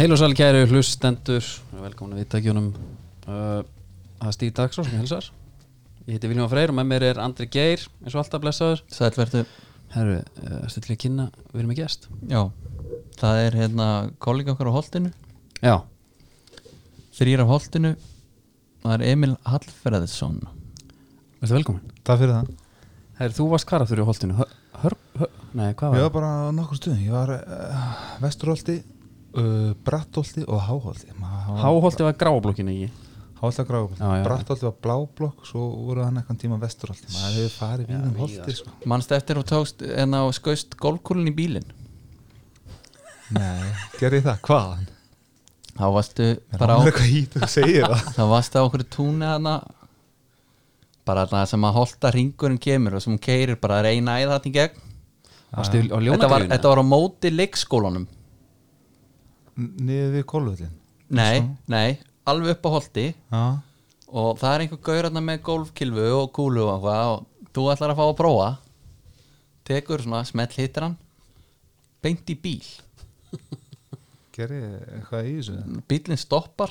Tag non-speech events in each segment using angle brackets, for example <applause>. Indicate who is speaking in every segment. Speaker 1: Heil og sæl kæru hlustendur Velkomin að viðtækjunum uh, Það er Stíð Dagsrós sem hilsar Ég heiti Viljón Freyr og með mér er Andri Geir eins og alltaf blessaður
Speaker 2: Sælvertu,
Speaker 1: Herru, uh, stilli að kynna, við erum með gest
Speaker 2: já Það er hérna kollega okkar á Holtinu
Speaker 1: Já,
Speaker 2: Þrýr af Holtinu Það er Emil Hallferðsson
Speaker 1: verður velkomin
Speaker 3: Takk fyrir það
Speaker 1: Herru, þú varst hvar aftur í holtinu Hör, hör, hör, nei, hvað
Speaker 3: Ég
Speaker 1: var
Speaker 3: var bara á nokkur stuðum Ég var uh, vesturholti, uh, brattholti og háholti
Speaker 1: það? Háholti var gráblokkin ekki
Speaker 3: Háholti að gráðubolti,
Speaker 1: Já, já.
Speaker 3: brattholti var bláblokk Svo voru hann eitthvað tíma vesturholti Maður hefur farið víðum holti sko.
Speaker 2: Manst eftir og tókst en á skaust golfkúlun í bílinn
Speaker 3: Nei, gerði ég það, hvaðan?
Speaker 2: Þá varstu
Speaker 3: Bara
Speaker 2: bara á
Speaker 3: eitthvað hít og segir það
Speaker 2: Þá varstu á okkur túni hana Bara þarna sem að holta ringurinn kemur og sem hún keirir bara að reyna æða þarna í gegn
Speaker 1: Varstu á
Speaker 2: þetta var,
Speaker 1: ljónadrýjunni?
Speaker 2: þetta var á móti leikskólanum
Speaker 3: Niður við kólvöldin
Speaker 2: Nei, nei, alveg upp á Holti
Speaker 3: Já,
Speaker 2: og það er einhver gaur hérna með golfkilfu og kúlu og eitthvað og þú ætlar að fá að prófa tekur svona smell hittir hann beint í bíl
Speaker 3: gerði ég eitthvað í þessu
Speaker 2: bílinn stoppar,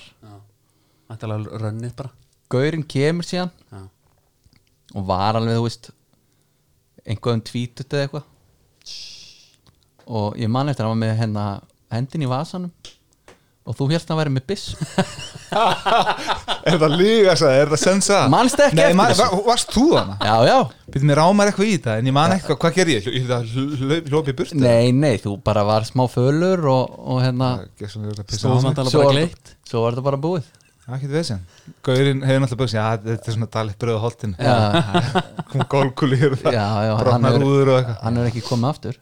Speaker 1: Þetta var rönnið bara
Speaker 2: gaurinn kemur síðan
Speaker 1: Já.
Speaker 2: og var alveg þú veist einhverjum tvítut eða eitthvað og ég man eftir að hann var með hérna hendin í vasanum og þú hérst að vera með biss
Speaker 3: Er það líga það, er það sensa
Speaker 2: Manstu ekki eftir
Speaker 3: Nei, maður,
Speaker 2: þessu?
Speaker 3: var, varst þú hana?
Speaker 2: já já,
Speaker 3: Býtum mér rámar eitthvað í það, en ég man eitthvað, hvað gerði ég? Ég hljóði að hlaup- hlaupa í burtu
Speaker 2: nei nei þú bara var smá fölur og, og hérna
Speaker 3: Það gerði svona verið að pissa á
Speaker 1: Stóðum
Speaker 3: mig.
Speaker 1: þetta
Speaker 2: svo,
Speaker 1: bara
Speaker 2: var-
Speaker 1: gleitt
Speaker 2: svo var þetta bara búið
Speaker 3: Það er ekkert vesen Gaurinn hefur náttúrulega búið að segja "Já, Þetta er svona dalit bröðu holdin
Speaker 2: já,
Speaker 3: Kom gólkúli hér og það
Speaker 2: já, já, hann
Speaker 3: Brotnar
Speaker 2: er-
Speaker 3: úður og eitthvað
Speaker 2: <laughs> hann er ekki komið aftur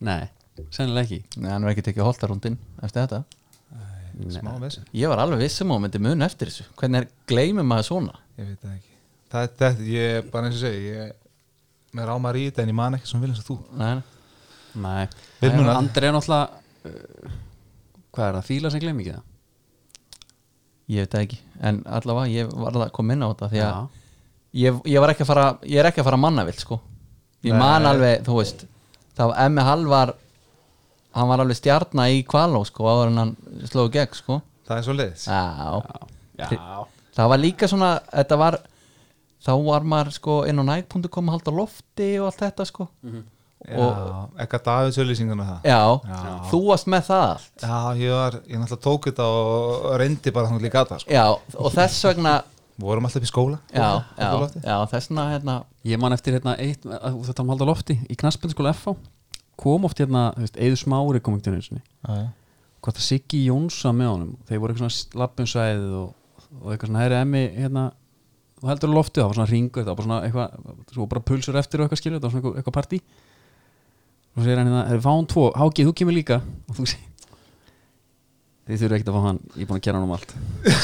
Speaker 1: Nei, sennilega ekki
Speaker 2: Nei, hann er ekki tekið holtarúndin eftir þetta
Speaker 3: Smá vesen
Speaker 2: Ég var alveg vissum á að myndi mun eftir þessu Hvernig er, gleymir maður svona?
Speaker 3: Ég veit það ekki Það er þetta Ég er bara eins og segi Ég Mér rámar í þetta En ég man ekki svona vil eins og þú
Speaker 2: Nei, nei.
Speaker 1: Nei,
Speaker 3: Við munum að-
Speaker 1: Andri er náttúrulega uh, Hvað er það, fíla sem gleym ekki það?
Speaker 2: ég veit það ekki En allavega, ég var að koma inn á þetta Því að
Speaker 1: Já.
Speaker 2: ég, ég var ekki að fara Ég er ekki að fara mannavill, sko Ég man alveg, þú veist Það var Emmi Halvar Hann var alveg stjarna í Kvaló, sko Áður en hann sló í gegn, sko
Speaker 3: Það er svo leiðis
Speaker 2: Já,
Speaker 1: Já,
Speaker 2: það var líka svona Þetta var Þá var maður, sko, inn á næg.com að halda lofti og allt þetta, sko
Speaker 3: Mhm.
Speaker 2: Og,
Speaker 3: Eitthvað Davids öllýsingan og það
Speaker 2: já,
Speaker 3: Já.
Speaker 2: þú varst með það allt
Speaker 3: Já, ég var Ég náttúrulega tók þetta og reyndi bara þannig líka að það sko.
Speaker 2: Já, og þess vegna
Speaker 3: Vorum alltaf í skóla
Speaker 2: Já,
Speaker 3: <laughs> Upp á
Speaker 2: já,
Speaker 3: lofti.
Speaker 2: já þess vegna hérna,
Speaker 1: Ég man eftir hérna eitt, að þú þetta um halda lofti í knaspinskóla FH kom oft hérna, þú veist, Eður Smári kom ekki til einsinni
Speaker 3: Já, já. <laughs>
Speaker 1: hvort það Siggi Jónsa með honum þeir voru eitthvað svona lappinsæðið og, og eitthvað svona hæri emmi hérna þú heldur á loftið, það var svona ringur það var bara svona eitthvað, svo bara pulsur eftir og eitthvað skilur það var svona eitthvað, eitthvað partí og sér hann hérna, er Ván 2, Háki, þú kemur líka og þú segir þið þurfum ekkert að fá hann, ég er búin að kera hann um allt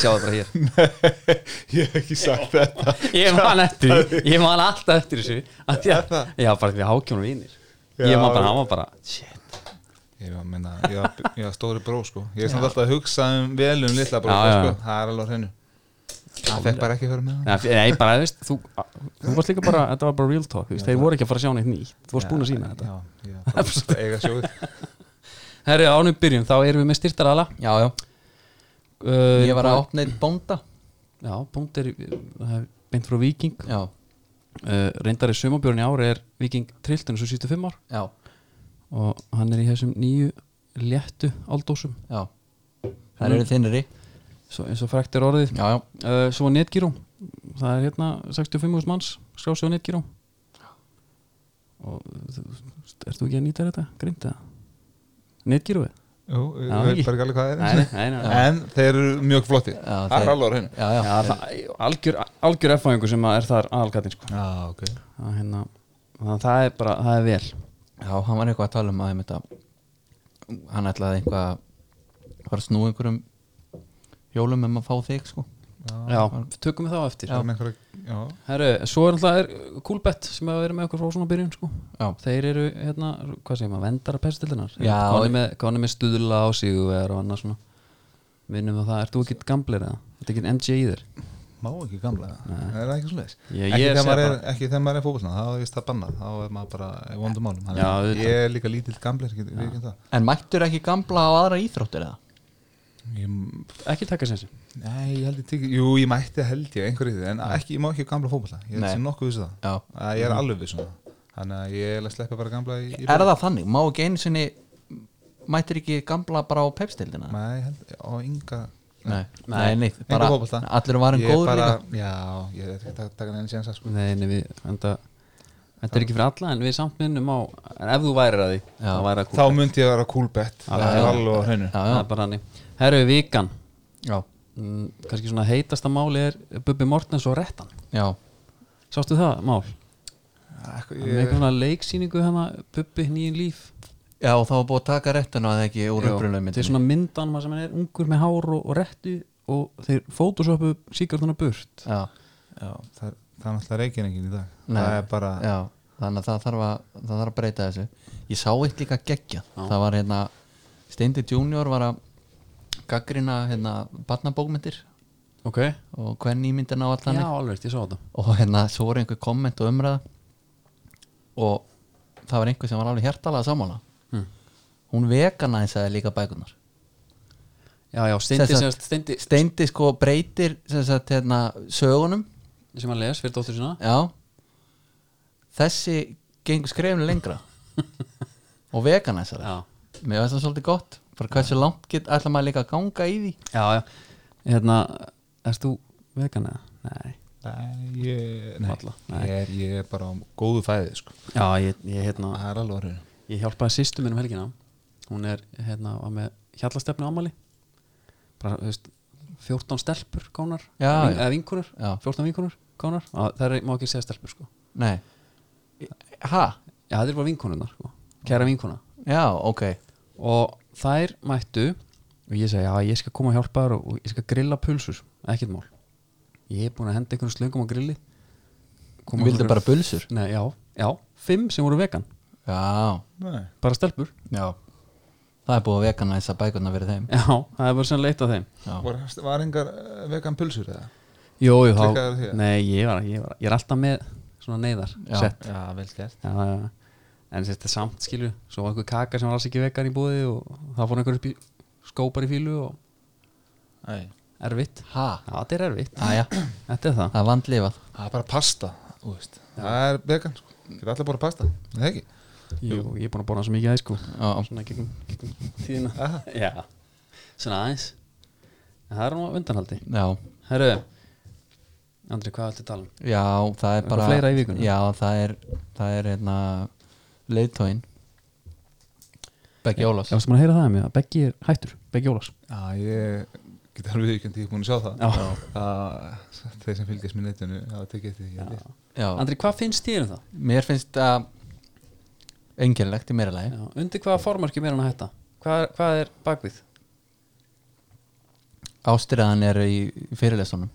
Speaker 1: sjá það bara hér
Speaker 3: Ég hef ekki sagt þetta
Speaker 1: ég man eftir
Speaker 3: <laughs>
Speaker 1: því, ég man alltaf eftir þessu að því að, já bara því að hákjónum vinnir ég
Speaker 3: Hérna. Já.
Speaker 1: man bara, hann var bara shit,
Speaker 3: Ég var, minna, ég var, ég var stóri bró sko Ég er samt alltaf að hugsa um vel um litla bró
Speaker 1: Já, já,
Speaker 3: sko.
Speaker 1: já.
Speaker 3: Það er alveg á hreinu Það fekk bara ekki að vera með hann
Speaker 1: Nei, nei, bara, þú veist, þú, þú varst líka bara, þetta var bara real talk, þú veist, þeir voru ekki að fara að sjá neitt nýtt, þú varst búin að sína þetta.
Speaker 3: Já, ég
Speaker 1: <laughs>
Speaker 3: var bara að eiga sjóð
Speaker 1: Herri, ánum byrjum, þá erum við með styrtarala.
Speaker 2: já, já,
Speaker 1: Uh,
Speaker 2: ég var að opna einn bónda
Speaker 1: Já, bónd er, það er beint frá Viking, uh,
Speaker 2: Já,
Speaker 1: reyndar í sumabjörn í ári er Viking trilltun svo 75 ár
Speaker 2: já,
Speaker 1: og hann er í þessum nýju léttu aldósum,
Speaker 2: já Það
Speaker 3: Mm.
Speaker 2: eru þinnri
Speaker 1: svo, eins og frækt er orðið.
Speaker 2: Já, já,
Speaker 1: Uh, svo Netgyro, það er hérna 65.000 manns, skrási á Netgyro. Og þú- ert þú ekki að nýta þér þetta, grinda það? Netgyroið?
Speaker 3: Jú, ég
Speaker 1: Já,
Speaker 3: veit
Speaker 1: ekki.
Speaker 3: bara ekki alveg hvað
Speaker 1: Nei,
Speaker 3: það
Speaker 1: nei, nei,
Speaker 3: <laughs>
Speaker 1: nei.
Speaker 3: er En þeir eru mjög flotti
Speaker 2: Já,
Speaker 3: Það
Speaker 2: þeir-
Speaker 3: er alveg á hreinu
Speaker 2: já, já,
Speaker 1: Já, það, algjör, algjör erfæðingu sem að er þar aðalgatinn sko.
Speaker 3: Já, ok
Speaker 1: það, hérna, þannig að það er bara, það er vel
Speaker 2: já Hann var eitthvað að tala um að einmitt að Hann ætlaði eitthvað að fara að snúa einhverjum hjólum um að fá þig, sko
Speaker 1: Já, tökum við þá eftir
Speaker 3: Það er með einhverja Já,
Speaker 1: Herru, svo er alltaf Coolbet sem hefur verið með okkur frá svona byrjun sko.
Speaker 2: Já,
Speaker 1: Þeir eru, hérna, hvað segir maður, vendara pestildunar
Speaker 2: Já.
Speaker 1: Gáðan er með stuðla á sig og annað svona Vinnum við það, ert þú ekki gamblir eða? Þetta er ekki MJ í þér
Speaker 3: má ekki gamla Það er ekki svo leiðis
Speaker 1: Já, ég
Speaker 3: ekki,
Speaker 1: er
Speaker 3: þegar maður
Speaker 1: segja
Speaker 3: er, ekki þegar maður er fókbalna Þá er vist það bannað Þá er maður bara í vondum málum Þannig
Speaker 1: Já,
Speaker 3: að
Speaker 1: auðvitað.
Speaker 3: Ég er líka lítill gamlir Við ekki það
Speaker 2: en mættur ekki gamla á aðra íþróttir eða?
Speaker 3: ég,
Speaker 1: ekki taka sensin
Speaker 3: nei, ég held ég tek, jú, ég mætti held ég einhverju í því, en ekki, ég má ekki gamla fótbolta ég
Speaker 2: Nei.
Speaker 3: er sem nokkuð vissu það,
Speaker 2: Já.
Speaker 3: að ég er alveg vissu það þannig að ég er að sleppa bara gamla í, í
Speaker 2: Er það þannig? Má ekki einu sinni mætir ekki gamla bara á pepstildina?
Speaker 3: nei, ég held, á ynga
Speaker 2: Nei, nei, nei, bara
Speaker 3: enga fótbolta
Speaker 2: allir varum
Speaker 3: Ég er
Speaker 2: góður
Speaker 3: bara,
Speaker 2: líka
Speaker 3: já, ég er ekki að taka neina sénsa sko.
Speaker 1: Nei, nei, við enda Þetta er ekki fyrir alla en við samt minnum á en ef þú værir að því,
Speaker 2: Já.
Speaker 1: þá væri að
Speaker 3: þá
Speaker 1: kúka
Speaker 3: myndi ég að vera coolbett það
Speaker 1: já.
Speaker 3: er alveg á hreinu
Speaker 2: Já,
Speaker 1: Það
Speaker 2: já,
Speaker 1: er bara hannig Herru vikan,
Speaker 2: já,
Speaker 1: mm, kannski svona heitasta máli er Bubbi Mortens og Rettan
Speaker 2: já.
Speaker 1: Sástu það mál?
Speaker 3: Ég-
Speaker 1: Með eitthvað svona leiksýningu hana Bubbi nýjum líf
Speaker 2: Já, og þá var búið að taka réttinu að ekki úr upprunum
Speaker 1: Þetta er svona myndan maður sem er ungur með hár og, og rettu og þeir fótosöpu síkartuna burt
Speaker 2: já,
Speaker 3: Já, það er það er náttúrulega reikin engin í dag
Speaker 2: Nei.
Speaker 3: það er bara
Speaker 2: já, þannig að það þarf að, það þarf að breyta þessu Ég sá eitt líka geggja Það var hérna, Steindi Junior var að gaggrina hérna barnabókmyndir
Speaker 1: Ok Já,
Speaker 2: og hvernig ímyndina og allt þannig
Speaker 1: alveg, ég sá þetta
Speaker 2: og hérna svo voru einhver komment og umræða og það var einhver sem var alveg hjertalega sammála
Speaker 1: Hmm.
Speaker 2: hún veganæsaði líka bækunar
Speaker 1: Já, já, steindi
Speaker 2: Sem
Speaker 1: sem,
Speaker 2: sagt-
Speaker 1: steindi
Speaker 2: Steindi sko breytir sem sagt, hérna, sögunum
Speaker 1: sem hann les fyrir dóttur sína
Speaker 2: já þessi gengur skrefinu lengra og veganæsaði
Speaker 1: Já
Speaker 2: mér veist það svolítið gott bara hversu langt get ætla maður líka að ganga í því
Speaker 1: Já, já, hérna, erst þú vegan eða? Nei
Speaker 3: Nei, ég, nei.
Speaker 1: Varla, nei.
Speaker 3: Ég, er, ég er bara á góðu fæði sko.
Speaker 1: Já, ég, ég, hérna,
Speaker 3: það er alveg á hreinu
Speaker 1: ég hjálpaði sýstu minn um helgina Hún er, hérna, var með hjallastefni ámali Bara, þú veist, 14 stelpur kánar
Speaker 2: Já, já.
Speaker 1: Eða vinkunur,
Speaker 2: Já.
Speaker 1: 14 vinkunur kánar Á, Það er, má ekki segja stelpur, sko
Speaker 2: nei ha,
Speaker 1: Já, það er bara vinkununar, sko Kæra vinkuna
Speaker 2: já, ok
Speaker 1: Og þær mættu Og ég segi, já, ég skal koma að hjálpa þér og, og ég skal grilla pulsur Ekkert mál Ég er búin að henda einhvern slöngum á grilli Koma
Speaker 2: vildu
Speaker 1: einhverjar-
Speaker 2: bara bulsur
Speaker 1: Nei, já, já, fimm sem voru vegan
Speaker 2: já,
Speaker 3: nei.
Speaker 1: bara stelpur, <laughs>
Speaker 2: Já Það er búið að veganæsa bækurna verið þeim
Speaker 1: já, það er bara sem leitað þeim
Speaker 2: Já,
Speaker 3: Var, var engar eh, vegan pulsur eða?
Speaker 1: Jó, jú,
Speaker 3: Klikkaðir
Speaker 1: þá,
Speaker 3: þér?
Speaker 1: nei, ég var, ég var ég er alltaf með svona neyðar
Speaker 2: Já.
Speaker 1: sett,
Speaker 3: já, vel gert
Speaker 1: já, já, já. en þetta er samt skilju, svo var einhver kaka sem var alls ekki vegan í búði og það fór einhver upp í skópar í fílu og
Speaker 3: Æ.
Speaker 1: erfitt,
Speaker 2: ha,
Speaker 1: já, þetta er erfitt
Speaker 2: aðja,
Speaker 1: þetta er það,
Speaker 2: Ah, það er vandlifað
Speaker 3: það er bara pasta þú veist. það er vegan sko. geta allir bara pasta Nei, það ekki
Speaker 1: jú, ég er búin að borða svo mikið aðeins sko,
Speaker 2: Já,
Speaker 1: svona gegnum, gegnum tíðina, já svona aðeins en það er nú á undanhaldi,
Speaker 2: já,
Speaker 1: herru Andri, hvað ætti að tala um?
Speaker 2: já, það er
Speaker 1: Eitthvað
Speaker 2: bara
Speaker 1: fleira í vikunni?
Speaker 2: Já, það er, það er hérna leiðtóin Beggi Ólafs
Speaker 1: Já, varstu maður að heyra það með að Beggi er hættur, Beggi Ólafs
Speaker 3: já, ég geta alveg viðkjönd ég er búin að sjá það
Speaker 1: Já.
Speaker 3: að þeir sem fylgjast mér netinu hafa tekið eftir því ég held ég.
Speaker 2: Já,
Speaker 1: Andri, hvað finnst þér um það?
Speaker 2: mér finnst það engilnlegt í mér að
Speaker 1: Já, undir hvaða formarkjum er hann að hætta? Hvað, hvað er bakvið?
Speaker 2: ástriðan er í fyrirlesunum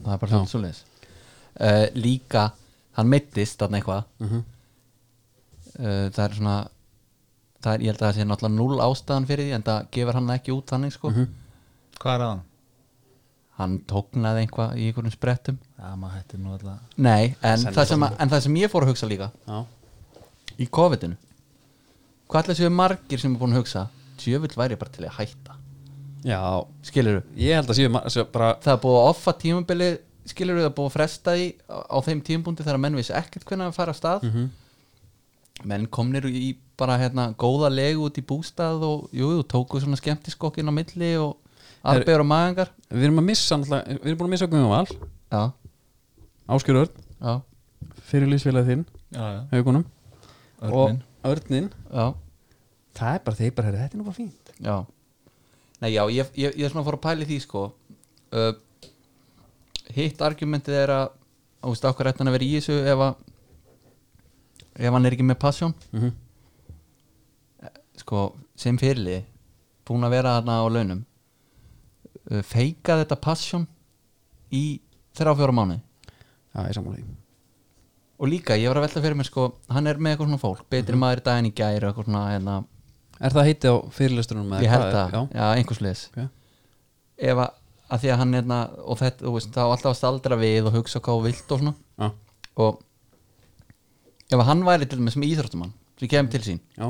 Speaker 2: það er bara
Speaker 1: Já.
Speaker 2: svolítið svoleiðis uh, líka, hann meittist þarna eitthvað
Speaker 1: Mhm.
Speaker 2: uh, það er svona það er, ég held að það sé náttúrulega núl ástæðan fyrir því en það gefur hann það ekki út þannig sko
Speaker 1: Mhm.
Speaker 3: hvað er aðan?
Speaker 2: hann tóknaði eitthvað í einhverjum sprettum
Speaker 3: já, maður hættir nú alltaf
Speaker 2: nei, en
Speaker 1: Sennilega
Speaker 2: það, sem, að- en það sem ég fór að hugsa líka
Speaker 1: Já,
Speaker 2: í COVID-inu hvað ætla séu margir sem er búin að hugsa tjöfull væri ég bara til að hætta
Speaker 1: já
Speaker 2: skilur
Speaker 1: ég held að séu ma- séu bara
Speaker 2: það er búið að offa tímabili skilur við að búið að fresta því á, á þeim tímabundi þegar menn vissi ekkert hvernig að fara af stað menn komnir í bara hérna góða legu út í bústað og jú, jú, tóku svona skemmtiskokkin á milli og arbegur og magangar
Speaker 1: Við erum að missa, náttúrulega- við erum búin að missa Guðjón Val
Speaker 2: já,
Speaker 1: Áskjör Örn,
Speaker 2: já,
Speaker 1: fyrir lýsfélagið þinn
Speaker 3: já, já
Speaker 1: haugunum
Speaker 3: Örninn.
Speaker 1: og Örnin
Speaker 2: já,
Speaker 1: Það er bara þeir bara, herri, þetta er nú bara fínt
Speaker 2: já nei, já, ég, ég, ég er svona að fóra að pæli því sko uh, hitt argumentið er að þú veist, okkur ætti hann að vera í þessu ef að ef hann er ekki með passjón
Speaker 1: mm -hmm.
Speaker 2: sko, sem fyrirli búin að vera þarna á launum uh, feika þetta passion í þrjá fjóra mánu
Speaker 1: Já, ég sammála því
Speaker 2: og líka, ég var að velta fyrir mér sko hann er með eitthvað svona fólk, betri maður í daginn í gæri eitthvað svona, hérna,
Speaker 1: Er það heiti á fyrirlesturunum? eða
Speaker 2: ég held
Speaker 1: hvað er-
Speaker 2: það já, já einhvers leis
Speaker 1: Já, ok
Speaker 2: ef að, að því að hann hérna, og þetta, þú veist, þá alltaf að staldra við og hugsa hvað þú vilt og svona
Speaker 1: Já,
Speaker 2: og ef að hann væri til dæmis með íþróttumann sem kemur til sín,
Speaker 1: já,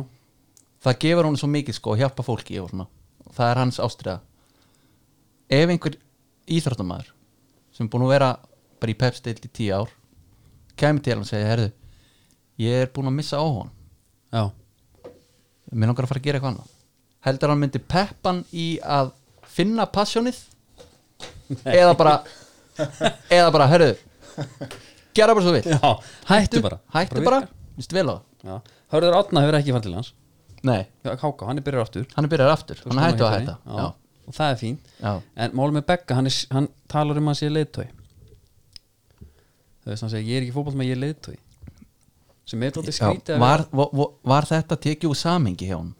Speaker 2: það gefur hún svo mikið sko, að hjálpa fólki og svona, það er hans ástriða ef einhver íþróttamæður sem er búin að vera bara í pepstild í tíu ár kemur til hann og segja, herðu ég er búin að missa á hann
Speaker 1: já,
Speaker 2: mér langar að fara að gera eitthvað annað heldur hann myndi peppan í að finna passjónið eða bara eða bara, herðu gera bara svo vil
Speaker 1: já hættu bara
Speaker 2: <laughs> hættu bara, vist vel á það
Speaker 1: bara. Hörður Átna hefur ekki farið til hans
Speaker 2: nei,
Speaker 1: Háka, hann er byrjar aftur
Speaker 2: hann er byrjar aftur,
Speaker 1: Þú
Speaker 2: hann er
Speaker 1: skoðum
Speaker 2: hættu að
Speaker 1: hitta
Speaker 2: hætta
Speaker 1: hann.
Speaker 2: já,
Speaker 1: Já, og það er fín
Speaker 2: já,
Speaker 1: en málum með Begga, hann, er, hann talar um að hann sé leiðtói það veist hann segir, ég er ekki fótboll með ég er leiðtói sem er tóttið skrítið
Speaker 2: já.
Speaker 1: að
Speaker 2: Var,
Speaker 1: vera-
Speaker 2: var, var þetta tekið úr samingi hjá hann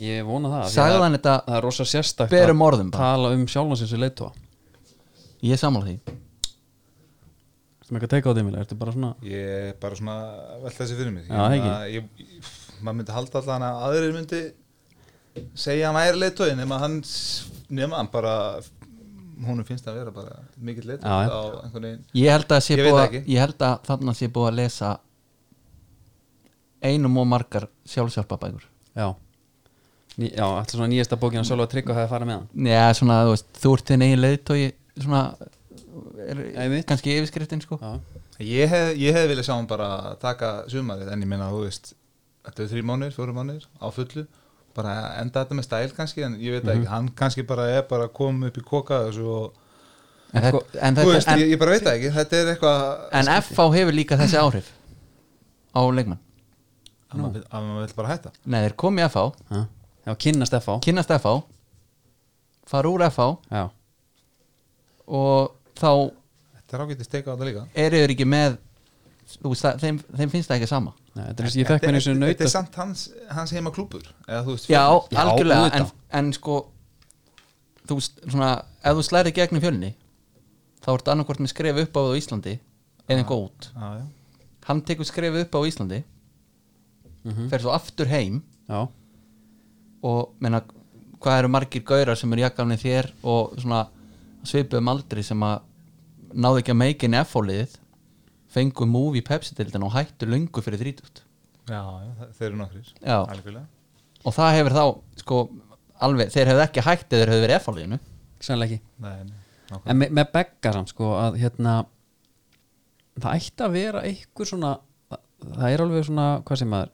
Speaker 1: ég vona það því
Speaker 2: sagði
Speaker 1: að-
Speaker 2: hann þetta
Speaker 1: það er rosa sérstakt
Speaker 2: berum orðum bara.
Speaker 1: tala um sjálfan sem sé leiðtóa
Speaker 2: ég er sammála því,
Speaker 1: sem ekki að teika á því, Emil, ertu bara svona
Speaker 3: Ég er bara svona velt þessi fyrir mér
Speaker 1: Já, það ekki.
Speaker 3: ég, ég, Maður myndi halda allan að aðrir myndi segja hann væri leitói nema hann, nema hann bara honum finnst að vera bara mikill leitói
Speaker 1: Já, já.
Speaker 3: á einhvern veginn
Speaker 2: ég held að sé
Speaker 3: Ég veit
Speaker 2: búið
Speaker 3: það
Speaker 2: að-
Speaker 3: ekki.
Speaker 2: ég held að þarna sé búið að lesa einum og margar sjálfsjálpabækur
Speaker 1: já, Ný, já alltaf svona nýjasta bókin að sjálfa trygg og hefði farið með hann
Speaker 2: Já, svona, þú veist, þú ert þinn eigin leiðtói svona, er,
Speaker 1: Einmitt.
Speaker 2: kannski yfirskriftin, sko
Speaker 1: já,
Speaker 3: Ég hef, ég hef viljað sjá hann bara taka sumarið en ég meina þú veist þetta er þrjú mánuðir, fjóru mánuðir á fullu bara enda þetta með stæl kannski en ég veit ekki,
Speaker 2: Mhm.
Speaker 3: hann kannski bara er bara komið upp í koka þessu og
Speaker 2: En,
Speaker 1: Sko,
Speaker 2: þetta- en,
Speaker 3: þú veist,
Speaker 2: þetta- en,
Speaker 3: ég, ég bara veit það ekki, þetta er eitthvað
Speaker 2: en FH hefur líka þessi áhrif á leikmann
Speaker 3: að maður vill- að maður vil bara hætta
Speaker 2: Nei, þeir komi í FH,
Speaker 1: já, já kynnast F á
Speaker 2: kynnast FH fara úr FH
Speaker 1: já,
Speaker 2: og þá
Speaker 3: Þetta er ágætið steika á þetta líka
Speaker 2: eru þeir ekki með þú veist, það- þeim, þeim finnst það ekki sama
Speaker 1: Nei, þetta er eins og ég fekk mér eins og
Speaker 3: Þetta
Speaker 1: nauta
Speaker 3: er samt hans, hans heima klúpur eða þú veist
Speaker 2: Já,
Speaker 3: fjölnir.
Speaker 1: Já,
Speaker 2: algjörlega en,
Speaker 1: auðvitað.
Speaker 2: en sko þú veist, svona, ef þú slærið gegn í fjölni þá ertu annarkvort með skref upp á það á Íslandi eða einhver út
Speaker 3: Já, já.
Speaker 2: hann tekur skrefið upp á Íslandi
Speaker 1: Mhm.
Speaker 2: fer svo aftur heim
Speaker 1: já,
Speaker 2: og menna, hvað eru margir gaurar sem eru jakkamni þér og svona svipuðum aldri sem að náðu ekki að meikin F-fóliðið fengu múf í Pepsi-dildin og hættu löngu fyrir þrítútt
Speaker 3: já, já, þe- þeir eru nokkrir
Speaker 2: Já.
Speaker 3: Algjörlega.
Speaker 2: og það hefur þá sko alveg, þeir hefðu ekki hætt eða þeir hefðu verið F-fóliðinu
Speaker 1: sannlega ekki
Speaker 3: Nei, nei, nákvæmlega.
Speaker 1: En með, með begga samt sko að hérna það ætti að vera einhver svona það, það er alveg svona, hvað sem maður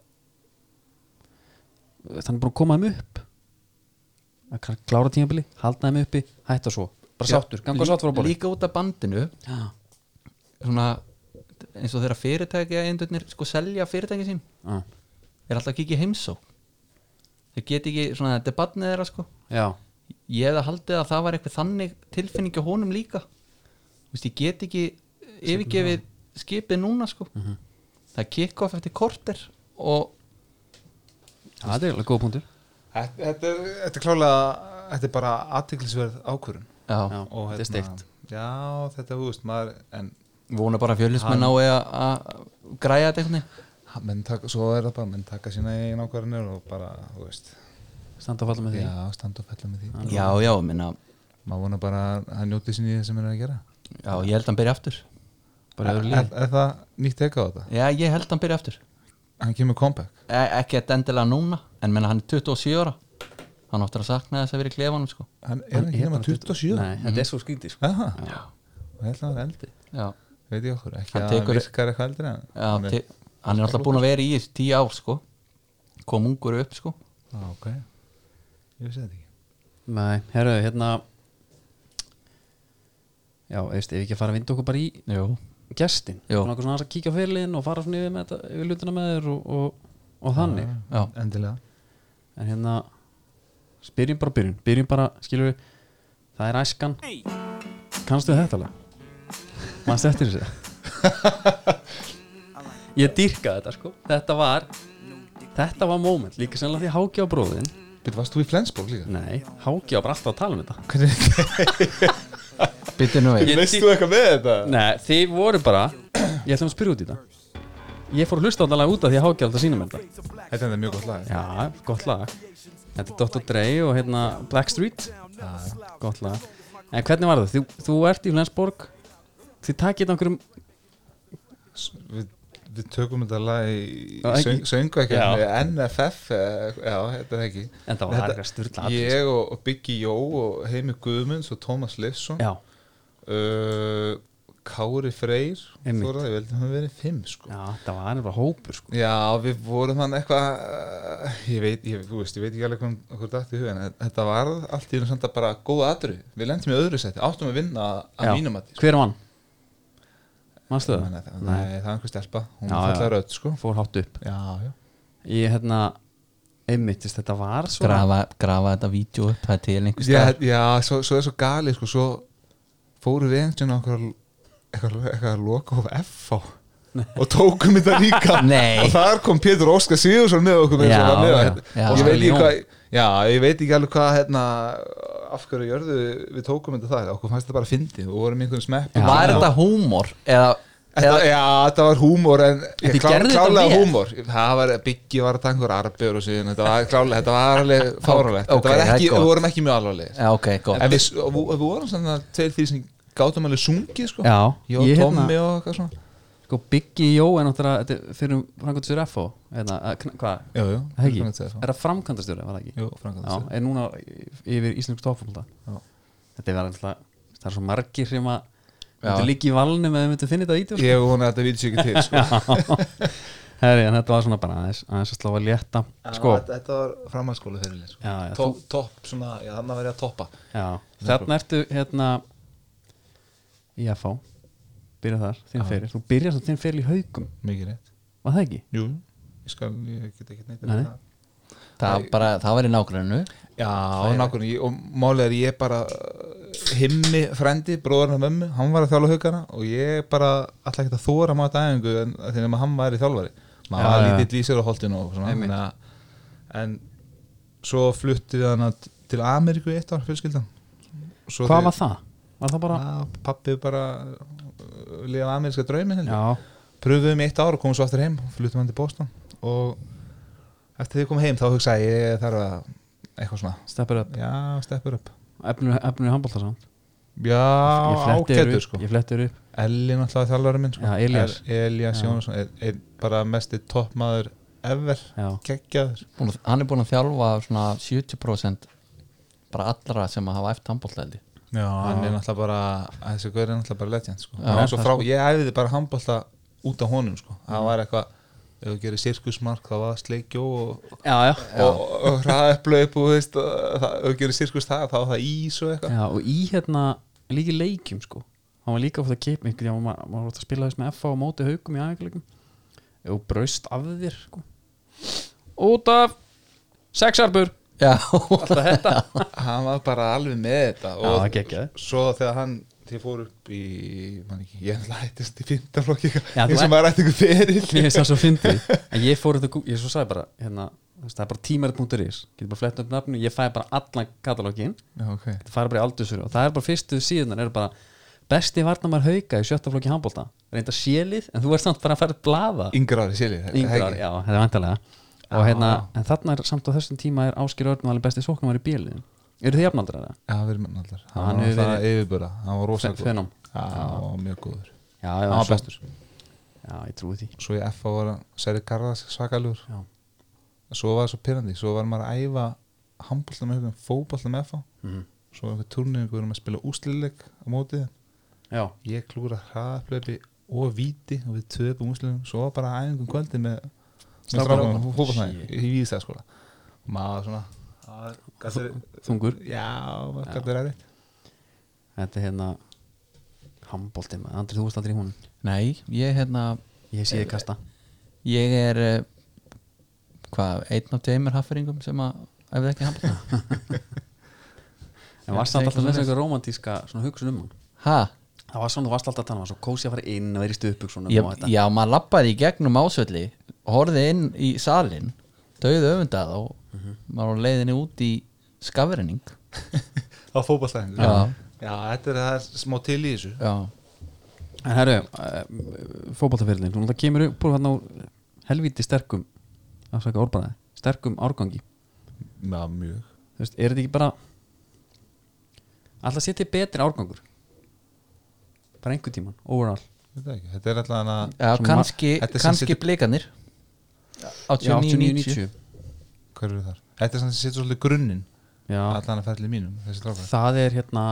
Speaker 1: þannig er búin að koma þeim upp að kl- klára tímabili, halda þeim uppi hætta svo, bara sáttur, ganga sáttur á bóli
Speaker 2: líka út af bandinu
Speaker 1: Já,
Speaker 2: svona eins og þeirra fyrirtækja eindurnir sko selja fyrirtæki sín
Speaker 1: já,
Speaker 2: er alltaf ekki í heimsó þeir geti ekki, svona þetta er badnið þeirra sko
Speaker 1: já,
Speaker 2: ég hefði haldið að það var eitthvað þannig tilfinning á honum líka Þú veist, ég get ekki yfirgefið skipið núna sko það er kickoff eftir korter og
Speaker 1: það er alveg góð punktur
Speaker 3: Þetta þetta er, þetta er klálega þetta er bara aðtiklisverð ákvörun
Speaker 1: Já,
Speaker 2: já,
Speaker 3: og hérna-
Speaker 1: þetta er steikt
Speaker 3: já, þetta þú veist maður, en
Speaker 2: vona bara fjölusmenn á að að græja þetta einhvern veginn
Speaker 3: ha, menn taka, svo er það bara, menn taka sína einn ákvarðanir og bara, þú veist
Speaker 1: standa að falla með því
Speaker 3: já, standa og fella með því
Speaker 2: já, já, ég minna,
Speaker 3: maður vonar bara að hann njóti sín í það sem hann er að gera
Speaker 2: já, ég held að hann byrja aftur
Speaker 1: bara öðru
Speaker 3: er,
Speaker 1: líf
Speaker 3: er það nýtt eka á þetta?
Speaker 2: já, ég held að hann byrja aftur
Speaker 3: hann kemur comeback
Speaker 2: e ekki að endilega núna, en minna hann er 27 ára hann áttur að sakna þess að vera í klefanum sko
Speaker 3: hann er hann ekki nema 27
Speaker 1: Nei, þetta
Speaker 3: Mm.
Speaker 1: er svo skrítið sko.
Speaker 3: Aha. og ég held að hann er eldi
Speaker 2: já,
Speaker 3: veit ég okkur, ekki
Speaker 2: Hann
Speaker 3: að hann
Speaker 2: tekur-
Speaker 3: virkar eitthvað eldri en
Speaker 2: já
Speaker 3: hann
Speaker 2: til, hann er alltaf búin að vera í þessu 10 ár sko kom ungur upp sko
Speaker 3: á, ok, ég vissi þetta ekki
Speaker 1: Nei, herru, hérna já, veist, ef ekki að fara að vinda okkur bara í
Speaker 2: jú
Speaker 1: gestin
Speaker 2: Jú.
Speaker 1: Svona okkur svona aðeins að kíkja á fyrirliðin og fara svona yfir, með þetta, yfir lutina með þér og, og, og þannig
Speaker 2: Já.
Speaker 3: Ah, endilega
Speaker 1: en hérna spyrjum bara byrjun, byrjum bara, skilur við það er æskan kannstu þetta alveg mannstu eftir þessu ég dýrkaði þetta sko þetta var þetta var moment, líka sannlega því hákjá bróðin
Speaker 3: Býttu, varst þú í Flensborg líka?
Speaker 1: nei, hákjá bara alltaf að tala um þetta
Speaker 2: Bittu nú við
Speaker 3: Veist þú eitthvað með þetta?
Speaker 1: Nei, þið voru bara Ég ætlum að spyrja út í þetta Ég fór að hlusta allavega út af því að hákja alltaf sínum þetta
Speaker 3: Þetta er enda mjög gott lag
Speaker 1: Já, gott lag Þetta er Dr. Dre og hérna Blackstreet
Speaker 3: Já, já.
Speaker 1: Gott lag En hvernig var það? Þú, þú ert í Flensborg Þið takið þetta einhverjum
Speaker 3: við, við tökum þetta lag í
Speaker 1: Já, ekki.
Speaker 3: söngu ekki
Speaker 1: Já.
Speaker 3: NFF, eh, já, þetta er ekki
Speaker 1: En það var
Speaker 3: Þetta-
Speaker 1: þetta, að styrla
Speaker 3: ég og, og Biggi Jó og Heimi Guðmunds og Tómas Lifsson
Speaker 1: Já,
Speaker 3: uh, Kári Freyr
Speaker 1: Einmitt.
Speaker 3: Þóra, ég veldi að hann verið fimm sko.
Speaker 1: já það var nefnilega hópur sko.
Speaker 3: Já, við vorum hann eitthvað uh, ég veit, ég, þú veist, ég veit ekki alveg hvað okkur dætt í hugin, en þetta var allt í hún samt að bara góða aðru, við lendum í öðru seti áttum að vinna að
Speaker 1: Já.
Speaker 3: mínum að
Speaker 1: Hver vann? Manstu
Speaker 3: Ég
Speaker 1: það?
Speaker 3: meina það-
Speaker 1: Nei,
Speaker 3: Nei, það er einhver stelpa, hún
Speaker 1: Já,
Speaker 3: já,
Speaker 1: já.
Speaker 3: fallar rödd sko
Speaker 1: fór hátt upp
Speaker 3: Já, já
Speaker 1: Ég hérna, einmitt, veist, þetta var svo
Speaker 2: grafa, grafa þetta vídeo upp það er til einhvers
Speaker 3: Já,
Speaker 2: staðar.
Speaker 3: já svo, svo er svo gali sko, svo fóru við einhvern veginn eitthvað, eitthvað loka á FH og tókum þetta
Speaker 2: <laughs>
Speaker 3: líka
Speaker 2: Nei.
Speaker 3: og þar kom Pétur Óskar Sigursson með okkur með
Speaker 2: Já,
Speaker 3: þessu, var með,
Speaker 2: já, já.
Speaker 3: hérna. ég, veit ekki
Speaker 1: Óskar
Speaker 3: hvað, já, ég veit ekki alveg hvað hérna, af hverju jörðu við tókum þetta þar, okkur fannst þetta bara fyndi og vorum í einhvern smepp
Speaker 2: var þetta húmor eða,
Speaker 3: Þetta, já, þetta var húmor en ég,
Speaker 2: Þetta gerði þetta
Speaker 3: klálega
Speaker 2: vel.
Speaker 3: húmor Það var, Biggi var að taka einhver arbjör og síðan, þetta var klálega, þetta var alveg
Speaker 2: Ok,
Speaker 3: fáralegt Þetta var
Speaker 2: það er
Speaker 3: ekki,
Speaker 2: gott.
Speaker 3: við vorum ekki mjög alvarlegir
Speaker 2: já, ok,
Speaker 1: Sko,
Speaker 2: gott
Speaker 3: En við, og við við vorum svona tveir því sem gátum alveg sungið sko
Speaker 1: Já,
Speaker 3: Jó,
Speaker 1: ég
Speaker 3: Tommi
Speaker 1: hérna-
Speaker 3: og eitthvað svona
Speaker 1: sko, Biggi Jó er náttúrulega þetta er fyrir framkvæmdastjóri FO hérna, að kn- hvað,
Speaker 3: Jú, jú,
Speaker 1: er það ekki?
Speaker 3: framkvæmdastjóri, já.
Speaker 1: Er það framkvæmdastjóri, var það ekki?
Speaker 3: Jú, framkvæmd
Speaker 1: Já, er núna yfir Íslensk tófumölda
Speaker 3: Já.
Speaker 1: Þetta er verið alltaf það er svo margir sem að
Speaker 3: Já.
Speaker 1: myndu líka í valnum eða myndu finna þetta ítjó
Speaker 3: Ég vona að þetta viti sér ekki til sko
Speaker 1: Herri, en þetta var svona bara aðeins, aðeins að slá að létta <laughs> sko,
Speaker 3: Þetta- Þetta var framhaldsskóla fyrir sko.
Speaker 1: já, já, þú,
Speaker 3: Topp, topp, svona, já, þannig að verið að toppa
Speaker 1: já. þarna ertu hérna í FH byrja þar, þinn feril, þú byrjar svo þinn feril í haugum
Speaker 3: Mikið rétt
Speaker 1: var það ekki?
Speaker 3: Jú, ég skal, ég get ekki neitt að
Speaker 1: Nei.
Speaker 3: það
Speaker 2: það, bara, það var í nágrunnu
Speaker 3: Já, nákvæmlega, ég- og málið er ég bara uh, himmi frendi, bróðurinn af mömmu, hann var að þjálfa haugana og ég bara ætla ekki að þóra maður þetta æfingu en þegar maður hann var í þjálfari maður
Speaker 1: Já,
Speaker 3: var
Speaker 1: já.
Speaker 3: lítill í sér á holdinu og svona
Speaker 1: Einmitt.
Speaker 3: þannig að, en svo fluttið hann að- til Ameríku í eitt ár, fjölskyldan svo
Speaker 1: Hvað var það? Var það bara?
Speaker 3: það? Pappi bara liða ameríska draumi held ég.
Speaker 1: Já,
Speaker 3: pröfuðum í eitt ár og komum svo aftur heim fluttum hann til Boston og eftir því ég kom heim þá hugsaði ég, ég þarf að eitthvað svona
Speaker 1: steppur upp
Speaker 3: Já, steppur upp
Speaker 1: efnur, efnur handbólta samt
Speaker 3: Já,
Speaker 1: Ég fletti þér
Speaker 3: ágætur
Speaker 1: upp,
Speaker 3: sko
Speaker 1: ég fletti þér upp
Speaker 3: Elin alltaf þjálfari minn sko
Speaker 1: Já, Elías.
Speaker 3: er, Elías
Speaker 1: Já.
Speaker 3: Jónsson er, er bara mesti toppmaður ever
Speaker 1: Já,
Speaker 3: geggjaður
Speaker 2: Búin að- hann er búin að þjálfa svona 70% bara allra sem að hafa eftir handbóltleði
Speaker 3: Já, hann er alltaf bara þessi gaur er alltaf bara legend sko
Speaker 2: Já,
Speaker 3: Já, svo
Speaker 1: það
Speaker 3: frá, Ég æfiði bara handbolta út af honum sko það var eitthvað ef þú gerir sirkusmark þá var það sleikjó og,
Speaker 1: já, já.
Speaker 3: og, og hraðaplaup og veist, og það- ef þú gerir sirkus það þá var það ís og eitthvað
Speaker 1: Já, og í hérna líki leikjum sko hann var líka ofta að keipa einhvern veginn maður var ofta að spila þess með FA á móti haugum í aðeinkleikum og braust af þér sko. út af sexarbur
Speaker 2: já,
Speaker 1: alltaf <laughs> þetta
Speaker 3: hann var bara alveg með þetta
Speaker 1: Já, það gekkjaði.
Speaker 3: svo þegar hann þið fór upp í man ekki, ég ætla að hættist í fymtaflokki
Speaker 1: Já, þú
Speaker 3: eins og
Speaker 1: ert-
Speaker 3: maður ætti ykkur
Speaker 1: Mér
Speaker 3: fyrir
Speaker 1: finnst það svo fyndið En ég fór þetta, ég svo sagði bara hérna, þú veist, það er bara tímarit.is getur bara flett upp nafnu, ég fæ bara allan katalógin
Speaker 3: okay.
Speaker 1: þetta fara bara í aldursur og það er bara fyrstu síðunar er bara besti varnamar hauka í sjötta flokki handbólta reynda sélið en þú ert samt bara að fara að blaða
Speaker 3: yngra ári séli
Speaker 1: yngrar, já, þetta er vantarlega og
Speaker 3: Ah.
Speaker 1: hérna, en þarna er samt á þessum tíma er Áskir Örn valið besti sóknumar í bíliðin eru þið jafnaldrar eða?
Speaker 3: já, við erum allar
Speaker 1: Hann
Speaker 3: hann var
Speaker 1: hefur
Speaker 3: það yfirbúra, hann var rosa
Speaker 1: Fe- fenom.
Speaker 3: já, hann var mjög góður
Speaker 1: Já, já,
Speaker 3: hann var
Speaker 1: svo-
Speaker 3: bestur
Speaker 1: Já, ég trúi því
Speaker 3: svo í F.A. var hann Særi Garðas svakalur
Speaker 1: Já.
Speaker 3: svo var það svo pyrrandi svo var maður að æfa handbólta með hugum fótbólta með F.A.
Speaker 1: Mhm.
Speaker 3: svo var einhver turningur við erum að spila úsliðleik á mótið
Speaker 1: Já,
Speaker 3: ég klúra hraðaflöfi og víti og við töpum úsliðum svo var bara æfingum kvöldi með
Speaker 1: Strákunum.
Speaker 3: strákunum fótboltæði í víðstæðaskóla og maður svona það var- gat verið-
Speaker 1: þungur
Speaker 3: já, maður gæti verið erfitt
Speaker 1: Þetta er hérna handbólti maður, Andri, þú veist aldrei í hún
Speaker 2: nei, ég hérna
Speaker 1: Ég sé þið kasta
Speaker 2: ég er eh, hvað, einn af tveimur hafferingum sem að ef þið ekki handbóltleði
Speaker 1: En varst samt alltaf með þessu eitthvað romantíska svona hugsun um hann
Speaker 2: ha,
Speaker 1: Það var svona, þú varst alltaf að tala um hann, svo kósi að fara inn og verið stuðbuksunum
Speaker 2: ég,
Speaker 1: og þetta
Speaker 2: já, maður lappaði í gegnum ásvölli horfið inn í salin döið öfundað og
Speaker 1: Mhm.
Speaker 2: maður var á leiðinni út í skafrinning
Speaker 3: á fótboltæðing
Speaker 2: Já.
Speaker 3: já, þetta er það er smá til í þessu
Speaker 2: já,
Speaker 1: En herru, uh, fótballtaferðin Þú náttúrulega kemur upp úr hérna úr helvíti sterkum afsaka orðbæði, sterkum árgangi
Speaker 3: já, mjög
Speaker 1: Þú veist, er þetta ekki bara alltaf setja betri árgangur bara einhver tíman, overall
Speaker 3: þetta ekki þetta er alltaf að
Speaker 2: Já,
Speaker 1: Sem
Speaker 2: kannski,
Speaker 3: ma- þetta er sem
Speaker 2: kannski
Speaker 3: situr-
Speaker 2: blikanir
Speaker 1: Já,
Speaker 2: 89-90
Speaker 3: hver eru þar þetta er sann sem setur svolítið grunnin
Speaker 1: Já,
Speaker 3: allan að ferli mínum þessi drákar
Speaker 1: það er hérna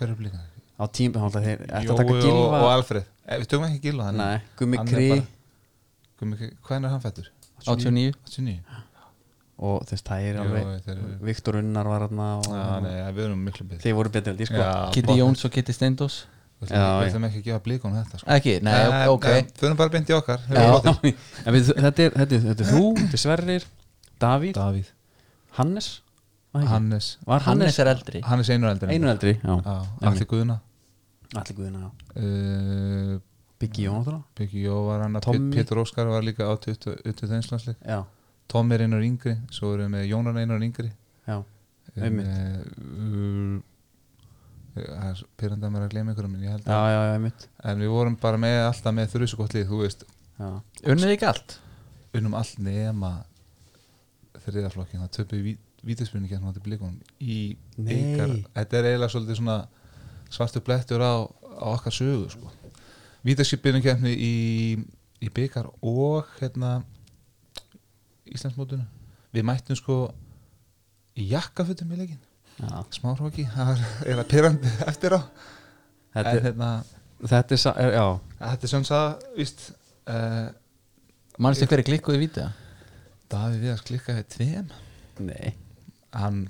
Speaker 3: hver eru blíkað
Speaker 1: á tíma þá er þetta að taka
Speaker 3: Jói og,
Speaker 1: gilva
Speaker 3: og Alfred Eh, við tökum ekki gilva hann
Speaker 1: Nei, Gummi
Speaker 3: Hann er
Speaker 1: Kri
Speaker 3: bara- Gummi, hvernig er hann fættur?
Speaker 2: 89
Speaker 3: 89
Speaker 1: og þess það er
Speaker 3: Jú,
Speaker 1: alveg
Speaker 3: þetta eru-
Speaker 1: Viktor Unnar var hérna og
Speaker 3: Já, nei, við erum miklu betri
Speaker 1: þeir voru betri held ég sko
Speaker 3: Já,
Speaker 2: Kitty
Speaker 3: bara-
Speaker 2: Jóns og Kitty Steindós
Speaker 3: Við
Speaker 1: Já,
Speaker 3: ætlum-
Speaker 1: já.
Speaker 3: við ætlum ekki að gefa blíkunum þetta sko.
Speaker 2: Ekki, nei,
Speaker 3: Eh,
Speaker 2: ok
Speaker 3: eh, Förum bara beint í okkar Hefur
Speaker 2: Já.
Speaker 3: flottir.
Speaker 1: En við, þetta, er, þetta, er, þetta er þú, þetta er Sverrir Davíð,
Speaker 3: Davíð
Speaker 1: Hannes var það ekki?
Speaker 3: Hannes
Speaker 1: Var Hannes,
Speaker 2: Hannes er eldri
Speaker 3: Hannes einu eldri
Speaker 1: einu eldri Já,
Speaker 3: Allir Guðna
Speaker 1: allir guðina já.
Speaker 3: uh,
Speaker 1: Biggi Jón náttúrulega
Speaker 3: Byggi Jó var hann
Speaker 1: Tommy.
Speaker 3: Pétur Óskar var líka á 20 einslandsleik
Speaker 1: Já,
Speaker 3: Tom er einu yngri Svo erum við Jónan einu yngri
Speaker 1: já,
Speaker 3: En,
Speaker 1: Einmitt.
Speaker 3: eh, uh, Það er pyrrandi að mér að gleyma ykkur minn, ég held
Speaker 1: já,
Speaker 3: að
Speaker 1: já, já, einmitt
Speaker 3: En við vorum bara með alltaf með þrjusugott lið, þú veist
Speaker 1: Já,
Speaker 2: Unnið ekki allt
Speaker 3: unnum allt nema þriðaflokkin það töpu vítaspunni kemur þetta blikunum í
Speaker 1: Nei.
Speaker 3: bikar þetta er eiginlega svolítið svona svartu blettur á, á okkar sögu sko. vítaspunni kemni í, í bikar og hérna Íslandsmótinu við mættum sko í jakkafutum í leikin
Speaker 1: já
Speaker 3: smá hróki, <laughs> það var eiginlega pyrrandi eftir á
Speaker 1: Þetta
Speaker 3: en
Speaker 1: er,
Speaker 3: hérna,
Speaker 1: þetta er, sa- er já
Speaker 3: þetta er sem sagði víst, uh,
Speaker 2: Manstu hverju klikkuði víta?
Speaker 3: Davi Viðars klikkaði tveim
Speaker 1: Nei,
Speaker 3: hann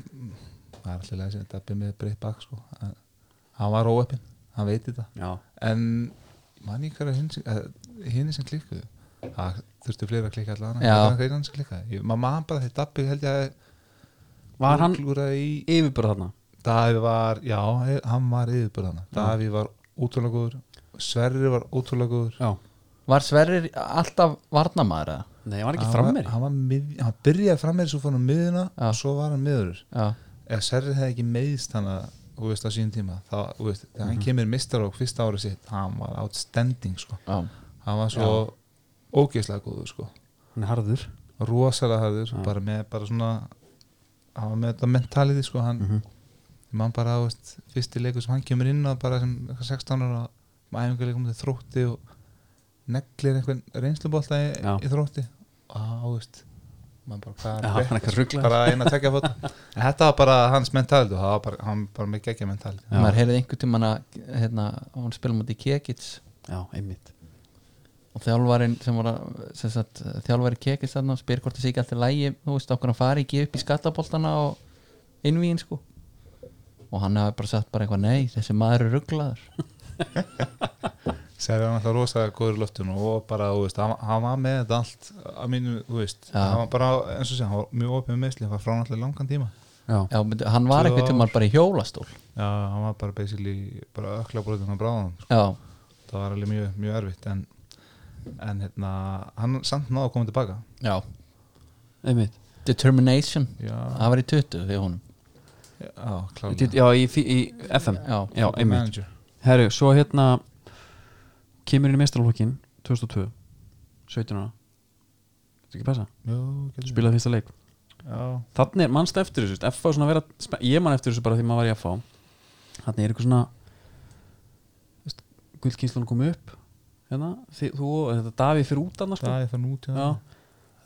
Speaker 3: var alltaf leðið sem dabbi með breytt bak sko. hann hann var óöppin, hann veit þetta
Speaker 1: já,
Speaker 3: en mann í hverja hinn eh, sem klikkuðu það þurftu fleira að klikka allan
Speaker 2: Já.
Speaker 3: hann hann sem klikkaði, Ég- maður man bara þegar dabbi held ég
Speaker 1: var hann
Speaker 3: að klúraði í
Speaker 1: yfir bara þarna
Speaker 3: Davi var, já, hann var yfirbörðana Davi var ótrúlega góður Sverri var ótrúlega góður
Speaker 1: Já,
Speaker 2: Var Sverrir alltaf varnamaður eða?
Speaker 1: nei, var hann
Speaker 3: Hann
Speaker 1: ekki frammeri
Speaker 3: hann, var mið- hann byrjaði frammeri svo fór hann á miðuna
Speaker 2: Já.
Speaker 3: og svo var hann miðurur
Speaker 2: Já,
Speaker 3: ef Serri hefði ekki meðist hann að þú veist á sínum tíma þá, þú veist, þegar
Speaker 1: Mhm.
Speaker 3: hann kemur mistarokk fyrsta ára sitt hann var outstanding sko
Speaker 2: já
Speaker 3: hann var svo ógeðslega góður sko
Speaker 1: Hann er harður
Speaker 3: rosalega harður,
Speaker 1: Já.
Speaker 3: bara með bara svona hann var með þetta mentality sko hann, mm
Speaker 1: Mhm.
Speaker 3: mann bara, þú veist, fyrsti leikur sem hann kemur inn á bara sem eitthvað 16 ára æfingarleikum til þrótti og neglir einhvern reynslubólta í,
Speaker 1: Já.
Speaker 3: í þrótti og þú veist mann bara, hvað
Speaker 1: Já, hann er ekki rugglaður.
Speaker 3: bara eina tekja fót en þetta var bara hans mentality og það var bara, hann bara með geggja mentality
Speaker 1: Já.
Speaker 2: Maður heyrði einhvern tímann að hérna, hún spilum út í Kekits
Speaker 1: Já, einmitt
Speaker 2: og þjálfarin sem var að sem sagt, þjálfari Kekits þarna spyr hvort það sé ekki alltaf lægi þú veist okkur hann fari ekki upp í skallaboltana og innvíin sko og hann hafi bara sagt bara eitthvað nei þessi maður er rugglaður
Speaker 3: Serri var náttúrulega rosalega góður í loftinu og bara, þú veist, hann, hann var með þetta allt að mínu, þú veist,
Speaker 2: Já.
Speaker 3: hann var bara eins og sé, hann var mjög opið með meðsli, hann var frá náttúrulega langan tíma
Speaker 1: Já,
Speaker 2: Já, myndi- hann var
Speaker 3: Tvö
Speaker 2: einhvern tímann bara í hjólastól
Speaker 3: Já, hann var bara basically, bara ökla brotin á bráðan, sko.
Speaker 2: Já,
Speaker 3: það var alveg mjög, mjög erfitt en, en hérna, hann samt náðu að koma tilbaka
Speaker 2: já
Speaker 1: einmitt
Speaker 2: Determination,
Speaker 3: Já,
Speaker 2: það var í 20 fyrir honum
Speaker 3: já,
Speaker 1: Í-
Speaker 3: klálega
Speaker 1: Já, í, í, í FM
Speaker 2: Já,
Speaker 1: Já, einmitt
Speaker 3: Manager.
Speaker 1: Herru, svo hérna kemur inn í mestarlokkin 2002 17 ára Þetta ekki passa,
Speaker 3: Jú, getur
Speaker 1: spilaði fyrsta leik
Speaker 3: Já,
Speaker 1: Þannig er mannst eftir þessu, veist, FH er svona að vera spe- ég mann eftir þessu bara því maður var í FH Þannig er eitthvað svona gullkynslan kom upp hérna, þið, þú og þetta Davíð fyrir út annars sko.
Speaker 3: það er það nút
Speaker 1: Já.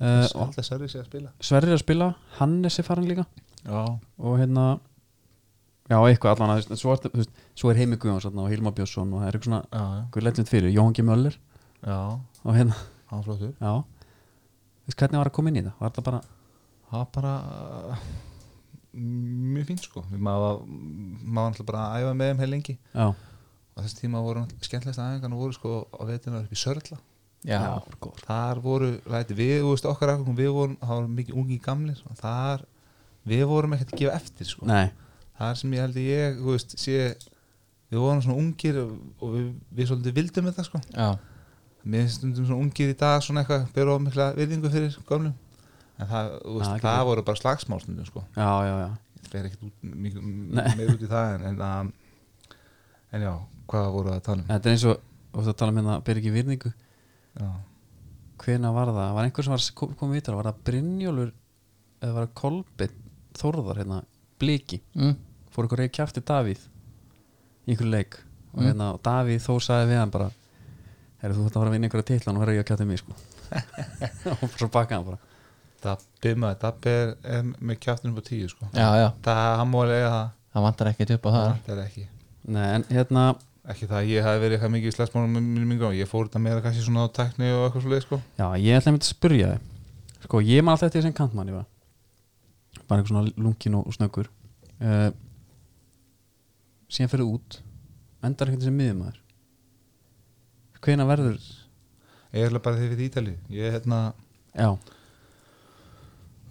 Speaker 3: Uh,
Speaker 1: uh,
Speaker 3: Alltaf Serri sé að spila
Speaker 1: Sverrir er að spila, Hannes er farin líka
Speaker 3: Já,
Speaker 1: og hérna já, eitthvað allan að þú veist, en svo, er, þú veist, svo er Heimi Guðjóns þarna og Hilma Björnsson og það er eitthvað svona
Speaker 3: já, já,
Speaker 1: eitthvað lettnitt fyrir, Jóhann G. Möller
Speaker 3: já,
Speaker 1: og hérna,
Speaker 3: hann var flottur
Speaker 1: já þú veist hvernig var að koma inn í það, var þetta bara
Speaker 3: það var bara uh, mjög fínt sko Við maður var maður var náttúrulega bara að æfa með þeim heil lengi
Speaker 1: já,
Speaker 3: og þessi tíma voru náttúrulega- skemmtilegasta æfingarna voru sko á veitinu upp í Sörla
Speaker 2: já,
Speaker 1: góð
Speaker 3: þar voru, læti, við, þú veist okkar afgangum við vorum, það voru mikið ungi gamlir og þar, við vorum ekkert að gefa eftir sko.
Speaker 1: nei,
Speaker 3: þar sem ég held að ég, þú veist, sé við vorum svona ungir og og við, við svolítið vildum þetta sko
Speaker 2: já,
Speaker 3: mér finnst stundum svona ungir í dag svona eitthvað, byrja á mikla virðingu fyrir gömlum en það, þú veist,
Speaker 1: Ah, ekki
Speaker 3: það
Speaker 1: fyrir.
Speaker 3: voru bara slagsmál stundum sko
Speaker 1: já, já, já
Speaker 3: það fer ekkert út, mikið,
Speaker 1: Nei.
Speaker 3: meir út í það en, en, um, en já, hvað voru að tala um
Speaker 1: þetta er eins og, og það tala um hérna, ber ekki virðingu
Speaker 3: já,
Speaker 1: hvena var það, var einhver sem var að kom- koma í það var það Brynjólfur eða var það Kolbeinn Þórðar hérna, bliki,
Speaker 2: mm,
Speaker 1: fór eitthvað reyð kjæfti Davíð í einhverju leik og hérna, og Davíð þó sagði við hann bara Herri, þú þurft að fara að vinna einhverja titlan og vera ég að kjáta mig sko. <laughs> og svo baka hann bara
Speaker 3: Dabbi maður, Dabbi er, er með kjáttunum på tíu sko
Speaker 2: já, já,
Speaker 3: Það, hann má lega það,
Speaker 2: það vantar ekkert upp á það
Speaker 3: það er ekki
Speaker 1: Nei, en hérna,
Speaker 3: Ekki það, að ég hafi verið eitthvað mikið í slagsmálum með mínum yngri árum. Ég fór þetta meira kannski svona á tækni og eitthvað svoleið sko
Speaker 1: já, ég ætla einmitt að spyrja þið sko, ég man alltaf eftir þessum kantmann ég var bara einhver svona lunkin og, og snöggur uh, síðan fyrir út endar einhvern sem miðumæður hvena verður
Speaker 3: Ég er bara þegar við Ítali Ég er hérna
Speaker 1: já,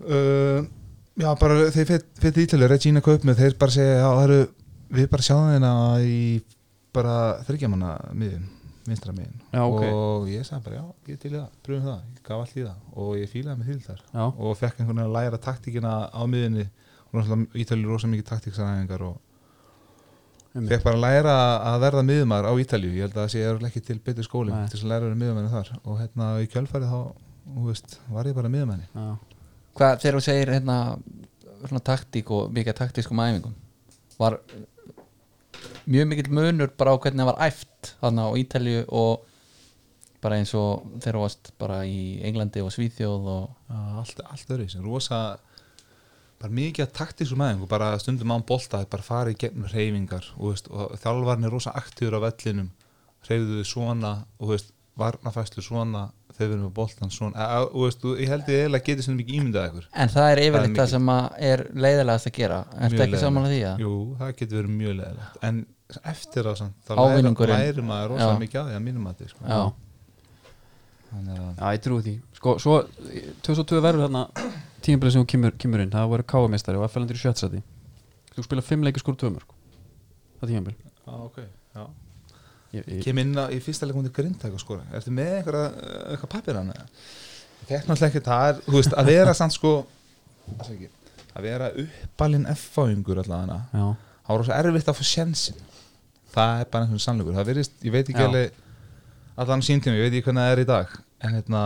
Speaker 3: uh, Já, bara þeir fyrir Ítali Regina Kaupmið, þeir bara segja já, það eru, Við bara sjáum þeirna í bara þryggjamanna miðin vinstra miðin
Speaker 1: Já, ok.
Speaker 3: og ég sagði bara já, ég er til í það, pröfum það, ég gaf allt í það og ég fílaði mig til þar
Speaker 1: já,
Speaker 3: og fekk einhvern veginn að læra taktíkina á miðinni og náttúrulega Ítali er rosa mikið taktíksaræðingar og
Speaker 1: einmitt.
Speaker 3: fekk bara að læra að verða miðumar á Ítalju ég held að það sé örugglega ekki til betur skóli
Speaker 1: Nei.
Speaker 3: til þess að læra að vera miðumar þar og hérna í kjölfæri þá þú veist, var ég bara miðumenni
Speaker 1: já.
Speaker 2: Hvað þegar þú segir hérna svona taktík og mikið taktískum æfingum var mjög mikill munur bara á hvernig það var æft þarna á Ítalju og bara eins og þegar þú varst bara í Englandi og Svíþjóð og
Speaker 3: allt, allt öðru, sem rosa bara mikið að taktísum aðeins og bara stundum án bolta, bara farið í gegnum reyfingar og, þú veist, og þjálfarinn er rosa aktífur á vellinum, reyfðu þið svona og þú veist, varnafæslu svona þegar við erum með boltan svona Eh, og þú veist, þú- ég held ég eiginlega getið sem mikið ímyndað ykkur
Speaker 2: en það er
Speaker 3: Það er
Speaker 2: yfirleitt það
Speaker 3: mikið.
Speaker 2: sem að er leiðilegast að gera er
Speaker 3: Mjög
Speaker 2: þetta ekki
Speaker 3: leiðinlegt.
Speaker 2: saman að því að
Speaker 3: Jú, það getur verið mjög leðilegt En eftir á samt, þá læri,
Speaker 2: Ávinningurinn.
Speaker 3: læri maður rosa
Speaker 2: Já.
Speaker 3: mikið að því að mínum að því sko.
Speaker 2: Já.
Speaker 3: Þannig að
Speaker 1: Já, ég trúi því Sko, svo 2002 verður þarna tímabilið sem hún kemur, kemur inn Það voru káumistari og FLNdur í sjötsæti Þú spila fimm leikir skóru tvö mörg Það tímabil
Speaker 3: Já, ok, já
Speaker 1: ég, ég,
Speaker 3: Kem inn á, í fyrsta leikum til grindæk og skora sko. Ertu með einhverja, eh, eitthvað pappir hann? Þetta er náttúrulega ekki, það er, þú veist, að vera samt sko afsakið, Að vera uppalinn F-fáingur allavega
Speaker 1: Já,
Speaker 3: Það var rosa erfitt að fá sjensin Það er bara einhvern sannleikur Það verðist, ég veit ekki
Speaker 1: Já.
Speaker 3: alveg Allan síntími, ég veit ekki hvernig það er í dag En hérna,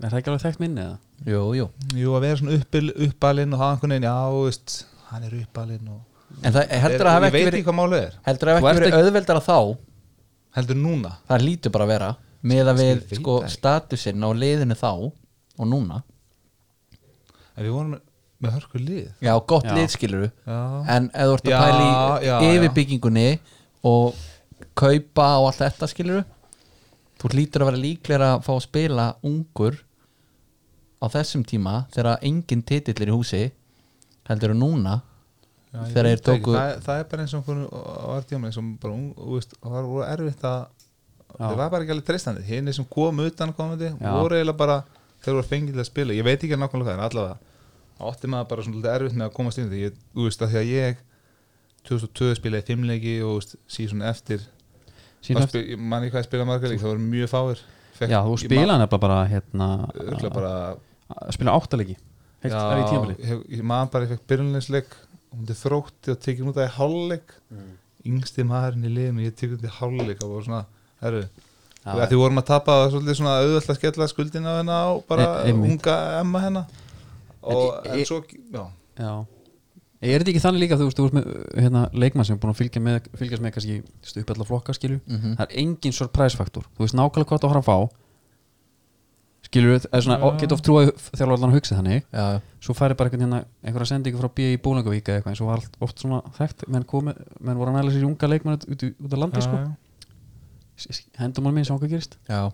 Speaker 1: er það ekki alveg þekkt minni eða?
Speaker 2: Jú, jú
Speaker 3: Jú, að vera svona uppil, uppalinn og hafa einhvern veginn, já, þú veist, hann er uppalinn og...
Speaker 2: en það heldur að
Speaker 3: Er-
Speaker 2: hafa
Speaker 3: Ég veit
Speaker 2: ekki
Speaker 3: ekki
Speaker 2: verið
Speaker 3: hvað málið er.
Speaker 2: heldur að
Speaker 1: Þú
Speaker 2: hafa
Speaker 1: ert
Speaker 2: ekki verið auðveldara þá
Speaker 3: Heldur núna.
Speaker 2: það lítur bara að vera með að
Speaker 3: Ég
Speaker 2: við
Speaker 3: veit
Speaker 2: sko
Speaker 3: það ekki.
Speaker 2: statusinn á leiðinu þá og núna
Speaker 3: En við vorum með hörku lið.
Speaker 2: Já, gott
Speaker 1: Já.
Speaker 2: lið skilur
Speaker 3: Já.
Speaker 2: En ef þú ert
Speaker 3: Já,
Speaker 2: að pæli
Speaker 3: já,
Speaker 2: yfirbyggingunni og kaupa og allt þetta skilur þú lítur að vera líklega að fá að spila ungur á þessum tíma þegar engin titill er í húsi heldur þú núna
Speaker 3: Já, ég
Speaker 2: þegar
Speaker 3: veit
Speaker 2: þeir tóku-
Speaker 3: ekki. Það, það er bara eins og einhvern var tíma eins og bara, ung- þú veist, það var voru erfitt að...
Speaker 1: Já.
Speaker 3: Það var bara ekki alveg treystandi. Hinn sem kom utan komandi
Speaker 1: Já.
Speaker 3: voru eiginlega bara, þeir voru fengið til að spila. Ég veit ekki nákvæmlega hvað er allavega. Átti maður bara svona lítið erfitt með að komast inn í því. Ég- Þú veist, af því að ég 2002 spilaði fimmleiki og þú veist, síðan eftir
Speaker 1: Síðan
Speaker 3: Spil, ég man ekki hvað ég spilaði margar leik, það voru mjög fáir
Speaker 1: eftir- Já, þú spilaði nefnilega bara hérna
Speaker 3: Örgla bara
Speaker 1: að spila áttaleiki Heilt
Speaker 3: já,
Speaker 1: er í tímabilið
Speaker 3: hef- Ég man bara, ég fekk byrjunleisleik hún til þrótti og tekið út af í hálfleik
Speaker 1: Mm.
Speaker 3: yngsti maðurinn í liðinu ég tekið út í hálfleik og voru svona, herru
Speaker 1: Já.
Speaker 3: ja, því vorum að tapa það var svolítið svona auðvöld að skella skuldina á hennar á bara
Speaker 1: E- einmitt.
Speaker 3: unga emma hennar og
Speaker 1: En-
Speaker 3: en,
Speaker 1: e-
Speaker 3: svo, já
Speaker 1: Já Er þetta ekki þannig líka að þú veist, þú veist með uh, hérna, leikmann sem er búin að fylgja með, fylgjast með kannski þú veist, uppella flokka
Speaker 3: Mm.
Speaker 1: skilju
Speaker 2: Mhm.
Speaker 1: það er engin surprise faktor þú veist nákvæmlega hvað þú har að fá skilur við, eða svona,
Speaker 3: Já.
Speaker 1: geta oft trúið þegar allan að hugsa þannig,
Speaker 2: Já,
Speaker 1: svo færi bara einhvern hérna einhverja sendingu frá B.I. Bólingavíka eitthvað eins og var allt oft svona þekkt, menn komi menn voru að næla sér í unga leikmann út, út, í- út á landi sko, S- s- hendum hann minn sem okkar gerist,
Speaker 2: já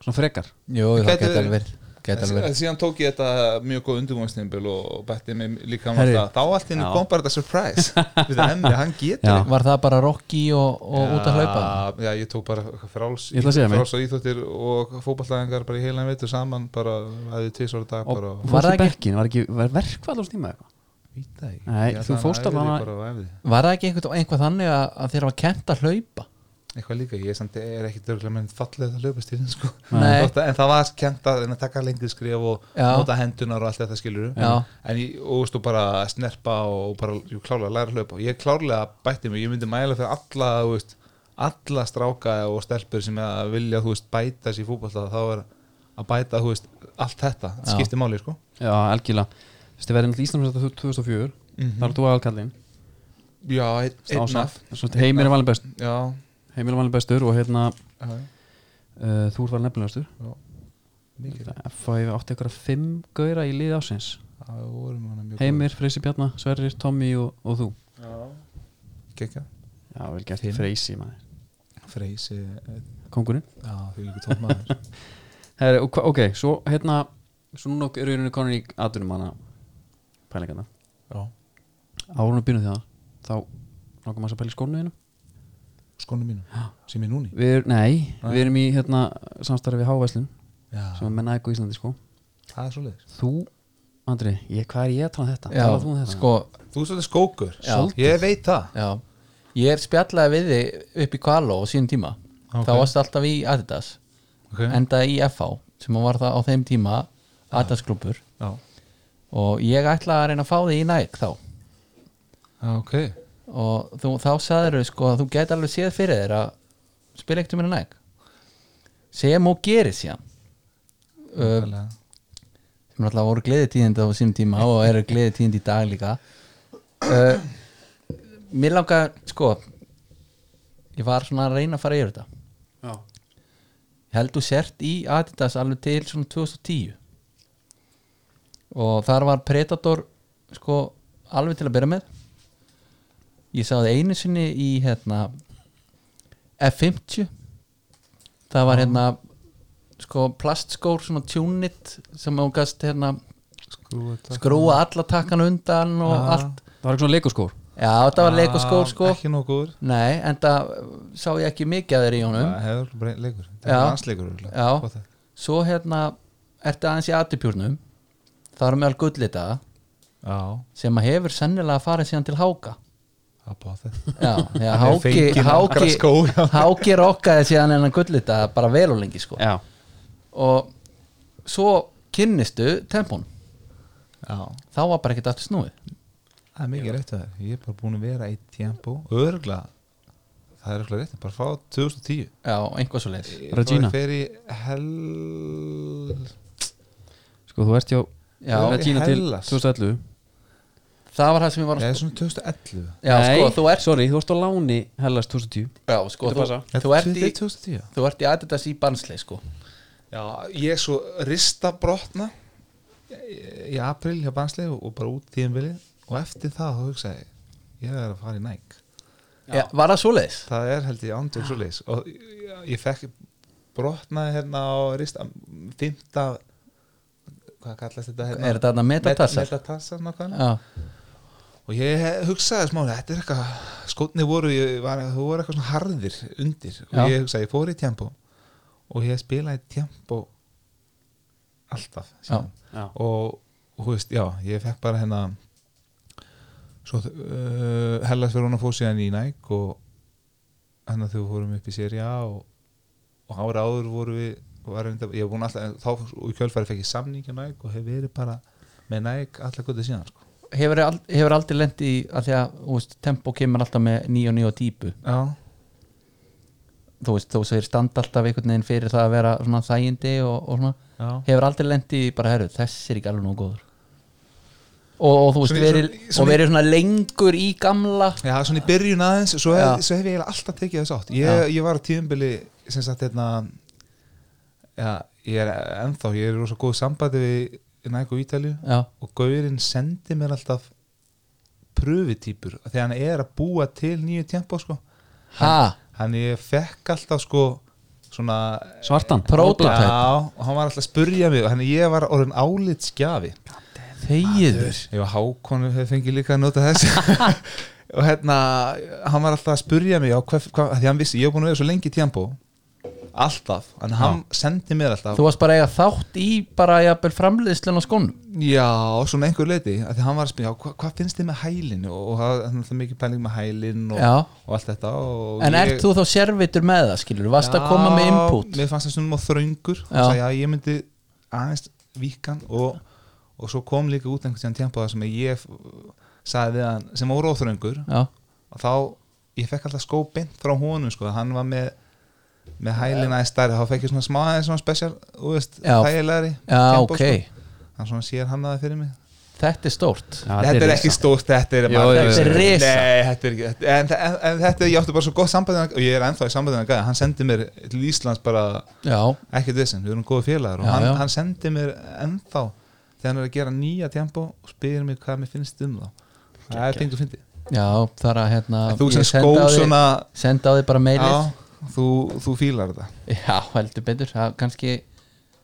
Speaker 1: svona frekar
Speaker 2: Jú, það
Speaker 3: Gæti
Speaker 2: geti
Speaker 3: verið.
Speaker 2: alveg verið. Gæti alveg
Speaker 3: En
Speaker 2: verið.
Speaker 3: síðan tók ég þetta mjög góð undirbúinstimpil og bætti mig líka um
Speaker 1: Herri.
Speaker 3: alltaf þá allt inni
Speaker 1: Já.
Speaker 3: kom bara
Speaker 1: <laughs>
Speaker 3: þetta surprise við það emmi, hann
Speaker 1: Já.
Speaker 3: getur eitthvað.
Speaker 2: Var það bara Rocky og, og út að hlaupa?
Speaker 3: Já, já, ég tók bara eitthvað fráls
Speaker 1: Ég ætla að segja mig.
Speaker 3: fráls og íþjóttir og fótballæðingar bara í heilan veitur saman bara aðið tísvara dag
Speaker 1: og
Speaker 3: bara
Speaker 1: fórst
Speaker 2: Var það
Speaker 1: í
Speaker 2: ekki-
Speaker 1: bekkin, var ekki var verkvall á stíma eitthvað
Speaker 3: Vita ekki
Speaker 1: Nei,
Speaker 3: Ég ætla
Speaker 1: þú
Speaker 3: að
Speaker 1: fórst
Speaker 3: æfði
Speaker 1: allan að-
Speaker 3: bara og æfði.
Speaker 2: Var það ekki einhvern einhvað þannig að, að þeir hafa kent að hlaupa?
Speaker 3: Eitthvað líka, ég samt er ekki dörglega menn fallið að löpa stíðin sko
Speaker 2: Nei.
Speaker 3: Þótt að- En það var kent að reyna að taka lengri skrif og
Speaker 2: Já.
Speaker 3: nota hendunar og allt þetta skilur
Speaker 2: Já.
Speaker 3: En ég, og veist þú bara að snerpa og bara, jú, klárlega að læra að hlaupa Ég klárlega bætti mig, ég myndi mæla fyrir alla, þú veist alla stráka og stelpur sem að vilja, þú veist, bæta sér í fútbolta þá er að bæta, þú veist, allt þetta
Speaker 2: Já.
Speaker 3: skiptir máli, sko
Speaker 1: já, algjörlega, þú veist, þið verðin til Íslands 2004,
Speaker 3: Mhm.
Speaker 1: þar er þú aðalkallin
Speaker 3: Já, einn
Speaker 1: heimir er valin best
Speaker 3: Já,
Speaker 1: heimir er valin bestur og hérna
Speaker 3: já,
Speaker 1: uh, þú var nefnilegastur
Speaker 3: mikið
Speaker 1: FAF átti ykkur að fimm gauðra í lið ásins
Speaker 3: það vorum hana mjög
Speaker 1: Heimir, Freysi Bjarnar, Sverrir, Tommy og, og þú
Speaker 3: kekja
Speaker 1: Já, vel gert
Speaker 3: Fimm.
Speaker 1: Freysi maður
Speaker 3: freysi eh,
Speaker 1: Kongurinn
Speaker 3: já því líka tómaður
Speaker 1: Herri, og hva- ok, svo hérna Svo núna eru við konin í aðunum hana Pælingarna
Speaker 3: já
Speaker 1: Árunum býnum því að þá Nákvæm að pæla í skónu þínu
Speaker 3: skonu mínu sem er núni
Speaker 1: Við, erum- nei,
Speaker 3: Nei.
Speaker 1: við erum í hérna, samstarfi við Hávæslun sem
Speaker 3: já
Speaker 1: er menn æggu í Íslandi sko
Speaker 3: það er svoleiðis
Speaker 1: Þú, Andri, ég, hvað er ég að tala um þetta?
Speaker 2: Já,
Speaker 1: Talar þú um þetta?
Speaker 2: sko,
Speaker 3: þú er svolítið skókur
Speaker 2: Já.
Speaker 3: ég veit það
Speaker 2: já Ég er spjallaði við þig upp í Kvaló á sínum tíma
Speaker 3: Ok.
Speaker 2: Þá varst alltaf í Adidas
Speaker 3: okay.
Speaker 2: Endaði í FH sem var það á þeim tíma Adidas klubur
Speaker 3: já
Speaker 2: og ég ætlaði að reyna að fá þig í Nike þá
Speaker 3: Já, ok
Speaker 2: Eh, og þú, þá sagður þau sko að þú gæti alveg séð fyrir þér að spila ekkert um hérna næg sem og gerir síðan uh,
Speaker 3: Nákvæmlega.
Speaker 2: sem alltaf voru gleðitíðind á sínum tíma og eru gleðitíðind í dag líka uh, mér langar sko ég var svona að reyna að fara yfir þetta
Speaker 1: Já.
Speaker 2: ég held þú sért í Adidas alveg til svona 2010 og þar var Predator sko alveg til að byrja með ég sá það einu sinni í hérna F50 það var hérna sko plastskór svona tjúnit sem hún gast hérna
Speaker 3: Skrúa þetta.
Speaker 2: skrúa alla takkan undan og
Speaker 3: Ah.
Speaker 2: allt
Speaker 1: Það var ekki svona leikoskór
Speaker 2: já þetta var leikoskór sko
Speaker 3: Ah, ekki nokkur
Speaker 2: nei en það sá ég ekki mikið að þeir í honum
Speaker 3: það hefur bara einn leikur það
Speaker 2: Hm? Já.
Speaker 3: er landsleikur örugglega.
Speaker 2: Já.
Speaker 3: Gott það.
Speaker 2: svo hérna ertu aðeins í atupjúrnum það er meðal gullita
Speaker 3: já
Speaker 2: sem að hefur sennilega farið síðan til Háka
Speaker 3: það er báð það <laughs>
Speaker 2: já, já
Speaker 3: Hann er
Speaker 2: Háki
Speaker 3: fenginn nokkra
Speaker 2: Háki,
Speaker 3: skó, já.
Speaker 2: Háki rokkaði síðan hennan gullita bara vel og lengi sko
Speaker 1: Já,
Speaker 2: og svo kynnistu tempón
Speaker 3: já
Speaker 2: þá var bara ekkert aftur snúið
Speaker 3: það er mikið rétt að það ég er bara búin að vera í tempo örgla það er örgla rétt bara fá 2010
Speaker 2: já, einhvað svo leis
Speaker 3: Ég-
Speaker 1: Regina.
Speaker 3: þá ég fer í hel
Speaker 1: sko þú ert hjá
Speaker 2: Já.
Speaker 1: Regina til
Speaker 3: Hellas.
Speaker 1: 2011
Speaker 2: það var það sem ég var
Speaker 3: það
Speaker 2: að
Speaker 3: er svona 2011
Speaker 2: já, sko, þú ert,
Speaker 1: Sorry, þú ert á láni Hellas 2010
Speaker 2: já, sko,
Speaker 1: Getur
Speaker 2: þú,
Speaker 1: passað.
Speaker 2: þú ert í
Speaker 3: 2010
Speaker 2: þú ert í Adidas í Barnsley sko
Speaker 3: já ég er svo rista brotna í april hjá Bansli og bara út tíðanbilið og eftir það þá hugsaði ég, ég er að fara í næk
Speaker 2: já. var það svo leis
Speaker 3: það er held ég andur svo leis og ég- ég fekk brotnaði hérna á rista fymta hvað kallast þetta hérna
Speaker 2: er þetta þarna metatarsar
Speaker 3: Met- metatarsar nákvæmlega
Speaker 2: já,
Speaker 3: og ég hugsaði smá þetta er eitthvað, skotni voru ég var, þú voru eitthvað svona harðir undir og
Speaker 2: Já.
Speaker 3: ég hugsaði, ég fór í tempo og ég spilaði tempo alltaf síðan.
Speaker 1: Já.
Speaker 3: og og þú veist, já, ég fekk bara hérna svo uh, Hellas fyrir hún að fóð síðan í Nike og hann að þau fórum upp í Serie A og, og ára áður voru við var reynda, ég hef búin alltaf, þá og í kjölfæri fekk ég samningi á Nike og hef verið bara með Nike alltaf gott síðan sko.
Speaker 2: hefur, ald- hefur aldrei lent í að því að þú veist, tempo kemur alltaf með 9 og 9 típu
Speaker 3: já,
Speaker 2: þú veist, þú segir standa alltaf einhvern veginn fyrir það að vera svona þægindi og, og svona
Speaker 3: já
Speaker 2: hefur aldrei lent í bara herru, þessi er ekki alveg nóg góður og, og þú veist,
Speaker 3: Svona-
Speaker 2: verið,
Speaker 3: svona- svona-
Speaker 2: og verið svona lengur í gamla
Speaker 3: Já, svona í byrjun aðeins svo
Speaker 2: Já.
Speaker 3: hef, svo hef ég eiginlega alltaf tekið þess átt ég, ég var á tíðumbili sem sagt hérna já, ég er ennþá, ég er í rosa góð sambandi við Nike og Ítalju
Speaker 2: já,
Speaker 3: og Gaurinn sendi mér alltaf pröfutýpur þegar hann er að búa til nýju tempo sko.
Speaker 2: ha,
Speaker 3: hann ég fekk alltaf sko svona
Speaker 1: Svartan
Speaker 2: Prototype.
Speaker 3: Já, og hann var alltaf að spurja mig hann ég var orðin álit skjafi
Speaker 2: þegiður
Speaker 3: Ég var Hákon hefur fengið líka að nota þess <laughs> og hérna hann var alltaf að spurja mig á hvað, hvað, af því hann vissi, ég hef búin að vera svo lengi í tempo alltaf, en hann sendi mér alltaf
Speaker 2: þú varst bara að eiga þátt í bara jafnvel framleiðslun á skónum
Speaker 3: já, svona einhver leiti, af því hann var að spyrja hvað, hvað finnst þið með hælinu og og það hann er alltaf mikið pæling með hælin og,
Speaker 2: Já.
Speaker 3: og allt þetta og
Speaker 2: en ert þú þá sérvitur með það, skilur varst að koma með input
Speaker 3: mér fannst það svona mjög þröngur og
Speaker 2: Já.
Speaker 3: sagði að ég myndi aðeins víkan og, og svo kom líka út einhvern tíðan tempo þar sem ég sagði við hann sem voru óþröngur
Speaker 2: já,
Speaker 3: og þá, ég fekk alltaf skó beint frá honum sko, hann var með með hælina í stærri, þá fekk ég svona smá aðeins svona special, þú veist,
Speaker 2: Já.
Speaker 3: þægilegri
Speaker 2: já
Speaker 3: tempo,
Speaker 2: ok
Speaker 3: sko. hann svona sér hann aðeins fyrir mig
Speaker 2: þetta er stórt
Speaker 1: Já,
Speaker 3: þetta er ekki
Speaker 1: risa.
Speaker 3: stórt, þetta er
Speaker 2: Jó,
Speaker 3: bara
Speaker 2: þetta er risa.
Speaker 3: Nei, þetta er ekki þetta- En, en, en þetta, ég átti bara svo gott sambandi við hann- og ég er ennþá í sambandi með hann Hann sendi mér til Íslands bara
Speaker 2: já,
Speaker 3: ekkert vissin, við erum góða félagar og
Speaker 2: Já,
Speaker 3: hann,
Speaker 2: já.
Speaker 3: hann sendi mér ennþá þegar hann er að gera nýja tempo og spyrir mér hvað mér finnst um þá það er tengt að fyndi
Speaker 2: já, það er að hérna
Speaker 3: þú
Speaker 2: ég
Speaker 3: sem skó
Speaker 2: sendi á þig-
Speaker 3: svona
Speaker 2: sendi á því bara
Speaker 3: já,
Speaker 2: mailið
Speaker 3: þú, þú fílar þetta
Speaker 2: Já, heldur betur, það er kannski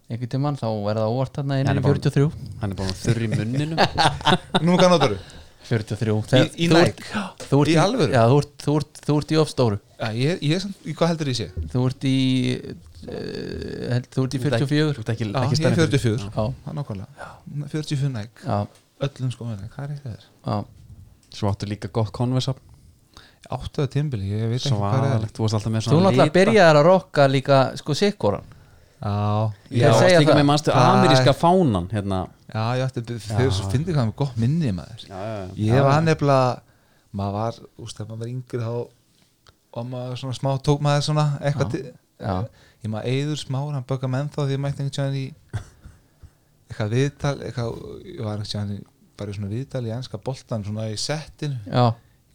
Speaker 2: einhvern tímann þá er það óvart þarna inn
Speaker 1: Hann
Speaker 2: í
Speaker 1: er bara-
Speaker 2: 43
Speaker 1: Hann er bara þurr í munninu Já,
Speaker 3: nú hvað <laughs> notar
Speaker 2: 43
Speaker 3: Í- í
Speaker 2: þú
Speaker 3: Nike?
Speaker 2: ert- Þú ert
Speaker 3: Í alvöru?
Speaker 2: Já, þú ert, þú ert, þú ert í ofstóru
Speaker 3: ég, ég, er samt- í hvað heldur ég sé?
Speaker 2: Þú ert í uh, held, Þú ert í
Speaker 1: Þú
Speaker 2: 44
Speaker 1: ert ekki,
Speaker 3: Já,
Speaker 1: ekki
Speaker 3: ég er
Speaker 1: stærri en-
Speaker 3: 44
Speaker 2: Já,
Speaker 3: það er nákvæmlega, 44 næk
Speaker 2: já,
Speaker 3: öllum skóðan, hvað er þetta þér?
Speaker 2: já
Speaker 1: Svo áttu líka gott konversa
Speaker 3: áttuða timbili, ég veit ekki hvað er
Speaker 1: Svaðalegt, þú varst alltaf með
Speaker 2: Þú
Speaker 1: svona
Speaker 2: náttúrulega
Speaker 1: lita-
Speaker 2: byrjaðar að rokka líka sko sikkoran
Speaker 3: já,
Speaker 1: Ég
Speaker 2: Ég
Speaker 3: já,
Speaker 1: varst
Speaker 2: segi
Speaker 1: líka
Speaker 2: það.
Speaker 1: með mannstu
Speaker 3: Það-
Speaker 1: ameríska fánan hérna.
Speaker 3: já, ég átti þegar þú finnir hvað með gott minni maður
Speaker 1: já, já, já.
Speaker 3: Ég var nefnilega maður var, úst, þegar maður var yngri þá og maður svona smá tók maður svona eitthvað til
Speaker 2: Já,
Speaker 3: ég maður eyður smáur, hann böggar menn þá því ég mætti einhvern tjóðan í eitthvað viðtal, eitthvað ég var einhvern tjóðan í bara í svona viðtal í enska boltan svona í settinu,
Speaker 2: já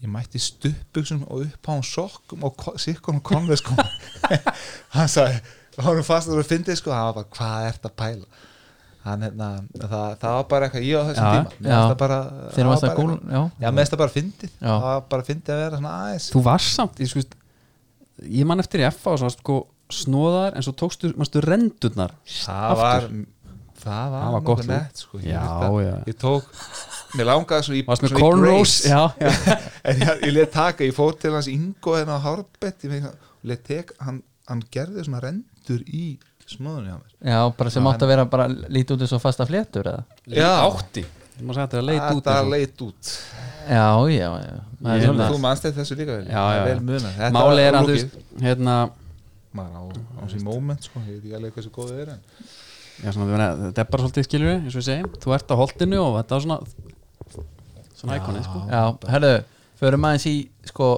Speaker 3: ég mætti stuppuksum og uppháðum sokkum og sikkunum konveð sko <laughs> hann sagði, hann fast að það fyndið sko, hann var bara, hvað ert að pæla hann hérna, það, það var bara eitthvað ég á þessum
Speaker 1: Já,
Speaker 3: tíma, mér
Speaker 2: já.
Speaker 3: fannst það bara það
Speaker 2: Þeir varst
Speaker 3: var
Speaker 2: að
Speaker 3: bara-
Speaker 2: gól Já,
Speaker 3: Já, með þetta bara fyndið
Speaker 2: Já.
Speaker 3: Það var bara fyndið að vera svona aðeins
Speaker 1: Þú varst samt ég, skust, ég man eftir í FA og svo varst sko snóðar en svo tókstu mannstu rendurnar
Speaker 3: Það var Það var,
Speaker 1: Það var
Speaker 3: nokkuð
Speaker 1: gott lúk.
Speaker 3: nett sko. ég,
Speaker 1: Já,
Speaker 3: veist að-
Speaker 1: já.
Speaker 3: ég tók Mér langaði svo í
Speaker 1: Varst með
Speaker 3: svona í
Speaker 1: cornrows
Speaker 3: braids.
Speaker 1: Já, já
Speaker 3: <laughs> En ég, ég let taka, ég fór til hans Ingo en á Harbett Ég fengi- let tek, hann, hann gerði svona rendur í smöðunni á mér
Speaker 2: já bara sem átt að vera bara lítið út eins og fasta fléttur eða
Speaker 3: Já.
Speaker 1: átti Þú maður sagði þetta er að leita út
Speaker 3: Þetta
Speaker 1: eins og-
Speaker 3: leit út
Speaker 2: Já, já, já Það er
Speaker 1: Ég-
Speaker 2: svolítið.
Speaker 3: Þú mannst þetta þessu líka vel
Speaker 1: Já,
Speaker 3: Það er
Speaker 1: já.
Speaker 3: vel muna Þetta
Speaker 1: Máli er
Speaker 3: var
Speaker 1: að þú
Speaker 3: lúkið.
Speaker 1: veist hérna,
Speaker 3: Maður á, á sín moment sko Ég veit ekki alveg hversu góðið er en
Speaker 1: já, svona, þú meina, Þetta er bara svolítið skiljur eins og við segjum Þú ert á holdinu og þetta er svona svona íkonið sko
Speaker 2: Já, herðu, förum aðeins í sko,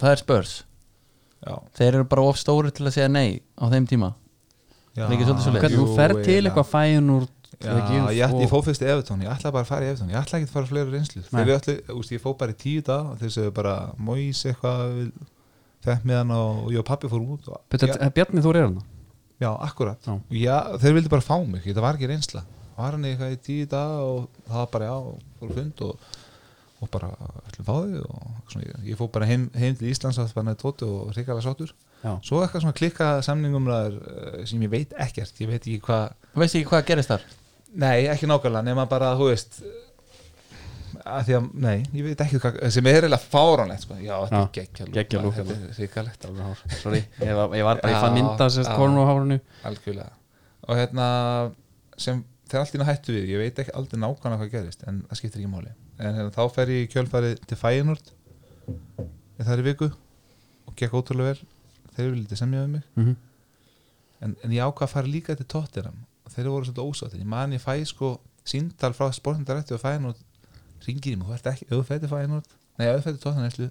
Speaker 2: það er spörs
Speaker 3: Já,
Speaker 2: þeir eru bara of stóri til að segja nei á þeim tíma
Speaker 3: já
Speaker 2: Það er ekki svolítið svoleiðis.
Speaker 1: Hvernig þú
Speaker 3: Jú,
Speaker 1: ferð til
Speaker 3: eiginlega.
Speaker 1: eitthvað fæin úr
Speaker 3: Já, ég, ætla- ég fóð fyrst í Evertón, ég ætlaði bara að fara í Evertón ég ætlaði ekki að fara á fleiri reynslu
Speaker 1: Nei.
Speaker 3: þeir eru allir, úst, ég fóð bara í tíu dag og þeir sögðu bara, Móís eitthvað þekkt með hann og og ég og pappi fór út og,
Speaker 1: Betur,
Speaker 3: já,
Speaker 1: Bjarni Þór er hann
Speaker 3: já, akkurat
Speaker 1: Já.
Speaker 3: já. þeir vildi bara fá mig, þetta var ekki reynsla var hann í eitthvað í tíu dag og það var bara, já, fór á fund og, og bara, ætlum fá þig og svona, ég, ég fóð bara heim, heim til Íslands að bara nætt tóti og hrikalega sáttur
Speaker 1: Já.
Speaker 3: svo eitthvað svona klikka samningumræður eh, sem ég veit ekkert, ég veit ekki hvað
Speaker 2: Þú veist ekki hvað gerist þar
Speaker 3: Nei, ekki nákvæmlega, nema bara, þú veist að því að, nei, ég veit ekki hvað, sem er eiginlega fáránlegt, sko, já, þetta er
Speaker 1: Já,
Speaker 3: geggja
Speaker 1: geggjað lúk, hérna.
Speaker 3: þetta er ríkalegt,
Speaker 1: Sorry, ég var, ég var bara, ég fann
Speaker 3: Já,
Speaker 1: mynda sérst
Speaker 3: já.
Speaker 1: kornu á hárunu
Speaker 3: algjörlega og hérna, sem þegar allt í náttúrulega hættu við, ég veit ekki aldrei nákvæmlega hvað gerist, en það skiptir ekki máli en hérna, þá fer ég í kjölfarið til Fæinort það er í viku og gekk ótrúlega vel, þeir eru lítið semja við mig
Speaker 1: mm -hmm.
Speaker 3: en, en ég ákvað að fara líka til Tottenham og þeir voru svolítið ósáttir, ég man ég fæ sko síndal frá sportindarætti og fæðin út ringir í mig, þú ert ekki, auðfætti fæðin út nei, auðfætti Tottenham æslu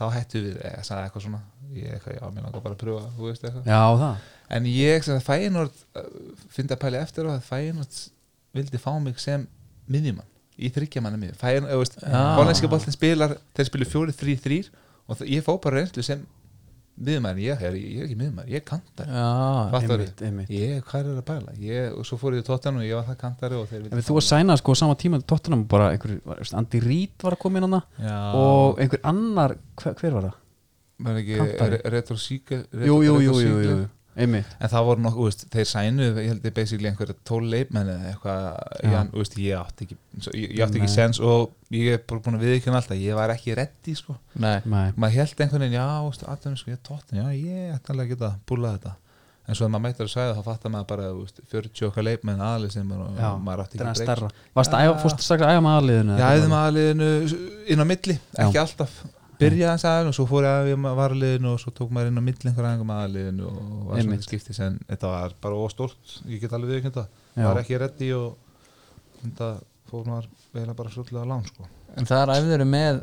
Speaker 3: þá hættu við, eða sagði eitthvað svona ég eitthvað, já, mér langar bara að pröfa, þú veist eitthvað
Speaker 1: Já, það
Speaker 3: en ég, sem fæðin út fyndi að pæli eftir á að fæðin út vildi fá mig sem miðjumann í þryggjamanna miðjum, fæðin, þú veist
Speaker 2: Já.
Speaker 3: hollenski boltin spilar, þeir spilu 4-3-3 og þ- ég fó bara reynslu sem miðjumann, ég, ég, ég er ekki miðjumann, ég er kantar
Speaker 2: Já,
Speaker 3: Fattar
Speaker 1: Einmitt, einmitt.
Speaker 3: Ég, hvað er að pæla? Ég, og svo fór ég til Tottenham og ég var það kantari og þeir vildu
Speaker 1: Ef
Speaker 3: fá
Speaker 1: þú að
Speaker 3: mig.
Speaker 1: sæna sko á sama tíma til Tottenham bara einhver, var, veist, Andy Reid var að koma inn hana
Speaker 3: Já,
Speaker 1: og einhver annar, hver, hver var það?
Speaker 3: var ekki
Speaker 1: kantari.
Speaker 3: re- retro síkel
Speaker 1: Jú, jú, jú, jú, jú, jú. Einmitt
Speaker 3: En það voru nokkuð, veist, þeir sænuðu, ég held ég basically einhverja tól leikmenn eða eitthvað,
Speaker 1: Já.
Speaker 3: Jan, þú veist, ég átti ekki, svo- ég, ég átti ekki
Speaker 1: Nei.
Speaker 3: sens og ég er bara búin að viðkjöna alltaf, ég var ekki reddi, sko.
Speaker 2: nei
Speaker 1: Nei,
Speaker 3: Maður held einhvern veginn, já, þú veist, aðtöfum, sko, ég er tóttin, já, ég ætti alveg að geta búlað þetta. En svo þegar maður mættur að sæða, þá fattar maður bara, þú veist, 40 okkar leikmenn aðlið sem og
Speaker 1: já,
Speaker 3: maður átti
Speaker 1: þetta er
Speaker 3: ekki sko.
Speaker 1: hann
Speaker 3: break,
Speaker 1: stærra Varst að æfa,
Speaker 3: Já.
Speaker 1: fórstu strax að æfa með aðliðinu?
Speaker 3: Ég æði maður liðinu inn á milli, ekki alltaf byrjaði hans aðeins og svo fór ég að við varliðinu og svo tók maður inn á milli einhver aðeins aðliðinu og var svona
Speaker 1: Einmitt.
Speaker 3: til skiptis en þetta var bara óstórt, ég get alveg viðkynnt það
Speaker 1: Já.
Speaker 3: var ekki reddi og þetta fór maður eiginlega bara svolítið á lán sko.
Speaker 2: En það er æfður með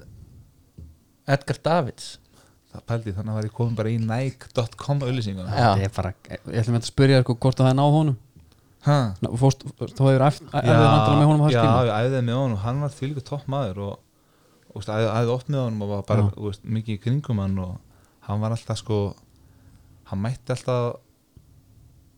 Speaker 2: Edgar Davids
Speaker 3: það pældi þannig að var ég komin bara í nike.com auðlýsinguna
Speaker 2: Já.
Speaker 1: Þetta er bara, ég ætlum að spyrja sko hvort að það er náð honum
Speaker 3: Ha?
Speaker 1: Ná, fórst, Þú hefur æft æfðið
Speaker 3: Já,
Speaker 1: náttúrulega með honum á þess
Speaker 3: já,
Speaker 1: tíma
Speaker 3: við æðið með honum, hann var þvílíku topp maður og þú veist, æðið, æðið oft með honum og var bara
Speaker 1: Já.
Speaker 3: þú veist, mikið í kringum hann og hann var alltaf sko hann mætti alltaf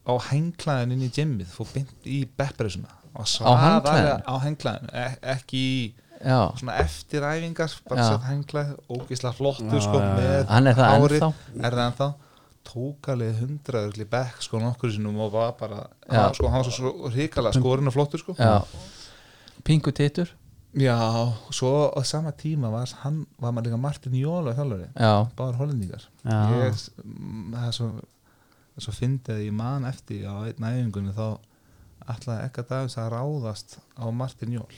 Speaker 3: á hengklæðin inn í gymmið fór beint í bepparisuna
Speaker 2: Á handklæðinu?
Speaker 3: á hengklæðin, e ekki í
Speaker 2: já,
Speaker 3: svona eftiræfingar bara
Speaker 2: Já.
Speaker 3: sett hengklæð, ógislega flottur
Speaker 1: Já,
Speaker 3: sko
Speaker 1: já, já.
Speaker 3: með
Speaker 2: Hann er það
Speaker 3: hárið.
Speaker 2: ennþá.
Speaker 3: er það ennþá tók alveg hundraður í bekk sko nokkur sinnum og var bara
Speaker 2: Já.
Speaker 3: hann, sko, hann var svo ríkala skorinn og flottur sko
Speaker 2: já Pingu titur
Speaker 3: Já, svo á sama tíma var hann, var maður líka Martin Jóla þjálfari,
Speaker 2: Já,
Speaker 3: báður hollendingar
Speaker 1: Já.
Speaker 3: ég, mm, það er svo svo fyndið að ég man eftir á einn æfingunni þá ætlaði ekka dagins að ráðast á Martin Jól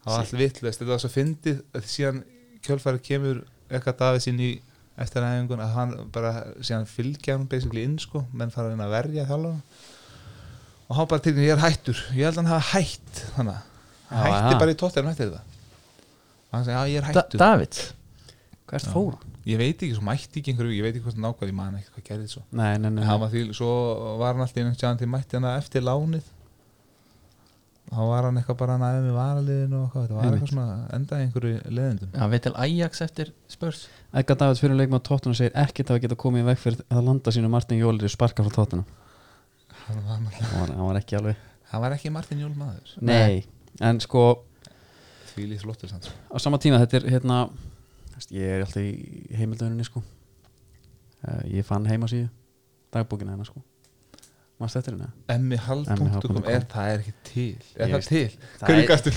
Speaker 3: það var allt vitlaust þetta var svo fyndið að síðan kjölfæri kemur ekka dagins inn í eftir æfingun að hann bara síðan fylgja hann basically inn sko menn fara að reyna að verja þjálfara og hann bara til því ég er hættur ég held að hann hafa hætt þannig
Speaker 1: Já,
Speaker 3: hann hætti
Speaker 1: já.
Speaker 3: bara í tóttir hann hætti þetta og hann sagði já ég er
Speaker 2: da
Speaker 3: hættur
Speaker 2: David
Speaker 1: Hvert fór hann?
Speaker 3: ég veit ekki, svo mætti ekki einhverju ég veit ekki hvort nákvæð, ég man ekki hvað gerði svo
Speaker 1: Nei, nei, nei,
Speaker 3: en hann var því, svo var hann alltaf einhvern tjáðan til mætti hann eftir lánið þá var hann eitthvað bara næðið með varaliðinu og eitthvað, þetta var
Speaker 1: Einmitt.
Speaker 3: eitthvað svona endaði í einhverju leðendum
Speaker 2: Hann veit til Ajax eftir spörs
Speaker 1: Edgar Davids fyrir leikma á tóttunum segir ekkert að geta komið í veg fyrir að landa sínu Martin Jólir sparka frá tóttunum
Speaker 3: hann var, náttúrulega-
Speaker 1: hann var, hann var ekki alveg
Speaker 3: hann var ekki Martin Jól maður
Speaker 1: Nei, en sko
Speaker 3: því líkt flottur sann
Speaker 1: á sama tíma þetta er hérna þú veist, ég er alltaf í heimildauninni sko Eh, ég fann heimasíðu dagbókina hennar sko Manstu eftir henni?
Speaker 3: emmihald.com
Speaker 1: mmhall.com.
Speaker 3: er það er ekki til er
Speaker 1: Ég
Speaker 3: það
Speaker 1: veist.
Speaker 3: til,
Speaker 1: Það
Speaker 3: hverju
Speaker 1: er-
Speaker 3: gastu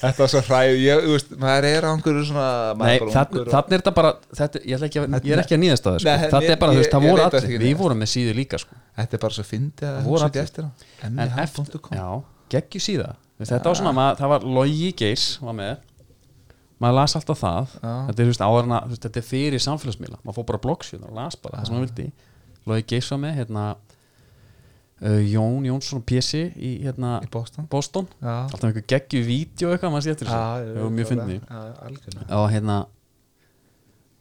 Speaker 3: þetta var svo hræð, ég, þú veist, maður er á einhverju svona, maður
Speaker 1: Nei,
Speaker 3: er bara
Speaker 1: þann-
Speaker 3: ungur og-
Speaker 1: þannig er þetta bara þetta, ég, ætla ekki að, ég er ekki að nýðast að það sko.
Speaker 3: Nei,
Speaker 1: þetta er bara, þú
Speaker 3: ég-
Speaker 1: veist, það
Speaker 3: ég
Speaker 1: voru
Speaker 3: veit það
Speaker 1: allir
Speaker 3: ekki
Speaker 1: við
Speaker 3: neitt.
Speaker 1: vorum með síðu líka sko.
Speaker 3: þetta er bara svo fyndið
Speaker 1: Það
Speaker 3: að
Speaker 1: voru
Speaker 3: hugsa ekki
Speaker 1: allir.
Speaker 3: eftir hann Ah.
Speaker 1: en eftir,
Speaker 3: emmihald.com
Speaker 1: já, geggjur síða Þú veist, þetta var svona, maður, það var logi geirs var með, maður las alltaf það
Speaker 3: Já.
Speaker 1: þetta er, þú veist, áðurna, veist, þetta er fyrir samfélagsmiðla, maður fór bara bloggsjöð og las bara það sem maður vildi logi geirs var með, hérna uh, Jón Jónsson Pési í hérna,
Speaker 3: í Boston
Speaker 1: Boston
Speaker 3: já
Speaker 1: alltaf einhver geggju vídeo eitthvað, maður sé eftir þessu það var mjög fyndið
Speaker 3: algjörlega
Speaker 1: og hérna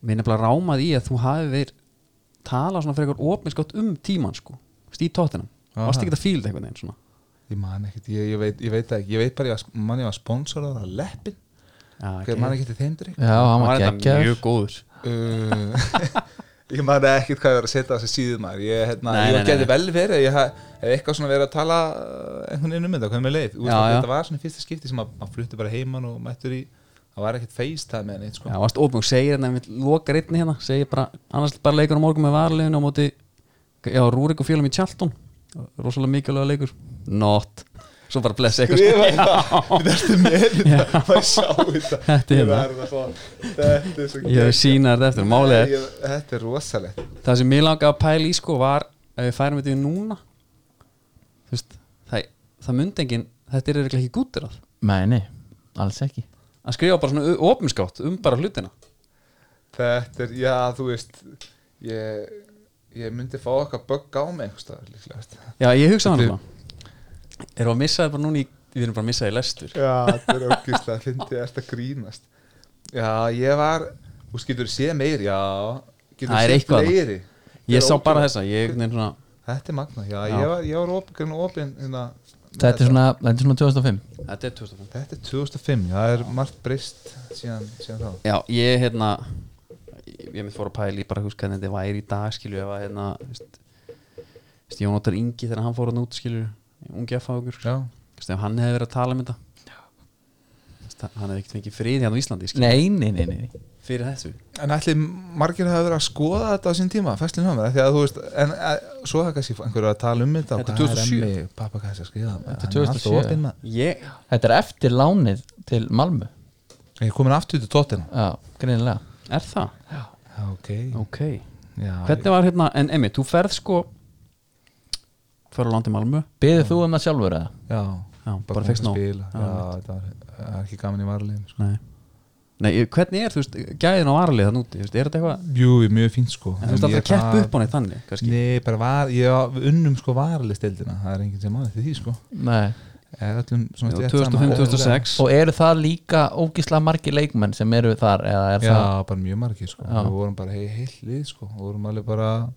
Speaker 1: mér er bara rámað í að þú hafi verið tala svona frekar opinskátt um tíman sko, veist, í tóttinum
Speaker 3: Aha.
Speaker 1: varst ekki að fíla þetta einhvern veginn svona
Speaker 3: ég man ekkert, ég, ég, veit, ég veit það ekki ég veit bara, ég var, man ég var sponsorað á leppin
Speaker 1: Já,
Speaker 3: hver man ekki til þeim
Speaker 1: <laughs>
Speaker 3: drikk
Speaker 2: Já, hann var
Speaker 1: þetta
Speaker 2: geggjaður
Speaker 1: mjög góður
Speaker 3: uh, <laughs> ég man ekkert hvað ég var að setja á þessi síðu maður ég, hérna,
Speaker 1: Nei,
Speaker 3: ég
Speaker 1: nei, nei,
Speaker 3: geti
Speaker 1: nei.
Speaker 3: vel verið að ég ha- hef eitthvað svona verið að tala uh, einhvern veginn um þetta, hvað er með leið Úst,
Speaker 1: Já, já.
Speaker 3: þetta var svona í fyrsta skipti sem að maður flutti bara heiman og mættur í það var ekkert FaceTime eða neitt sko
Speaker 1: Já, varst opnum, segir hérna, við lokar einni hérna segir bara, annars bara leikur á morgun með varleginu á móti, já, Rúrik og félum í Tjaltón rosalega mikilvæga leikur not, svo bara bless eitthvað sko.
Speaker 3: skrifa <laughs> þetta Þetta ertu með þetta maður sjá þetta
Speaker 1: Þetta er
Speaker 3: Ég
Speaker 1: það.
Speaker 3: verð að fá- þetta er svo
Speaker 1: ég hef sýna þetta eftir, málið er
Speaker 3: Ég- þetta er rosalegt
Speaker 1: það sem ég langaði að pæla í sko var ef við færum þetta í núna þú veist, það, það myndi engin þetta er eiginlega ekki gúttir að
Speaker 2: Nei, nei, alls ekki
Speaker 1: að skrifa bara svona opinskátt um bara hlutina
Speaker 3: Þetta er, já, þú veist ég, ég myndi fá eitthvað bögg á mig einhvers staðar líklega veist.
Speaker 1: já, ég hugsa hann
Speaker 3: Þetta-
Speaker 1: svona erum við að missa það bara núna í við erum bara að missa það í lestur
Speaker 3: Já, <laughs> þetta er ógist að fyndi þetta grínast Já, ég var Þú veist, getur séð meiri, já Getur
Speaker 1: Það er
Speaker 3: séð
Speaker 1: eitthvað
Speaker 3: fleiri Þetta er
Speaker 1: ég sá bara
Speaker 3: ótrúlega-
Speaker 1: þessa, ég neina svona
Speaker 3: Þetta er magna, já,
Speaker 1: Já.
Speaker 3: ég var, ég var opin, greinilega opin hérna, með
Speaker 2: Þetta er svona, þetta er svona 2005
Speaker 1: þetta er 2005
Speaker 3: Þetta er 2005, já, það er margt breyst síðan, síðan þá
Speaker 1: já, ég hérna ég, ég mynd fór að pæla í bara hús hvernig þetta væri í dag skilju ef að hérna þú veist, þú veist, Jónóttar Ingi þegar hann fór að nút skilju ungi að fá okkur
Speaker 3: Já,
Speaker 1: Þessi, ef hann hefði verið að tala um þetta Þessi, hann hefði ekkert fengið frið hérna á Íslandi skilur,
Speaker 2: Nei, nei, nei, nei
Speaker 1: fyrir þessu
Speaker 3: En ætli margir hafa verið að skoða þetta á sín tíma, festlinn hjá mér, af því að þú veist, en að, svo hafa kannski einhverju að tala um þetta og
Speaker 1: Þetta er
Speaker 3: hvað
Speaker 1: 2007.
Speaker 3: er emmi, pappa kannski að skrifa,
Speaker 2: Þetta er
Speaker 3: hann er alltaf
Speaker 2: 2007.
Speaker 3: opinn maður.
Speaker 1: ég,
Speaker 2: Þetta er eftir lánið til Malmö
Speaker 3: Ég er komin aftur til tóttina.
Speaker 2: Já, greinilega
Speaker 1: er það?
Speaker 3: Já, ok.
Speaker 1: ok,
Speaker 3: Já,
Speaker 1: hvernig var hérna en Emi, þú ferð sko fyrir á landi Malmö
Speaker 2: Beðið þú um það sjálfur eða?
Speaker 3: já,
Speaker 1: Já, bara
Speaker 3: búin
Speaker 1: fékkst
Speaker 3: að
Speaker 1: nóg.
Speaker 3: spila.
Speaker 1: Já,
Speaker 3: Já, þetta var, það er ekki gaman í varulegum. Sko.
Speaker 1: nei, nei ég- hvernig er þú veist, gæðin á varalið þann úti, þú veist, er þetta eitthvað
Speaker 3: Jú, ég er mjög fínt sko.
Speaker 1: en þú veist aldrei að keppu upp á neitt þannig kannski,
Speaker 3: Nei, bara var, ég á- við unnum sko varulegstildina, það er enginn sem aðeins til því sko.
Speaker 2: Nei
Speaker 3: Er öllum svona
Speaker 1: Jú,
Speaker 3: stétt saman.
Speaker 1: 2005-2006
Speaker 2: Og eru það líka ógislega margir leikmenn sem eru þar eða er
Speaker 3: Já,
Speaker 2: það
Speaker 3: bara mjög margir sko.
Speaker 2: Já.
Speaker 3: Við vorum bara heil, heil lið sko. Við vorum alveg bara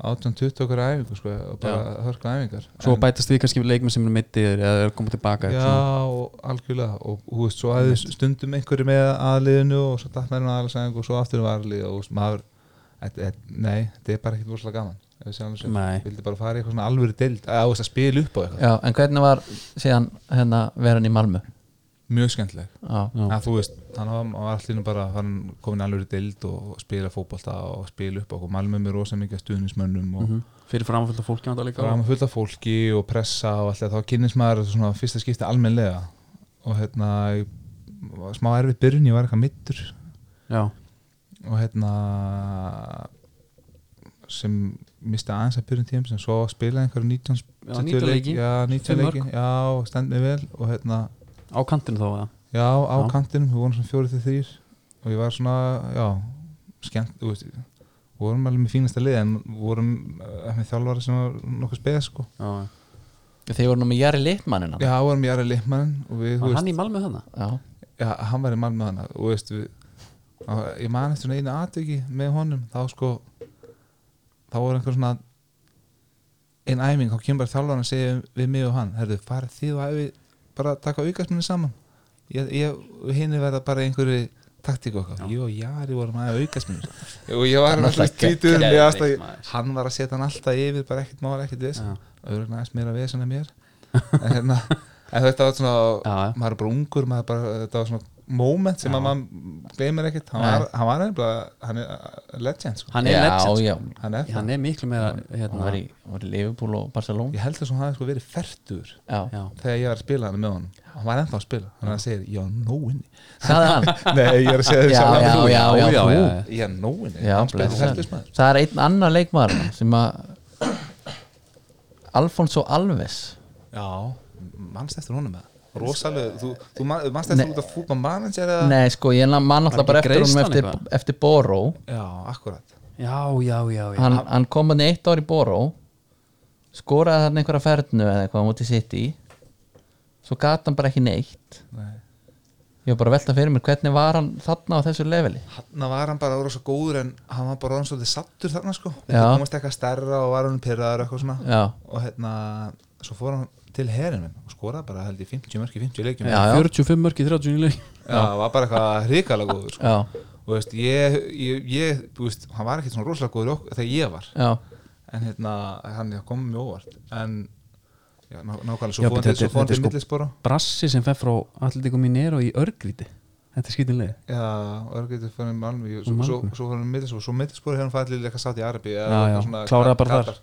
Speaker 3: 18-20 okkur æfingu sko, og bara hörka æfingar
Speaker 1: Svo
Speaker 3: En-
Speaker 1: bætast því kannski við leikmenn sem er mittir eða er komið tilbaka eitthvað svona.
Speaker 3: Já, og algjörlega og hú veist, svo aðeins stundum einhverju með aðliðinu og svo datt maður um aðalsæðing og svo aftur um aðlið og þú veist, maður et, et, nei, þetta er bara ekkert vorslega gaman ef við sjáum þessu,
Speaker 1: Nei.
Speaker 3: vildi bara fara í eitthvað svona alvöru deild að, að, að spila upp á eitthvað,
Speaker 2: Já, en hvernig var síðan hérna veran í Malmö?
Speaker 3: mjög skemmtileg
Speaker 2: Já,
Speaker 1: Já.
Speaker 3: að þú veist, hann var, hann var allir bara hann komin í alvöru deild og spila fótbolta og spila upp á okkur, Malmö með rosa mikið af stuðnismönnum
Speaker 1: Mhm.
Speaker 3: og mm -hmm.
Speaker 1: Fyrir framfylgta fólki hann líka
Speaker 3: fram fullt af fólki og pressa og allt það, þá kynnist maður svona fyrsta skipti almennlega og hérna ég var smá erfið byrjun, ég var eitthvað mittur
Speaker 1: Já,
Speaker 3: og hérna sem mista aðeins að byrjun tíum sem svo spilaði einhverju 19
Speaker 1: Já, 19 leiki.
Speaker 3: já, 19
Speaker 1: Fimm
Speaker 3: leiki, já, stend mig vel og hérna,
Speaker 1: á kantinu þá eða?
Speaker 3: já, á
Speaker 1: Já.
Speaker 3: kantinum við vorum svona fjórið til þrýr og ég var svona, já, skemmt þú veist, við vorum alveg með fínasta lið en við vorum eh, með þjálfari sem var nokkuð speð sko,
Speaker 1: Já, já.
Speaker 2: Þeir voru nú með Jari Littmannin
Speaker 3: já, við vorum Jari Lippmann og við,
Speaker 1: Var hann í Malmö þannig?
Speaker 2: Já,
Speaker 3: já, hann var í mann með hana og veist við og ég man eftir svona einu atviki með honum þá sko þá voru einhver svona einn æming, þá kemur bara þjálfarinn að segja við mig og hann, herðu, farið þið og æfi bara að taka aukastmunni saman ég, ég, henni verða bara í einhverju taktík okkar, ég og Jari vorum að aukastmunni <laughs> og ég var
Speaker 2: Náttúrulega
Speaker 3: alltaf tvítur
Speaker 2: geðveikt,
Speaker 3: mér alltaf-
Speaker 1: maður.
Speaker 3: hann var að setja hann alltaf yfir bara ekkert mála, ekkert viss
Speaker 1: Já.
Speaker 3: auðvitað aðeins meira viss en að mér <laughs> en, hérna, en þetta var svona
Speaker 1: Já, já.
Speaker 3: maður er bara ungur maður er bara, þetta var svona moment sem
Speaker 1: Já.
Speaker 3: að maður gleymir ekkert hann
Speaker 2: Nei.
Speaker 3: var, hann var nefnilega, hann er uh, legend sko.
Speaker 1: Hann er legend
Speaker 2: já, já.
Speaker 3: hann er
Speaker 1: Hann
Speaker 3: það,
Speaker 1: er miklu meira
Speaker 2: Hann
Speaker 1: hérna,
Speaker 2: var í, var í Liverpool og Barcelona
Speaker 3: ég held þess að hann hafði sko verið fertur
Speaker 2: Já,
Speaker 1: Já,
Speaker 3: þegar ég var að spila hann með honum hann var ennþá að spila, hann segir, ég er
Speaker 2: <laughs>
Speaker 3: nóinni
Speaker 2: sagði hann
Speaker 1: <laughs>
Speaker 3: nei, ég er að segja
Speaker 2: Já,
Speaker 3: þess
Speaker 2: já,
Speaker 3: að
Speaker 2: já,
Speaker 1: Já,
Speaker 2: já,
Speaker 1: já,
Speaker 2: þú.
Speaker 1: já.
Speaker 3: ég er nóinni,
Speaker 2: Já,
Speaker 3: hann
Speaker 2: bless.
Speaker 3: spilaði fertursmaður
Speaker 2: Það er einn annar leikmaður sem að Alfonso Alves
Speaker 3: já, mannst eftir honum með rosalega, þú, þú man- mannst eftir út af fútbol mannins er að,
Speaker 2: Nei, sko, ég man alltaf bara
Speaker 1: ekki
Speaker 2: eftir honum
Speaker 1: greiðslan
Speaker 2: eftir,
Speaker 1: eitthvað?
Speaker 2: eftir Boró
Speaker 3: já, akkurat
Speaker 1: já, já, já, já.
Speaker 2: hann, hann kom hann eitt ár í Boró skoraði hann einhverja fernu eða eitthvað á móti sitt í svo gat hann bara ekki neitt
Speaker 3: nei
Speaker 2: ég var bara að velta fyrir mér hvernig var hann þarna á þessu leveli
Speaker 3: Hanna var hann bara rosa góður en hann var bara orðinn svolítið sattur þarna sko
Speaker 2: Já.
Speaker 3: það komast eitthvað stærra og var hann pyrraður eitthvað svona
Speaker 2: Já,
Speaker 3: og hérna, svo fór hann til herin minn og skoraði bara held ég 50 mörki, 50 leikjum
Speaker 2: Já, já.
Speaker 1: 45 mörg í 30 leik
Speaker 3: Já, var bara eitthvað hrikalega góður sko.
Speaker 2: já,
Speaker 3: og þú veist, ég, ég, ég þú veist, hann var ekkert svona rosalega góður í okkur, þegar ég var
Speaker 2: já
Speaker 3: en hérna, hann kom mjög óvart en já, ná,
Speaker 1: Já,
Speaker 3: nákvæmlega, svo fór
Speaker 1: þetta-
Speaker 3: hann til, svo fór hann
Speaker 1: þetta er
Speaker 3: til
Speaker 1: sko-
Speaker 3: millispora
Speaker 1: Brassi sem fef frá Atletico Minero í örgríti Þetta er skýtinlega
Speaker 3: Já, og er getur fyrir Malmi svo,
Speaker 1: Og
Speaker 3: svo,
Speaker 1: Malmö.
Speaker 3: svo fór hann millispora, svo millispora hefur hann farið til eitthvað sátt í Arabi
Speaker 1: Já, já, kláraði bara þar.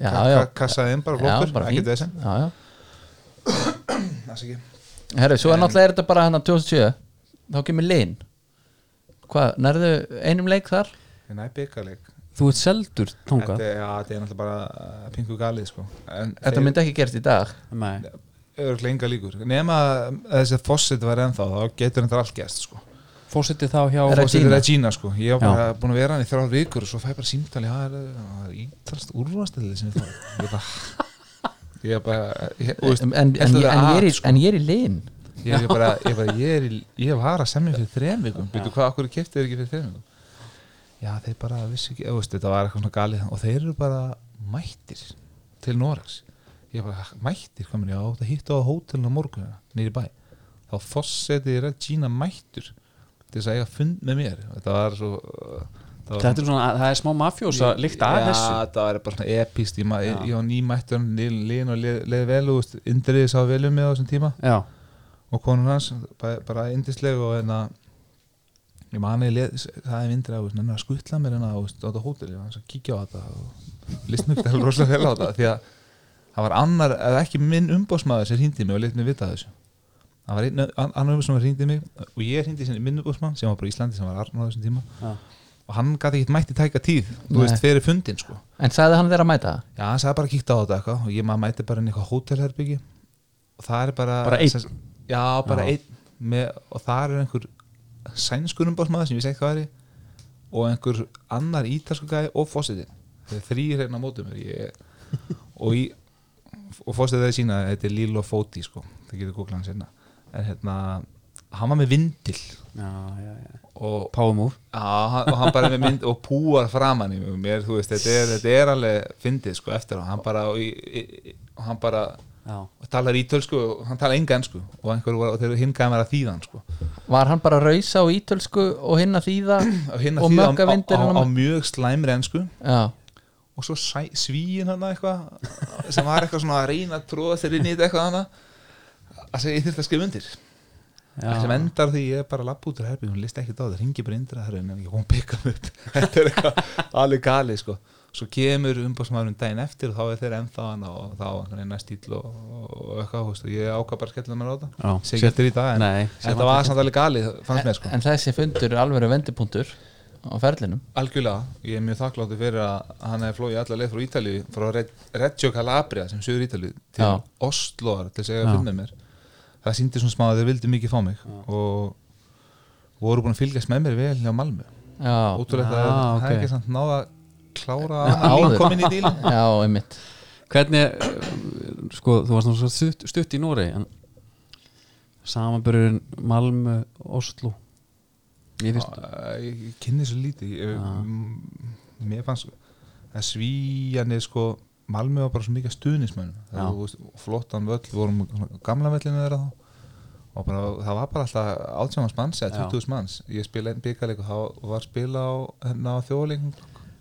Speaker 2: Já, já,
Speaker 3: kassaði inn bara
Speaker 2: já,
Speaker 3: flottur,
Speaker 2: bara
Speaker 3: ekkert
Speaker 2: fínt
Speaker 3: þessin
Speaker 2: Já, já
Speaker 3: það
Speaker 2: Herru, svo er náttúrulega er þetta bara hérna 2007 þá kemur Lin Hvað, nærðu einum leik þar?
Speaker 3: er næ byggaleg
Speaker 1: Þú ert seldur
Speaker 3: þetta
Speaker 1: tóngað
Speaker 3: er já, þetta er náttúrulega bara uh, pingu galið sko. en
Speaker 2: Þetta myndi ekki gerst í dag
Speaker 1: Nei,
Speaker 3: eru enga líkur nema að þessi fossit var ennþá þá getur þetta allt gerst sko.
Speaker 1: fósiti þá hjá
Speaker 2: Regina.
Speaker 3: Fawcett er Regina sko. ég var bara búin að vera hann í þrjár vikur og svo fæ ég bara símtali það er, það er ítalst úrvastilið sem ég fá ég bara ég er bara ég, þú veist,
Speaker 2: en, en, en,
Speaker 3: heldur
Speaker 2: ég, en,
Speaker 3: að,
Speaker 2: ég er í,
Speaker 3: sko.
Speaker 2: en ég er í Lin
Speaker 3: ég er bara ég, bara, ég, er, í- ég var að semja fyrir þrem vikum veitu hvað, okkur kefti þeir ekki fyrir þrem vikum já, þeir bara vissi ekki eða, veist, þetta var eitthvað svona galið og þeir eru bara mættir til Noregs ég bara, mættir, hvað minn ég á þetta hittu á hótelinu á morgunina, nýri bæ þá fosseti Regina mættur til þess að eiga fund með mér þetta var svo uh, það var
Speaker 1: Þetta er svona, það er smá mafjós að líkta að þessu
Speaker 3: Já, það var bara svona epist Ég, ma- ég, ég var nýmættur, líðin og leið leið vel og þú veist, Indriði sá vel um mig á þessum tíma
Speaker 1: Já,
Speaker 3: og konun hans bara, bara indisleg og hérna ég man að ég sagði vindri að hann að skutla mér hérna á þú veist, á þetta hótel ég var að kíkja á þetta og <laughs> listnum þetta rosalega vel á þetta því að það var annar, eða ekki minn umbósmaður sem hringdi mig og leitt mig vita af þessu það var einn, an- annar umbósmaður sem hringdi mig og ég hringdi sinni minn umbósmann sem var bara í Íslandi sem var Arnur á þessum tíma
Speaker 1: já,
Speaker 3: og hann gæti ekkert mætti tæka tíð þú
Speaker 2: Nei.
Speaker 3: veist, fyrir fundin sko
Speaker 2: En sagði hann þeirra að mæta það?
Speaker 3: Já, hann sagði bara að kíkta á þetta eitthvað og ég maður mæti bara inn í eitthvað hótelherbyggi og það er bara
Speaker 1: Bara einn?
Speaker 3: sem- Já, bara
Speaker 1: Já.
Speaker 3: einn með, og það er einhver sænskunum bóðsmaður sem ég vissi ekki hvað er í og einhver annar ítalsku gæði og fósitin þeir þrýr hérna á mótum mér ég, og, í, og fósitin þeir sína þetta er Lilo Foti sko það getur googlað hann sinna en hérna, hann var með vindil
Speaker 1: já, já, já.
Speaker 3: og
Speaker 1: Páumúr
Speaker 3: Já, hann- og hann bara með mynd og púar framan í mér, þú veist, þetta er, þetta er alveg fyndið, sko, eftir á, hann bara og, í- í- og hann bara
Speaker 1: Já,
Speaker 3: talar ítölsku og hann talar enga ennsku og einhver var, og þeir hinn gæði mér að þýðan, sko
Speaker 2: Var hann bara að rausa á ítölsku og hinn að þýða
Speaker 3: og hinn
Speaker 2: Og
Speaker 3: að þýða á,
Speaker 2: mökkavindur
Speaker 3: á, á,
Speaker 2: hann-
Speaker 3: á mjög slæmri ennsku
Speaker 2: Já,
Speaker 3: og svo sæ, svíin hann eitthvað sem var eitthvað svona að reyna að tróða þeir inn í þetta eitthvað hana að segja, ég þyrfti að skrifa undir Það sem
Speaker 1: já.
Speaker 3: endar því ég er bara að lappa út úr herbyggum, hún list ekki þá, það ringi bara indra herbyggum en hún pikka mig upp, <laughs> þetta er eitthvað alveg gali sko, svo kemur umbásmaðurinn daginn eftir og þá er þeir ennþá hana og þá er næst stíl og, og eitthvað, þú veist, og ég ákvað bara að skella mér á
Speaker 1: Já,
Speaker 3: það segi eftir í dag, en
Speaker 1: Nei,
Speaker 3: en þetta var samt alveg gali fannst mér sko,
Speaker 2: en þessi fundur er alveg vendipunktur á ferlinum
Speaker 3: algjörlega ég er mjög þakkláttur fyrir að hann hefði flóið alla leið frá Ítali, frá Reg- Reggio Calabria sem sögur Ítali, til
Speaker 2: Já.
Speaker 3: Osloar til að segja
Speaker 1: Já.
Speaker 3: að finna mér það síndi svona smá að þeir vildi mikið fá mig og voru búin að fylgjast með mér vel hjá Malmö
Speaker 2: Já,
Speaker 3: ótrúlegt
Speaker 1: Já,
Speaker 3: að það
Speaker 1: ok.
Speaker 3: er ekki samt náða að klára
Speaker 2: Já,
Speaker 3: að hann
Speaker 2: áður.
Speaker 3: komin í dílin
Speaker 2: já, einmitt
Speaker 1: Hvernig, eh, sko, þú varst nú svo stutt, stutt í Noregi en samanbörjurinn Malmö, Oslo Mér finnst
Speaker 3: ég ég kynni svo lítið ég,
Speaker 1: Já.
Speaker 3: m- mér fannst að svíjanir sko Malmö var bara svo mikið
Speaker 1: Já.
Speaker 3: stuðnismönum flottan völl, við vorum á gamla völlinu þeirra þá og bara, það var bara alltaf átjámas manns eða
Speaker 1: Já.
Speaker 3: 20 manns, ég spila einn byggarleik og það var spila á, hérna á þjóðleikum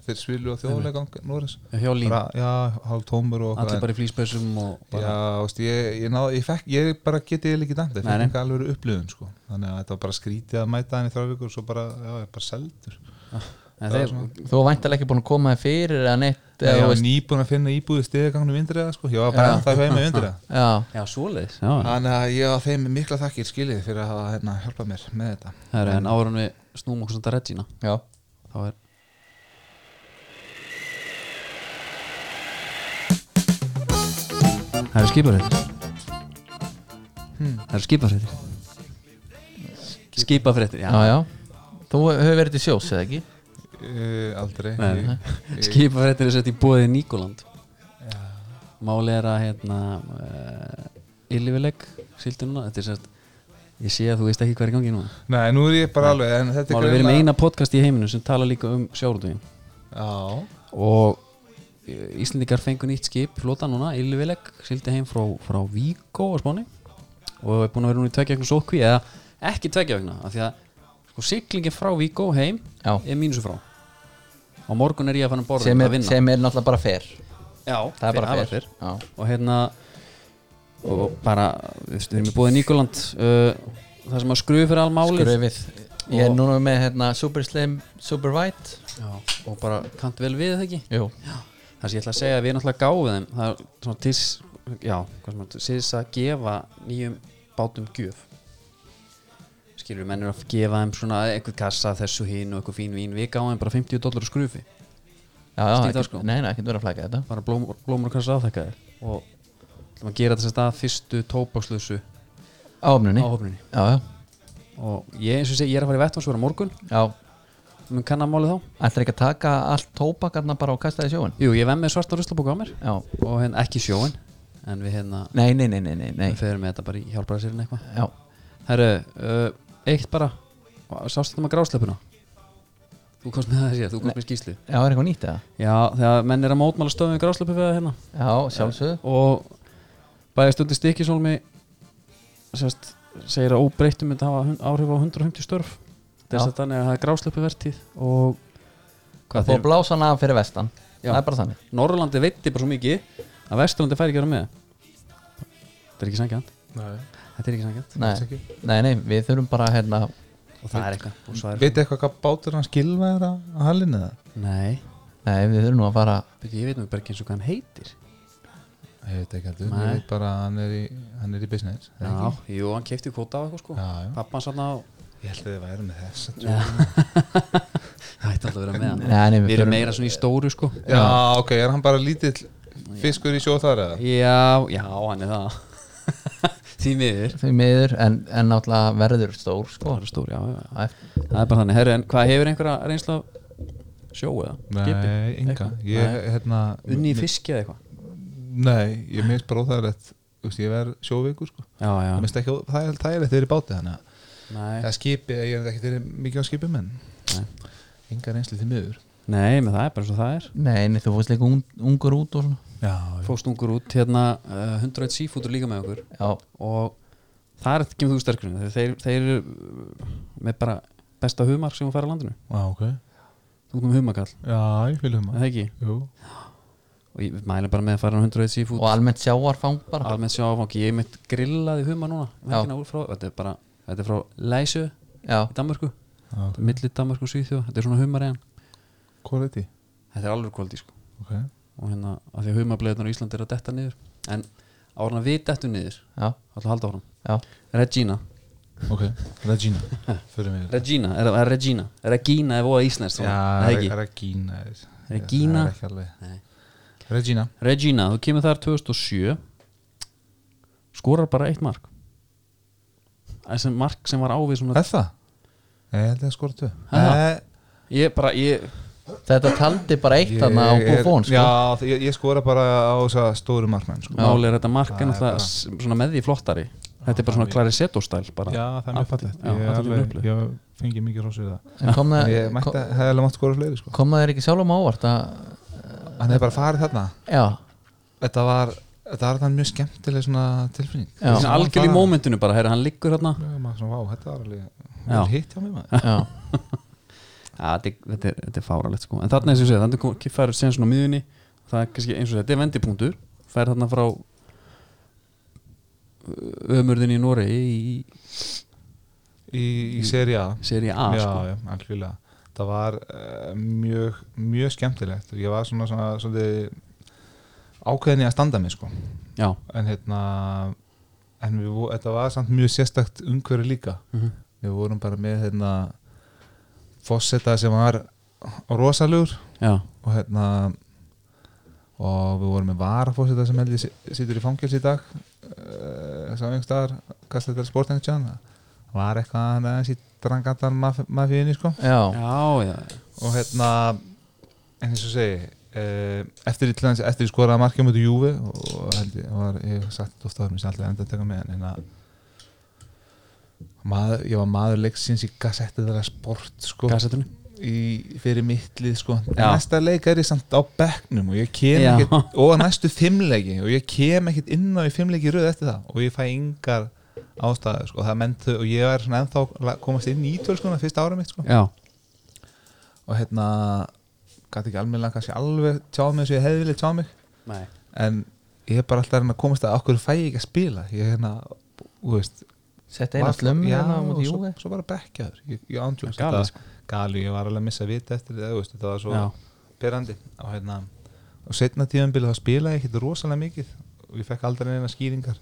Speaker 3: þeir spilu á þjóðleikum Núris,
Speaker 1: hjá lín,
Speaker 3: bara, já, hálf tómur og
Speaker 1: allir
Speaker 3: en-
Speaker 1: bara í flýspessum og bara,
Speaker 3: Já, veist, ég, ég, náð, ég, fekk, ég bara geti ég ekki dæmt, ég
Speaker 1: Nei, nei.
Speaker 3: fekk ekki alveg upplöðun sko. þannig að þetta var bara skrítið að mæta hann í þrjá vikur og svo bara, já, ég er bara seldur
Speaker 1: en
Speaker 3: það var
Speaker 1: þeir,
Speaker 3: svona-
Speaker 2: Þú væntalega ekki búin að koma þér fyrir eða neitt
Speaker 3: Nei,
Speaker 2: eða,
Speaker 3: ég
Speaker 2: þú
Speaker 3: var
Speaker 2: veist-
Speaker 3: nýbúin að finna íbúið stigagangnum vindriða, sko, ég var bara
Speaker 2: Já.
Speaker 3: ennþá
Speaker 1: <laughs>
Speaker 3: hjá með vindriða
Speaker 2: Já,
Speaker 1: já, svoleiðis já,
Speaker 3: Þannig að ég á þeim mikla þakkir skilið fyrir að hafa hérna, hjálpa mér með þetta
Speaker 1: það er en árun við snúum okkur samt að Regina
Speaker 2: já,
Speaker 1: þá er Það eru skiparfréttir Það eru skiparfréttir Skiparfréttir, já
Speaker 2: já, já Þú hefur verið til sjós eða ekki?
Speaker 3: uh, Aldrei
Speaker 1: Nei, nei.
Speaker 3: Ég- ég-
Speaker 1: Skipafréttir er sett í bóðið Nikoland Máli er að hérna uh, Yllivileg Sildi núna Þetta er sett Ég sé að þú veist ekki hvað er í gangi núna
Speaker 3: Nei, nú er ég bara alveg en þetta
Speaker 1: Máli
Speaker 3: er
Speaker 1: við erum
Speaker 3: greinilega-
Speaker 1: eina podcast í heiminu sem tala líka um sjárútvegin
Speaker 3: Já,
Speaker 1: Og eh, Íslendingar fengu nýtt skip Flota núna, Yllivileg Sildi heim frá, frá Víko á Spáni Og er búin að vera núna í tveggja vegna sótkví Eða ekki tveggja vegna af Því að sko, siglingin frá Víko heim
Speaker 2: Já,
Speaker 1: Er mínusu frá Á morgun er ég að fara að borða
Speaker 2: sem er,
Speaker 1: að vinna
Speaker 2: sem er náttúrulega bara fer
Speaker 1: Já,
Speaker 2: Það er bara
Speaker 1: fyrr
Speaker 2: fer Já,
Speaker 1: og hérna og bara, þú veist, við erum í búið Nikoland uh, það sem að skrufi fyrir all máli
Speaker 2: gröfið Ég er
Speaker 1: Og-
Speaker 2: núna með hérna Super Slim, Super White
Speaker 1: og bara kant vel við það ekki
Speaker 2: Jú,
Speaker 1: það sem ég ætla að segja að við erum alltaf gáfið þeim það er svona til, já, hvað sem að til að gefa nýjum bátum gjöf skilur menn eru að gefa þeim svona einhver kassa þessu hinn og einhver fín vín við gáðum þeim bara 50 dólar á skrufi
Speaker 2: já, já,
Speaker 1: Stíf
Speaker 2: ekkert,
Speaker 1: dagskrá.
Speaker 2: nei, nei, ekkert verið að flæka þetta
Speaker 1: bara blómur, blómur og kassa aðþekkaðir og ætlum að gera þess að stað fyrstu tópáslösu
Speaker 2: Áfninni,
Speaker 1: áhöfninni
Speaker 2: já, já,
Speaker 1: og ég eins og segi, ég er að fara í vettvansvöra morgun
Speaker 2: já
Speaker 1: mun kannamálið þá
Speaker 2: Ætlar ekki að taka allt tópakarna bara og kasta það í sjóin
Speaker 1: Jú, ég vem með svarta ruslabóka á mér
Speaker 2: Já,
Speaker 1: og hérna ekki sjóin en við hérna
Speaker 2: nei, nei, nei, nei, nei, nei.
Speaker 1: við ferum með þetta bara í hjálparæsirinn eitthvað
Speaker 2: Já,
Speaker 1: Herru, uh, eitt bara sást þetta með grásleppuna þú komst með það sér, þú komst með skýslu
Speaker 2: já, er eitthvað nýtt eða?
Speaker 1: Já, þegar menn er að mótmála stöðum við grásleppu við það hérna
Speaker 2: Já, sjálfsögðu
Speaker 1: og bæði stöndi stikkisólmi sérst, segir að óbreyttum myndi hafa hun- áhrif á 150 störf þess
Speaker 2: Já.
Speaker 1: að þannig að það er grásleppu vertíð og hvað
Speaker 2: Búið að
Speaker 1: þeir,
Speaker 2: blása hana af fyrir vestan
Speaker 1: Já.
Speaker 2: Það er bara þannig
Speaker 1: Norrlandi veitti bara svo mikið að Vesturlandi færi ekki að vera með þetta er ekki sangjant
Speaker 3: Nei,
Speaker 1: þetta er ekki sangjant
Speaker 3: alls
Speaker 2: Nei,
Speaker 3: ekki.
Speaker 2: nei, nei við þurfum bara hérna
Speaker 1: og það er eitthvað og svo er
Speaker 3: Vitið eitthvað hvað bátur hann skilva er að að hallinu það?
Speaker 1: nei,
Speaker 2: Nei, við þurfum nú að fara
Speaker 1: byrju, ég veit nú bara ekki eins og hvað hann heitir
Speaker 3: Ég veit ekki heldur,
Speaker 1: Nei.
Speaker 3: ég veit bara að hann er í, hann er í business er það
Speaker 1: já,
Speaker 3: ekki?
Speaker 1: jú, hann keipti kvota á eitthvað sko
Speaker 3: Já, já.
Speaker 1: pappan sann á
Speaker 3: Ég held að þið væri með þess
Speaker 1: Já. <laughs> það hætti alltaf að vera með hann
Speaker 2: Nei, nei,
Speaker 1: við
Speaker 2: við
Speaker 1: erum
Speaker 2: förum-
Speaker 1: meira svona í stóru sko
Speaker 3: Já, ok, er hann bara lítill fiskur í sjóð þar eða?
Speaker 1: já, já, hann er það <laughs> því miður
Speaker 2: því miður en, en náttúrulega verður stór sko
Speaker 1: það er stóri, já, já,
Speaker 2: Á eftir.
Speaker 1: já það er bara þannig herru, en hvað hefur einhverja reynsla af sjó eða skipi?
Speaker 3: Nei, enga
Speaker 1: Eitthvað?
Speaker 3: Ég, hérna
Speaker 1: unni í fiski eða eitthvað
Speaker 3: Nei, ég minnst bara óþægilegt Þú veist, ég verð sjóveikur sko
Speaker 1: já, já,
Speaker 3: Mér finnst ekki óþægilegt þægilegt þegar ég er í báti þannig að
Speaker 1: Nei,
Speaker 3: eða skipi, ég er ekki þeirri mikið á skipum en
Speaker 1: Nei.
Speaker 3: engar einslu því miður
Speaker 1: nei, með það er bara eins og það er
Speaker 2: Nei, nei, þú fórst líka un, ungur út og svona
Speaker 3: já,
Speaker 1: Fókstungur út, hérna uh, 101 Seafood er líka með okkur
Speaker 2: Já,
Speaker 1: og það er ekki með þú sterkurinn þeir, þeir, þeir eru uh, með bara besta humar sem að fara á landinu
Speaker 3: já, ok
Speaker 1: þú komum humakall,
Speaker 3: já, ég fylgum
Speaker 1: er það ekki
Speaker 3: maður
Speaker 1: og ég mæli bara með að fara á 101
Speaker 2: og
Speaker 1: Seafood
Speaker 2: almennt sjávarfang bara
Speaker 1: almennt sjá áfangi, ég mitt grillaði humar núna um
Speaker 2: Já.
Speaker 1: helgina úr frá, þetta er bara þetta er frá Læsö í
Speaker 2: Já,
Speaker 1: Danmörku okay. milli Danmörku og Svíþjóð, þetta er svona humar eðan
Speaker 3: hvað er þetta?
Speaker 1: þetta er alveg kvöldi sko
Speaker 3: ok,
Speaker 1: og hérna, af því að humarbleiðunar á Íslandi er að detta niður en ára við dettum niður
Speaker 2: já,
Speaker 1: alltaf halda ára,
Speaker 2: já
Speaker 1: Regina
Speaker 3: ok, Regina fyrir mig
Speaker 1: Regina, er það er Regina Regina er voða íslenskt svona, er það ekki?
Speaker 3: já,
Speaker 1: Regina?
Speaker 3: Regina er- það er ekki alveg.
Speaker 1: Nei.
Speaker 3: Regina
Speaker 1: Regina, þú kemur þar 2007 skorar bara eitt mark þessi mark sem var ávið svona
Speaker 3: Er það? Nei, ég held ég að skora tvö
Speaker 1: Er það?
Speaker 3: Nei,
Speaker 1: ég bara, ég,
Speaker 2: Þetta taldi bara eitt
Speaker 3: ég
Speaker 2: þarna á
Speaker 3: er-
Speaker 2: Buffon sko.
Speaker 3: Já, þ- ég, ég skora bara á þess að stóru markmenn sko.
Speaker 1: máli er þetta mark
Speaker 3: Það
Speaker 1: en
Speaker 3: er
Speaker 1: alltaf
Speaker 3: bara-
Speaker 1: s- svona með því flottari þetta er bara svona Clarisetto stæl bara
Speaker 3: það
Speaker 1: Allt- já,
Speaker 3: Ég,
Speaker 1: allt í
Speaker 3: alveg-
Speaker 1: upplöð.
Speaker 3: ég fengi mikið rós við það
Speaker 2: En kom það
Speaker 3: Ég mætti,
Speaker 2: kom-
Speaker 3: hefði alveg mátt skora fleiri sko.
Speaker 2: kom það þér ekki sjálfum á óvart að,
Speaker 3: Hann hefði bara farið þarna
Speaker 2: Já,
Speaker 3: Þetta var, þetta var þann mjög skemmtileg svona tilfinning
Speaker 2: Já.
Speaker 1: Svona algjör í
Speaker 3: Bara-
Speaker 1: mómentinu bara, herri, hann liggur hérna
Speaker 3: Já, maður svona, vá, þetta var alveg
Speaker 1: Já.
Speaker 3: vel hitt hjá mig maður
Speaker 2: já,
Speaker 1: ja, þetta, er- þetta, er- þetta er fáralegt sko en þarna eins og ég segja, þannig færur sen svona á miðunni það er kannski eins og segja, þetta er vendipunktur fær þarna frá ömurðin í Noregi í, í
Speaker 3: Í, í seri A
Speaker 1: seri A
Speaker 3: Já,
Speaker 1: sko.
Speaker 3: já, algjörlega Það var uh, mjög, mjög skemmtilegt Ég var svona, svona, svona, ákveðin í að standa mig sko.
Speaker 1: já.
Speaker 3: en hérna en við, vo- þetta var samt mjög sérstakt umhverju líka
Speaker 1: Mhm.
Speaker 3: við vorum bara með hérna fósetta sem var rosalur
Speaker 1: já.
Speaker 3: og hérna og við vorum með varafósetta sem heldur situr í fangils í dag uh, sem einhverstaðar kastið þetta sportengtján var eitthvað hann aðeins í drangandan maf mafíinni sko
Speaker 1: <laughs>
Speaker 2: já,
Speaker 1: já, já,
Speaker 3: og hérna en eins og segi eh, eftir, til dæmis- eftir ég skoraði markið mútið Júfi og held ég var ég hef sagt ofta að mér sem alltaf enda að taka með en hérna maður, ég var maður leiksins í gassetti þeirra sport sko
Speaker 1: gassetunni
Speaker 3: í, fyrir mittlið sko en
Speaker 1: Já.
Speaker 3: næsta leik er ég samt á bekknum og ég kem
Speaker 1: Já.
Speaker 3: ekkit og næstu fimmleiki og ég kem ekkit inn á í fimmleiki röð eftir það og ég fæ yngar ástæðu sko það menntu og ég er svona ennþá að komast inn í tölskona fyrsta ára mitt sko
Speaker 1: já,
Speaker 3: og hérna gæti ekki almennilega kannski alveg tjá mig eins og ég hefði viljað tjá mig
Speaker 1: nei
Speaker 3: en ég er bara alltaf að reyna að komast að okkur fæ ég ekki að spila ég er hérna, þú veist
Speaker 2: sett eina slömm
Speaker 3: já,
Speaker 2: hérna á
Speaker 3: og
Speaker 2: móti
Speaker 3: svo,
Speaker 2: Júve
Speaker 3: svo bara bekkjaður ég, sko. ég ándjóks,
Speaker 1: Það er galið,
Speaker 3: þetta gali, ég var alveg að missa vita eftir þetta, þú veist, þetta var svo
Speaker 1: Já.
Speaker 3: perandi og hérna, og setna tíðanbili þá spilaði ég ekkert rosalega mikið og ég fekk aldrei neina skýringar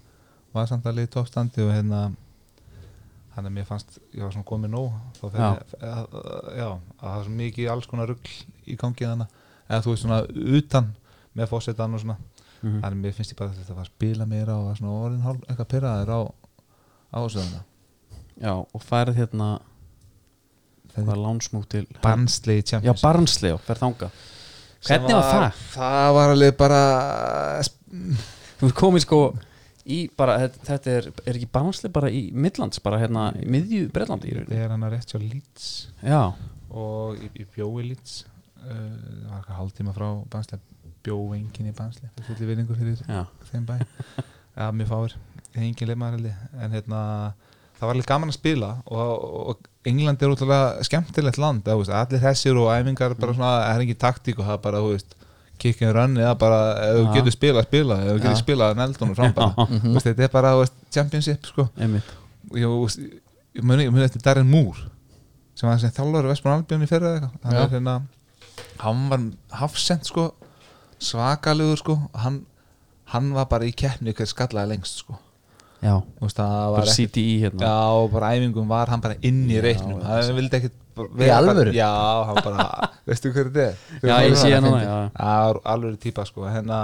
Speaker 3: var samt alveg í toppstandi og hérna þannig að mér fannst, ég var svona komið nóg þá fer
Speaker 1: Já.
Speaker 3: ég, eh, að, að, já, að það var svo mikið alls konar rugl í gangi þannig eða þú veist svona utan með fósetan og svona
Speaker 1: Mhm.
Speaker 3: þannig að mér finnst ég bara að þetta var að spila meira og var svona orðin hálf, eitthvað pyrraður á ásöðuna
Speaker 1: já, og færið hérna
Speaker 3: Þetta
Speaker 1: hvað er lánsmúk til
Speaker 3: Barnsley
Speaker 1: já,
Speaker 3: Champions
Speaker 1: barnsli og færð þanga hvernig var það?
Speaker 3: Það var alveg bara
Speaker 1: þú ert komin sko í bara, þetta, þetta er, er ekki barnsli bara í Midlands, bara hérna í miðju Breitlandi í rauninni
Speaker 3: Þegar hann að rétt hjá Leeds
Speaker 1: já,
Speaker 3: og ég, ég bjói Leeds uh, það var eitthvað hálftíma frá Barnsley bjói enginn í Barnsley fyrir fulli vinningur fyrir
Speaker 1: já,
Speaker 3: þeim bæ Já, mjög fáir, ég hef engin leikmaður held ég en hérna, það var alveg gaman að spila og, og England er útrúlega skemmtilegt land, það, veist, allir hessir og æfingar
Speaker 1: Mm.
Speaker 3: bara svona, það er engin taktík og það er bara, þú veist, kick and run eða bara, ef þú
Speaker 1: Já.
Speaker 3: getur spila, spila ef þú
Speaker 1: Já.
Speaker 3: getur spila, neldun og frambara Þú veist, þetta er bara, þú veist, championship sko.
Speaker 1: einmitt
Speaker 3: Og ég, þú veist, ég muni, ég muni eftir Darren Moore sem var þessi þjálfur Vestmann Albjörn í fyrra eða eitthvað hann,
Speaker 2: Já.
Speaker 3: er hérna, hann var hafsend sko, svakalegur sko, og hann, hann var bara í keppni hver skallaði lengst sko.
Speaker 1: já,
Speaker 3: Þú veist, það var
Speaker 1: bara
Speaker 3: ekki
Speaker 1: CDI hérna
Speaker 3: Já, og bara æfingum var hann bara inn í reiknum hann vildi ekkit bara
Speaker 2: Í
Speaker 3: vera bara-
Speaker 2: alvöru?
Speaker 3: Já, hann bara,
Speaker 1: <laughs>
Speaker 3: veistu hver þetta er?
Speaker 1: Já, ég sé hann núna, já.
Speaker 3: Það er alvöru típa, sko, hérna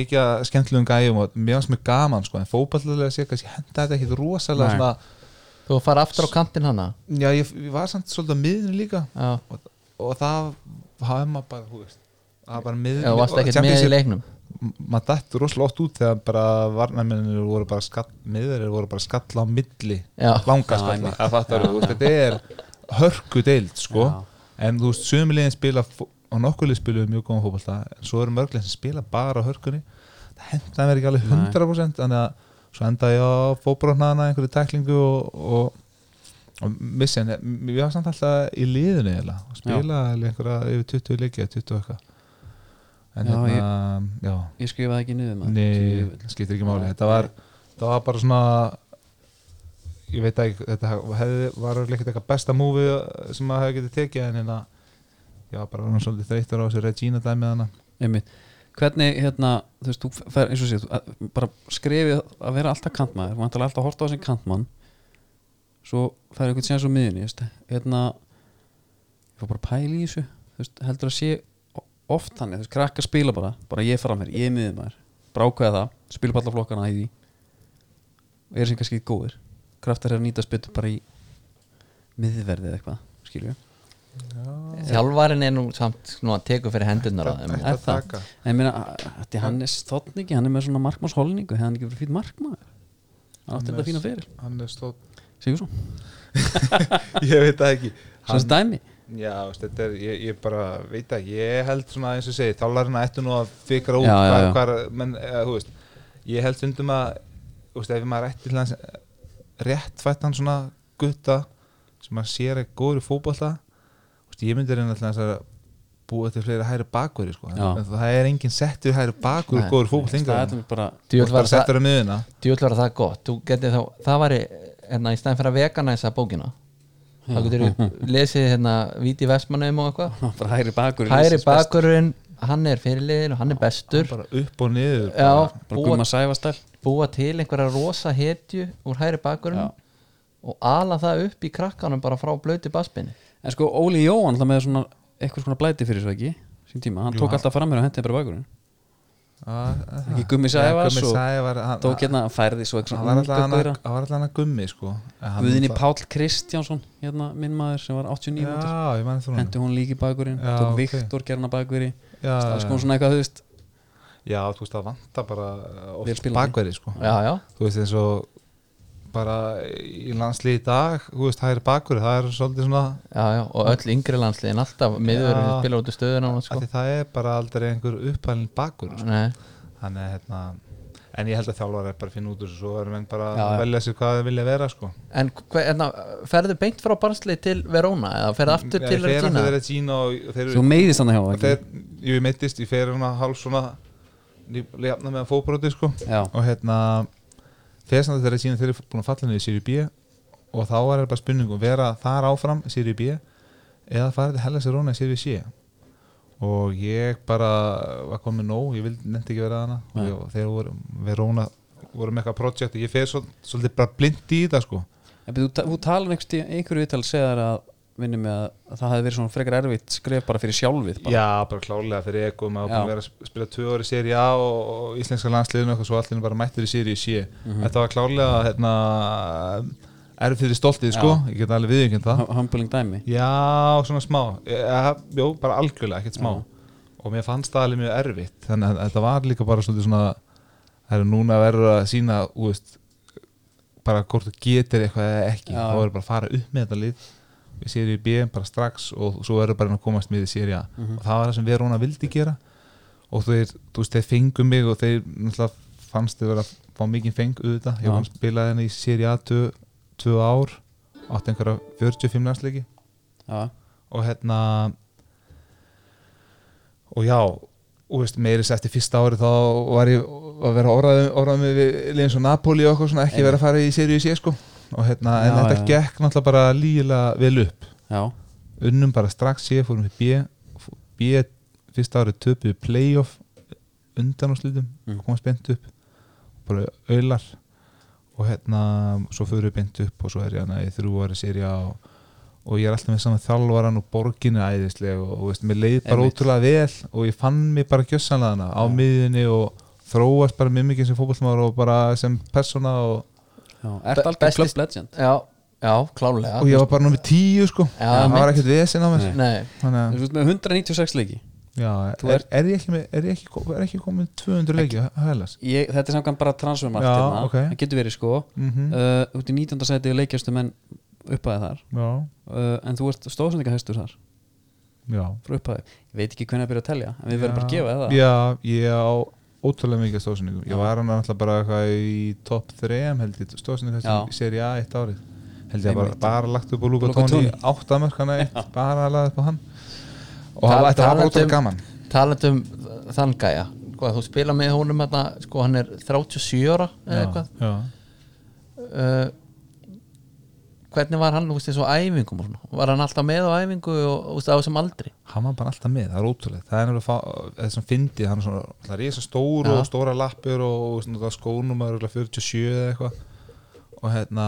Speaker 3: mikið af skemmtilegum gæjum og mér fannst mjög gaman, sko, en fótballlega sé kannski henda þetta ekkit rosalega
Speaker 1: Nei.
Speaker 3: svona
Speaker 2: Þú fara aftur á kantinn hana
Speaker 3: Já, ég, ég var samt svolítið á miðinu líka
Speaker 2: Já,
Speaker 3: og, og það hafa maður bara, hú veist það var bara miðinu
Speaker 2: já þú varst
Speaker 3: og
Speaker 2: ekkert með í
Speaker 3: Championship-
Speaker 2: leiknum
Speaker 3: m- maður dættu rosalega oft út þegar bara varnarmennir voru bara skall, miðurir voru bara skalla á milli
Speaker 2: Já.
Speaker 1: Já,
Speaker 3: langa skalla
Speaker 1: einmitt.
Speaker 3: að fattar þú, veist, þetta er hörku deild sko,
Speaker 1: Já.
Speaker 3: en þú veist, sömulegin spila fó- og nokkur lið spila mjög góðan fótbolta en svo eru mörglegin sem spila bara á hörkunni það henda mér ekki alveg 100% þannig að svo enda ég á fótbrotnaðana einhverju tæklingu og, og, og missi eh, hann við varum samt alltaf í liðinu eiginlega, og spila einhverja yfir 20 leikja 20 og eitthvað en
Speaker 1: Já,
Speaker 3: hérna, já
Speaker 1: ég skrifaði ekki niður maður.
Speaker 3: Nei,
Speaker 1: Djöfull.
Speaker 3: skiptir ekki máli þetta var, þetta var bara svona ég veit ekki þetta hefði, var örugglega ekkert eitthvað besta múfi sem að hefði getið tekið en hérna já, bara var hann svolítið þreyttur á þessu Regina dæmið hana
Speaker 1: Einmitt. hvernig hérna þú veist, þú fer eins og sér þú, að- bara skrifið að vera alltaf kantmaður þú vantar alltaf að horta á þessi kantmann svo það er einhvern sér svo miðinni veist, hérna ég fór bara að pæla í þessu þú veist, heldur að sé o- oft þannig, þú veist, krakka spila bara bara ég fram hér, ég miðið maður brákaði það, spila bara alla flokkana í því og er sem kannski góðir kraftar er að nýta spytu bara í miðverði eða eitthvað, skilju
Speaker 2: Þjálfarin er nú samt nú að teku fyrir hendunar á þeim
Speaker 3: Ætti
Speaker 1: Er
Speaker 3: að
Speaker 1: það?
Speaker 3: taka.
Speaker 1: En ég meina, þetta er Hannes Þotningi, hann er með svona markmannshólningu, hefði hann ekki verið fýtt markmaður hann átti þetta
Speaker 3: Hannes-
Speaker 1: fína fyrir,
Speaker 3: hann er stótt
Speaker 1: sigur svo
Speaker 3: ég veit það ekki
Speaker 1: sem dæmi,
Speaker 3: já, veist, þetta er, ég, ég bara veit ekki ég held svona eins og segi, þálarina ættu nú að fikra út
Speaker 1: Já, já,
Speaker 3: hvað,
Speaker 1: já.
Speaker 3: hvað menn, eða, þú veist, ég held stundum að þú veist, ef maður ætti til hans rétt fættan svona gutta sem maður sér að góður í fótbolta þú veist, ég myndi reyna til hans að búa til fleiri hæri bakveri sko.
Speaker 1: Já.
Speaker 3: en það er enginn settur hæri bakveri
Speaker 2: Nei,
Speaker 3: góður í fótbolta
Speaker 1: það er
Speaker 3: yngra
Speaker 1: þetta bara
Speaker 2: Djöfull var það-
Speaker 3: settur á miðuna
Speaker 2: djúll var það gott Þú getur þá, það var hérna, í stæðan fyrir að veganæsa bókina þá getur þú lesið hérna Víti Vestmannum og eitthvað
Speaker 1: bara hægri bakur
Speaker 2: Hæri bakurinn, hann er fyrirliðin og hann er bestur
Speaker 3: bara upp og niður
Speaker 2: Já,
Speaker 1: bara
Speaker 2: búa,
Speaker 1: gumma sæfastæl
Speaker 2: búa til einhverja rosa hetju úr hæri bakurinn
Speaker 1: Já.
Speaker 2: og ala það upp í krakkanum bara frá blöti basminni
Speaker 1: en sko Óli Jóhann alltaf með svona eitthvað svona blæti fyrir svo ekki sín tíma, hann tók alltaf fram hér og hentið bara bakurinn Ekki Gummi Sævars
Speaker 3: Gummi
Speaker 1: og-
Speaker 3: Sævar, hann-
Speaker 1: tók hérna, hann færði svo
Speaker 3: hann var
Speaker 1: eitthvað
Speaker 3: alltaf
Speaker 1: svona
Speaker 3: hann hann var alltaf hann að gummi sko En hann
Speaker 1: Guðinni
Speaker 3: náttúrulega-
Speaker 1: Páll Kristjánsson hérna minn maður sem var 89 mútur
Speaker 3: já, ég mann þrjónum
Speaker 1: hendi hún líki bakurinn,
Speaker 3: Já,
Speaker 1: tók
Speaker 3: ok.
Speaker 1: Viktor gerna bakuri,
Speaker 3: já,
Speaker 1: það er
Speaker 3: já,
Speaker 1: sko svona eitthvað þú veist,
Speaker 3: já, þú veist það vantar bara uh,
Speaker 1: Vel
Speaker 3: oft
Speaker 1: spilandi.
Speaker 3: bakverði sko
Speaker 2: Já, já,
Speaker 3: þú veist eins og bara í landslið í dag þú veist hægri bakverði, það er svolítið svona
Speaker 2: já, já og öll yngri landsliðin alltaf miður
Speaker 3: Já.
Speaker 2: spilar út í stöðuna núna,
Speaker 3: af
Speaker 2: sko.
Speaker 3: því það er bara aldrei einhver upphælinn bakverð sko.
Speaker 2: Nei,
Speaker 3: þannig að hérna en ég held að þjálfar er bara að finna út úr þessu svo erum enn bara
Speaker 1: Já,
Speaker 3: að
Speaker 1: já.
Speaker 3: velja sér hvað það vilja vera sko
Speaker 2: En hver, hérna, ferðu beint frá barnsli til Verona eða ferðu
Speaker 3: Mm,
Speaker 2: aftur til Regina
Speaker 3: þeir eru Regina og þeir
Speaker 1: svo
Speaker 3: eru
Speaker 1: meiðist hann hjá
Speaker 3: og
Speaker 1: ekki
Speaker 3: þeir, jú, ég meittist, ég fer hérna hálf svona jafna meðan fótbróti sko
Speaker 1: já,
Speaker 3: og hérna þegar samt þegar síðan þeir eru búin að falla niður í Siri B og þá er bara spurningum vera þar áfram í Siri B eða fara til Hellas Verona í Siri C og ég bara var komið nóg, ég vildi nefndi ekki vera hana
Speaker 1: Nei.
Speaker 3: og þegar voru, Verona voru með eitthvað projekt og ég fer svol- svolítið bara blind í það sko
Speaker 1: En byrju, þú, ta- þú talar einhverjum stíð, einhverju viðtal segðar að vinni með að, að það hefði verið svona frekar erfitt skref bara fyrir sjálfið bara.
Speaker 3: Já, bara klálega fyrir eko maður
Speaker 1: Já.
Speaker 3: búin að vera að sp- spila tvö ári séri A og, og íslenska landsliðinu og eitthvað svo allir bara mættur í séri í sé
Speaker 1: Mhm.
Speaker 3: Þetta var klálega hérna, erfið fyrir stoltið sko, ég get alveg viðjöngin það
Speaker 1: Hum- humbling dæmi
Speaker 3: Já, svona smá ja, Jó, bara algjörlega, ekkert smá Og mér fannst það alveg mjög erfitt Þannig að þetta var líka bara svolítið svona Það er núna að vera að sína úst, Bara hvort þú getur eitthvað eða ekki
Speaker 1: Já.
Speaker 3: Þá verður bara að fara upp með þetta lið Við séri í B bara strax Og svo verður bara að komast með í séri A
Speaker 1: Mhm.
Speaker 3: Og það var það sem Verona vildi gera Og þeir, þú veist, þeir fengu mig Og þeir náttúrulega fannst þeir vera að fá mikið feng auðvitað,
Speaker 1: Já.
Speaker 3: ég var að spila henni í séri A tvö, tvö ár, átti einhverja 45 landsleiki
Speaker 1: Já,
Speaker 3: og hérna og já og veist, meiris eftir fyrsta ári þá var ég að vera orðað, orðað með líðan svo Napoli og okkur svona ekki vera að fara í sériu í sé sko og hérna, en
Speaker 1: Já,
Speaker 3: þetta
Speaker 1: já, já.
Speaker 3: gekk náttúrulega bara lígilega vel upp
Speaker 1: já,
Speaker 3: unnum bara strax sé, fórum við B fó- B fyrsta ári töpuðu playoff undan á slítum
Speaker 1: Mm.
Speaker 3: mm. komast beint upp bara auðlar og hérna, svo fyrir við beint upp og svo er ég hana í þrjú ári sérja og, og ég er alltaf með saman þjálfaran og borgin er æðisleg og, og veist, mér leið bara
Speaker 1: Einmitt.
Speaker 3: ótrúlega vel og ég fann mig bara gjössanlega hana á miðinni og þróast bara mjög mikið sem fótballmáður og bara sem persóna og,
Speaker 1: já. Ert
Speaker 2: Be-
Speaker 1: algjör
Speaker 2: besti-
Speaker 1: club legend
Speaker 2: Já, já, klálega
Speaker 3: og ég var bara nummið tíu sko,
Speaker 2: Já,
Speaker 3: það var
Speaker 2: einmitt.
Speaker 3: ekkert vesen á mér
Speaker 2: Nei,
Speaker 3: þannig að
Speaker 1: Þú veist með 196 leiki
Speaker 3: Já,
Speaker 1: Þú
Speaker 3: er, er, ég ekki með, er, ég ekki, ko- er ekki komið 200 leikju hælas?
Speaker 1: ég, þetta er samkvæmt bara transfermarkt
Speaker 3: Já,
Speaker 1: hérna,
Speaker 3: ok.
Speaker 1: það getur verið sko
Speaker 3: Mm
Speaker 1: uh, út í 19. seti og leikjastu menn upphæði þar
Speaker 3: Já,
Speaker 1: uh, en þú ert stóðsendingahestur þar
Speaker 3: já
Speaker 1: frá upphæði, ég veit ekki hvernig að byrja að telja en við verðum bara að
Speaker 3: Já.
Speaker 1: gefa það
Speaker 3: Já, ég á ótrúlega mikið stóðsynningu Ég var hann alltaf bara eitthvað í topp 3 held ég stóðsynningu
Speaker 1: Já.
Speaker 3: í seri A eitt árið held ég að bara,
Speaker 1: Einmitt.
Speaker 3: bara lagt upp á Luka
Speaker 1: Luka
Speaker 3: Tóni
Speaker 1: Toni.
Speaker 3: áttamörkana eitt, bara að laða upp á hann og
Speaker 2: Tal-
Speaker 3: það var- þetta var bara
Speaker 2: talandi um-
Speaker 3: ótrúlega gaman
Speaker 2: Talat um þann gæja hvað, Þú spila með honum hérna sko, Hann er 37 ára eða
Speaker 3: Já,
Speaker 2: eitthvað
Speaker 3: já.
Speaker 2: uh, Hvernig var hann þú veist, þessu æfingum og svona? Var hann alltaf með á æfingu og þú veist, á þessum aldri
Speaker 3: hann var bara alltaf með, það er ótrúlega það er nefnilega fá- það sem fyndið, hann er svona alltaf risa stór
Speaker 2: Já.
Speaker 3: og stóra lappir og svona, skónum er örugglega 47 eða eitthvað og hérna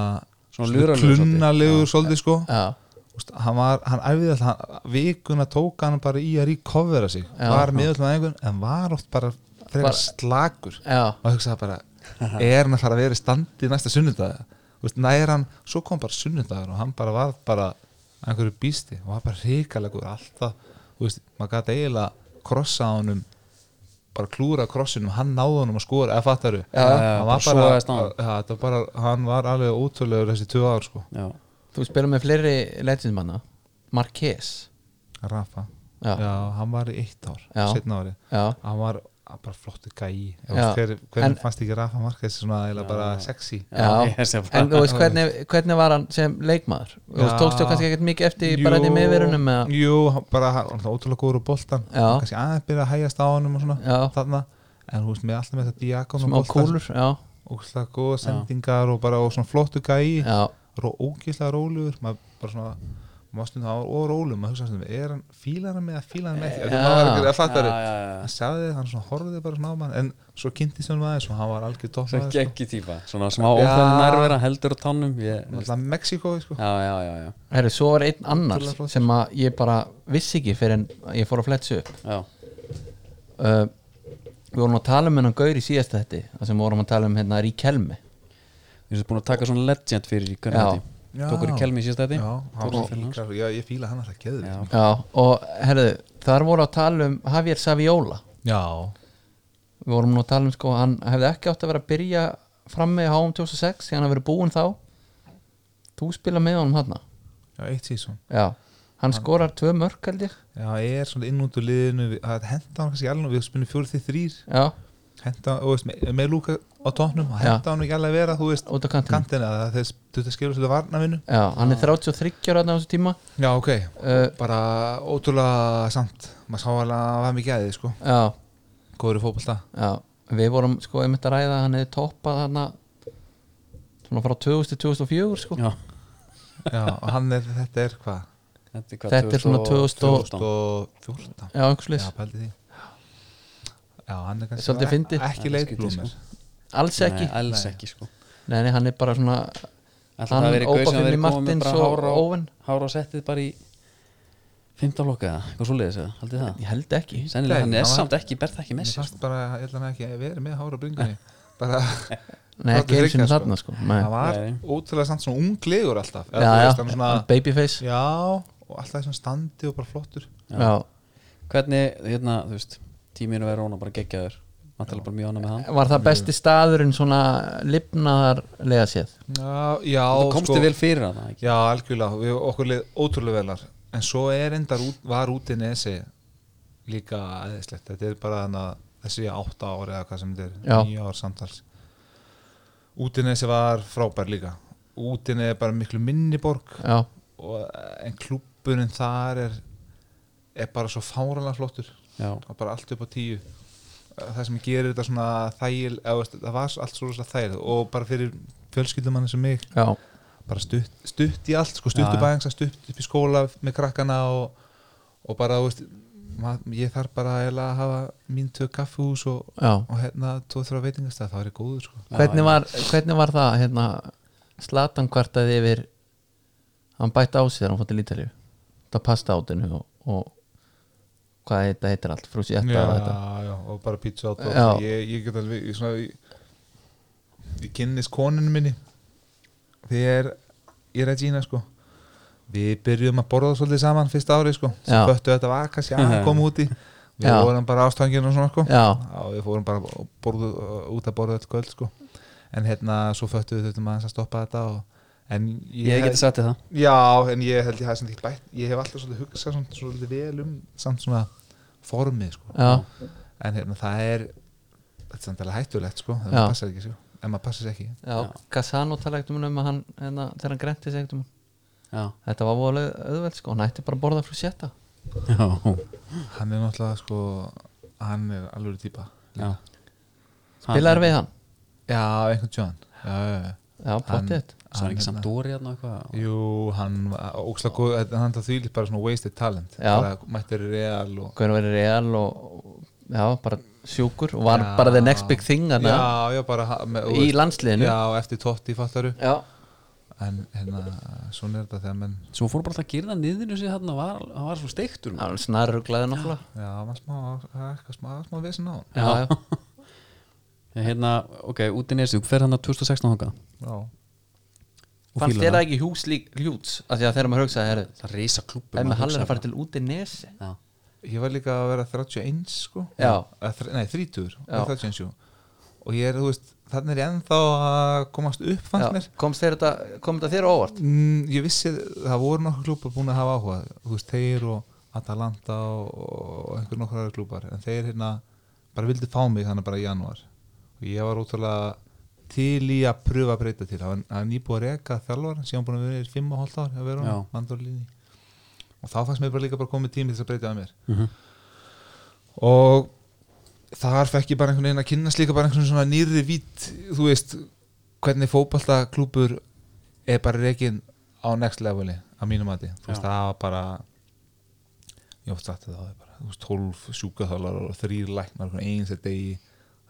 Speaker 1: Svona luralegur svolítið.
Speaker 3: klunnalegur svolítið sko
Speaker 2: Já,
Speaker 3: Úst, hann var, hann æfði alltaf hann, vikuna tók hann bara í að ríkofvera sig
Speaker 2: Já.
Speaker 3: var með alltaf einhvern, en var oft bara
Speaker 2: Bara-
Speaker 3: frekar slakur
Speaker 2: já,
Speaker 3: og það hugsaði bara, er hann að fara að vera í standi næsta sunnudag Úst, nær hann, svo kom bara sunnudagur og hann bara var bara einhverju býsti og var bara hrikalegur alltaf, þú veist, maður gæti eiginlega krossa á honum bara klúra krossinum, hann náði honum að skora eða fattaru,
Speaker 1: Já, já,
Speaker 3: hann var
Speaker 1: bara
Speaker 3: bara,
Speaker 1: sogaðist á hann.
Speaker 3: já, þetta var bara hann var alveg ótrúlegur þessi tvö ár sko,
Speaker 1: Já.
Speaker 2: þú spila með fleiri leitindmanna Marquez
Speaker 3: Rafa
Speaker 2: Já, já,
Speaker 3: já, hann var í eitt ár,
Speaker 2: Já.
Speaker 3: setna árið
Speaker 2: já,
Speaker 3: hann var bara flottu gæi
Speaker 2: Já.
Speaker 3: hvernig
Speaker 2: En-
Speaker 3: hver fannst ekki Rafa Marquez svona eiginlega bara sexy
Speaker 1: <laughs> ég sé bara-
Speaker 2: En þú veist hvernig, hvernig var hann sem leikmaður Þú veist,
Speaker 3: Já.
Speaker 2: tókstu kannski ekkert mikið eftir bara enn í meðverunum eða
Speaker 3: Jú, hann bara hann var náttúrulega ótrúlega góður úr boltan
Speaker 2: Já.
Speaker 3: kannski aðeins byrja að hægjast á honum og svona
Speaker 2: Já.
Speaker 3: þarna en hún veist með alltaf með þetta diakon
Speaker 2: smá kúlur Já,
Speaker 3: og slag góða sendingar og bara og svona flottu gæi
Speaker 2: já,
Speaker 3: ró, ógislega rólugur maður bara svona maður stundum það og rólum maður hugsa svona er hann fílar hann með að fílar hann með ekki
Speaker 2: Já.
Speaker 3: það var ekki að fatta
Speaker 1: Já, já, já.
Speaker 3: hann sagði hann svona horfði bara svona á mann en svo kynntist hann aðeins og hann var algjör sko. topp
Speaker 1: Svo geggi típa, svona smá
Speaker 3: Já.
Speaker 1: óþæðan nærvera heldur á tannum ég,
Speaker 3: Náttúrulega Mexiko sko.
Speaker 1: Já, já, já, já,
Speaker 2: herri, svo var einn annar
Speaker 3: Ótrúlega flottur.
Speaker 2: sem að ég bara vissi ekki fyrir en ég fór að fletsa upp
Speaker 1: já.
Speaker 2: uh, Við vorum að tala um hennan Gaur í síðasta þetta þar sem við vorum að tala um hérna Ríkelmi
Speaker 1: Ég er búin að taka svona legend fyrir í
Speaker 2: Já.
Speaker 1: hvernig
Speaker 3: Já.
Speaker 1: þetta Tókur í kelmi í síðast þetta
Speaker 3: Já, hann var
Speaker 1: fyrir hans
Speaker 3: fíklar Já, ég fíla hann alltaf geður
Speaker 1: Já.
Speaker 2: Já, og herðu, þar voru að tala um Javier Saviola
Speaker 3: já,
Speaker 2: Við vorum nú að tala um sko, hann hefði ekki átt að vera að byrja frammi á HM 2006 því hann hafði verið búinn þá Þú spila með honum hann
Speaker 3: já eitt sísón
Speaker 2: Já, hann skorar tvö mörk held ég
Speaker 3: Já, ég er svona inn út úr liðinu við- Það henda hann kannski alveg, við spilum fjóri því þrýr
Speaker 2: Já,
Speaker 3: Henda, þú veist, með, með Lúka á tóknum og
Speaker 2: Já.
Speaker 3: Henda hann ekki alveg að vera, þú veist
Speaker 2: út á kantinu
Speaker 3: Kantina, það þess, þú veist, skilur svolítið varnavinu
Speaker 2: Já, hann er 33 ára þarna á þessu tíma
Speaker 3: Já, ok
Speaker 2: uh,
Speaker 3: Bara ótrúlega samt Maður sá alveg að hann var mikið að þið, sko
Speaker 2: Já,
Speaker 3: Góður í fótbolta
Speaker 2: já Við vorum sko einmitt að ræða að hann hefði toppað hann svona frá 2000-2004 sko
Speaker 1: Já,
Speaker 3: Já, og hann er, þetta er hvað? Sko,
Speaker 1: þetta er, hvað,
Speaker 2: Þetta er svona
Speaker 1: 2014.
Speaker 3: 2014
Speaker 2: Já, einhversleis,
Speaker 3: Já, pældi því Já, hann er kannski
Speaker 2: Svolítið fyndið.
Speaker 1: Það er
Speaker 3: Ekki
Speaker 1: skrítið,
Speaker 3: leitblúmer
Speaker 2: alls ekki
Speaker 1: Nei, alls
Speaker 3: Nei.
Speaker 1: ekki sko
Speaker 2: Nei, nei, hann er bara svona
Speaker 1: Ætli
Speaker 2: Hann,
Speaker 1: það verið gaur sem verið
Speaker 2: Óbafemi
Speaker 1: komið með
Speaker 2: Martins
Speaker 1: bara
Speaker 2: og
Speaker 1: hár á-
Speaker 2: Owen
Speaker 1: Hár á settið bara í 15 lokka eða, eitthvað svo leiðis eða, haldið það
Speaker 2: Ég held ekki
Speaker 1: Sennilega,
Speaker 3: Nei,
Speaker 1: hann er
Speaker 3: hann var-
Speaker 1: samt ekki, berð það ekki með
Speaker 3: Mér
Speaker 1: sér
Speaker 3: fannst bara, ég sko. held að hann hafi ekki verið með hára <laughs> bringunni bara,
Speaker 2: Nei, ekki einu sinni
Speaker 3: Sko.
Speaker 2: þarna sko Nei.
Speaker 3: hann var
Speaker 1: Nei.
Speaker 3: ótrúlega samt svona unglegur alltaf Eða,
Speaker 2: já,
Speaker 3: þú
Speaker 2: já,
Speaker 3: veist, hann svona,
Speaker 2: babyface já.
Speaker 3: já, og alltaf í svona standi og bara flottur
Speaker 1: Hvernig, hérna, þú veist, tíminu verður óna bara geggjaður Vantalega bara mjög ána með hann
Speaker 2: var það besti staðurinn svona lifnaðarlega séð
Speaker 3: Já, já, sko.
Speaker 1: Þú komstu vel fyrir að það, ekki?
Speaker 3: Já, algjörlega, við okkur leið ótrúlega velar en svo er endar út, var út í nesi líka aðeinslegt þetta er bara þannig að þessi átta ári eða hvað sem þetta
Speaker 2: Já.
Speaker 3: er, nýja ár samtals út í nesi var frábær líka út í nesi er bara miklu minni borg
Speaker 2: já,
Speaker 3: og, en klúbburinn þar er er bara svo fáranlega flottur
Speaker 1: Já,
Speaker 3: og bara allt upp á tíu Eh, það sem gerir þetta svona þægil eða, veist, það var allt svo rosalega þægil og bara fyrir fjölskyldumann sem mig
Speaker 2: já,
Speaker 3: bara stutt, stutt í allt sko,
Speaker 1: Já,
Speaker 3: stutt
Speaker 1: já.
Speaker 3: upp aðeins stutt upp í skóla með krakkana og, og bara þú veist, mað, ég þarf bara eiginlega að hafa mín tvö kaffihús og,
Speaker 2: já.
Speaker 3: og hérna tvo þrjá veitingastæð það er góður sko
Speaker 2: Hvernig, var, hvernig var það hérna, Slatan kvartaði yfir hann bætti á sig þegar hann fótt til Ítalíu það pasta átinu og, og hvað þetta heitir allt frúsi eftir
Speaker 3: já,
Speaker 2: þetta
Speaker 3: já, og bara pizza og
Speaker 2: Já.
Speaker 3: tótt ég, ég get alveg ég, svona, ég, ég kynnist koninu minni þegar ég er að gína sko við byrjum að borða svolítið saman fyrsta ári sko sem
Speaker 2: Já.
Speaker 3: föttu að þetta var kannski að koma úti við
Speaker 2: Já.
Speaker 3: vorum bara ástangin og svona sko
Speaker 2: Já.
Speaker 3: við fórum bara og borðu, út að borða öll kvöld sko en hérna svo föttu við þurftum aðeins að stoppa þetta og, en ég,
Speaker 1: Ég
Speaker 3: hef-
Speaker 1: geti sagt þér það
Speaker 3: Já, en ég held ég hafi samt ekki bætt ég hef alltaf svolítið hugsað samt, svolítið vel um samt svona formið sko.
Speaker 2: já,
Speaker 3: en hérna það er þetta er samt alveg hættulegt sko, ef
Speaker 2: Já.
Speaker 3: maður passar ekki sko. ef maður passar sér ekki
Speaker 2: já, Gassano talaði ekkert um um að hann, hérna, þegar hann grenti sig ekkert um
Speaker 1: Já,
Speaker 2: þetta var voðalega auðveld sko, hann ætti bara að borða frusetta
Speaker 1: já,
Speaker 3: hann er náttúrulega sko hann er alveg típa
Speaker 1: já.
Speaker 2: bilaður við hann,
Speaker 3: Já, einhvern tjóðan já, já, já.
Speaker 2: já, pottið
Speaker 1: Það er ekki samt
Speaker 3: hérna-
Speaker 1: dóri hérna og eitthvað
Speaker 3: Jú, hann var ókslega góð þetta- hann það þýlir bara svona wasted talent
Speaker 2: Já.
Speaker 3: bara mættir real og
Speaker 2: hvernig verið real og, og já, bara sjúkur og var
Speaker 3: Já.
Speaker 2: bara the next big thing hann
Speaker 3: Já, já, bara ha- með,
Speaker 2: Hérna? í landsliðinu
Speaker 3: Já, eftir tótti fattaru
Speaker 2: já,
Speaker 3: en hérna, svona er þetta þegar menn
Speaker 1: Svo fór bara alltaf að gyrða niðinu sig þarna var, hann var svo steiktur
Speaker 2: hann snarruglaði náttúrulega
Speaker 3: Já, það var smá, það er eitthvað smá, smá vesen á hann.
Speaker 2: já, já,
Speaker 1: En Hérna, ok, út í nesið, fer hann að 2016 þangað
Speaker 3: Já.
Speaker 1: og
Speaker 2: fannst
Speaker 1: fílar
Speaker 2: þér það ekki hjús lík hjúts af því að þegar maður hugsaði, herru,
Speaker 1: Það reysa klubbu
Speaker 2: ef maður hallir að fara til út í nesi
Speaker 1: Já,
Speaker 3: Ég var líka að vera 31 sko.
Speaker 2: Já.
Speaker 3: Eða þr- Nei, 30
Speaker 2: Já.
Speaker 3: og 31 jú. Og ég er, þú veist, þannig er ég ennþá að komast upp fannst
Speaker 2: Já,
Speaker 3: mér
Speaker 2: komst þér þetta, kom þetta þér á óvart
Speaker 3: mm, Ég vissi, það voru nokkur klúpar búin að hafa áhuga Þú veist, þeir og Atalanta og, og einhver nokkur aðra klúpar En þeir hérna bara vildi fá mig þannig bara í janúar Og ég var ótrúlega til í að pröfa að breyta til Það var- það var nýbúið að reka þjálfar Síðan búin að vera í 5 og hálft ár að vera
Speaker 1: Já.
Speaker 3: honum, Andor Líni. Og þá fannst mér bara líka bara komið tími til þess að breyta að mér og þar fekk ég bara einhvern veginn að kynnast líka bara einhvern svona nýrri vít þú veist, hvernig fótballtaklúpur er bara reygin á next leveli, að mínum mati þú veist,
Speaker 1: Já.
Speaker 3: það var bara ég oft satt það bara, þú veist, 12 sjúkaþálar og þrýr læknar okkur eins að degi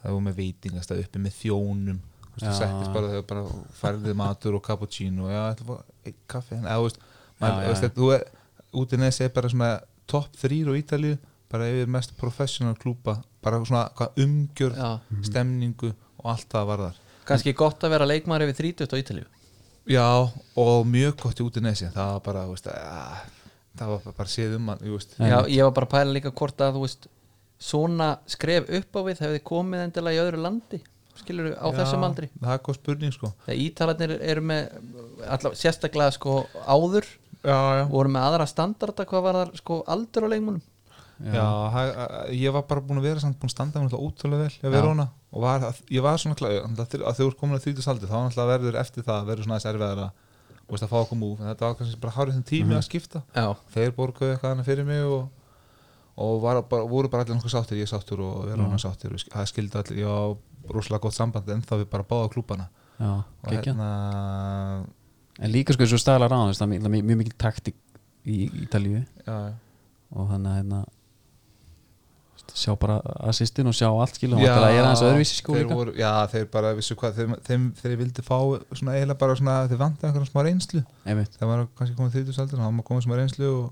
Speaker 3: það var með veitingast að uppi með þjónum þú veist, þú
Speaker 1: Já.
Speaker 3: settist bara þegar bara færðið matur og cappuccino já, þetta var eitt kaffi en, eða, þú veist,
Speaker 1: Já,
Speaker 3: maður,
Speaker 1: já,
Speaker 3: þú veist,
Speaker 1: já.
Speaker 3: þetta- þú er út í neðs er bara svona topp þrýr á Ítalíu bara yfir mest professional klúpa bara svona hvað umgjörð
Speaker 2: Já.
Speaker 3: stemningu og allt það varðar
Speaker 2: kannski gott að vera leikmaður yfir 30 á Ítalíu
Speaker 3: já og mjög gott í út í neðs það var bara þú veist, að, það var bara séð um hann þú veist.
Speaker 2: Já, ég var bara að pæla líka hvort að þú veist svona skref upp á við hefði komið endilega í öðru landi skilur á
Speaker 3: Já,
Speaker 2: þessum aldri
Speaker 3: það er góð spurning sko
Speaker 2: þegar Ítalarnir eru með allavega, sérstaklega sko áður
Speaker 3: já, já.
Speaker 2: voru með aðra standarda hvað var þar sko aldur á leikmunum
Speaker 3: Já, hæ- hæ- ég var bara búin að vera samt búin að standa mér náttúrulega ótrúlega vel ég, vera og var, að- ég var svona klæður að þegar þú ert komin að þrítið saldi þá náttúrulega verður eftir það verður svona aðeins erfiðar að, þú veist, að fá okkur múf en þetta var kannski bara hárið þinn tími að skipta
Speaker 2: Já,
Speaker 3: þeir borguðu eitthvað annað fyrir mig og, og var, bara, voru bara allir nokkuð sáttir ég sáttur og vera hann sáttur og sk- það skildi allir, ég á rosalega gott samband en þá við bara báða klúbana
Speaker 1: já,
Speaker 3: og
Speaker 1: gekkja
Speaker 3: hérna
Speaker 1: En líka sko eins og stælar á hann Það er mjög- mjög mikil taktik í Ítalíu
Speaker 3: já, já
Speaker 1: og þannig að hérna sjá bara assistin og sjá allt skilja og
Speaker 3: Já,
Speaker 1: alltaf að gera hans öðruvísi sko
Speaker 3: þeir
Speaker 1: líka
Speaker 3: voru, já, þeir bara vissu hvað þeir, þeim, þeir vildi fá svona eiginlega bara svona þeir vantaði einhverjum smá reynslu
Speaker 1: einmitt,
Speaker 3: þegar maður kannski komið þrítið saldur þá var maður komið smá reynslu og,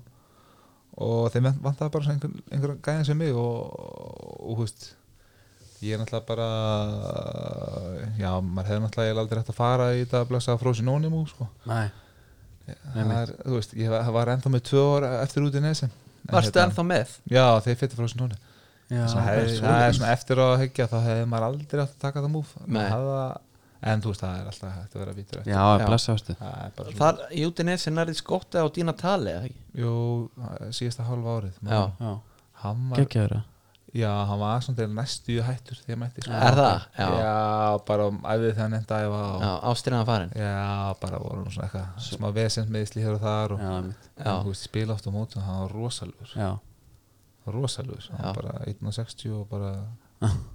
Speaker 3: og þeim vantaði bara svona einhver, einhver gæðin sem mig og, og þú veist ég er náttúrulega bara já, maður hefði náttúrulega eiginlega aldrei hægt að fara í þetta að blessa frósin ónimú sko.
Speaker 1: næ,
Speaker 3: það er, þú veist, ég var- var ennþá með tvö ár eftir út í nesi
Speaker 2: varstu
Speaker 3: hérna.
Speaker 2: ennþá með
Speaker 3: já, þeir fyrir frósin ónimú
Speaker 1: já,
Speaker 3: Svo hefði- það er svona eftir á að hyggja þá hefði maður aldrei átt að taka það múf
Speaker 2: Nei.
Speaker 3: en þú veist það er alltaf hægt að vera vítur eftir
Speaker 1: já,
Speaker 2: Já.
Speaker 1: blessastu
Speaker 3: það er bara svona
Speaker 2: Þar í út í nesin er þið skottið á dýna tali eða ekki?
Speaker 3: jú, síðasta hálfa árið
Speaker 2: Já.
Speaker 1: já,
Speaker 3: hann var,
Speaker 1: geggjaður það.
Speaker 3: já, hann var svona til næstu í hættur þegar mætti sko.
Speaker 2: Er það? Já.
Speaker 3: já, bara um æfið þegar hann enda æfa og,
Speaker 2: Já, ástriðan farin
Speaker 3: já, bara voru nú svona eitthvað smá vesend með hér og þar og,
Speaker 1: já, einmitt,
Speaker 2: Já.
Speaker 3: en, þú veist, spila oft á mótum, hann var rosalur
Speaker 1: já,
Speaker 3: rosalur, hann
Speaker 2: Já.
Speaker 3: var bara 1.60 og bara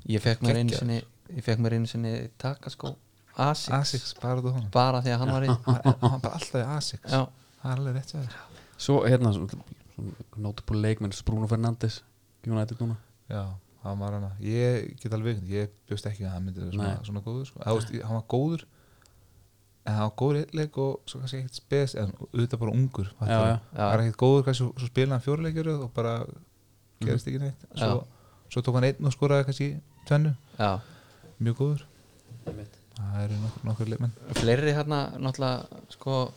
Speaker 2: Ég fekk mér einu
Speaker 3: Geggjaður.
Speaker 2: sinni Ég fekk mér einu sinni takaskó Asics
Speaker 3: Asics, bara þú honum
Speaker 2: bara því að hann var í
Speaker 3: hann hann bara alltaf í Asics
Speaker 2: Já,
Speaker 3: það er alveg rétt hjá þér
Speaker 1: svo hérna notable leikmenn, Bruno Fernandes United núna,
Speaker 3: Já, hann var hana Ég get alveg vikund, ég bjóst ekki að hann myndi vera svona,
Speaker 1: Nei.
Speaker 3: svona góður sko. Það, veist, Hann var góður En hann var góður eitleik og svo kannski ekkert spes En auðvitað bara ungur
Speaker 1: Já,
Speaker 3: fattarðu.
Speaker 1: já.
Speaker 2: Já.
Speaker 3: Hann var ekkert góður, kannski svo spilaði hann fjóruleikjur Og bara
Speaker 1: Mhm.
Speaker 3: gerist ekki neitt svo, svo tók hann einn og skoraði kannski tvennu
Speaker 2: já
Speaker 3: Mjög góður Það eru nokkur, nokkur leikmenn
Speaker 2: Fleiri hérna náttúrulega sko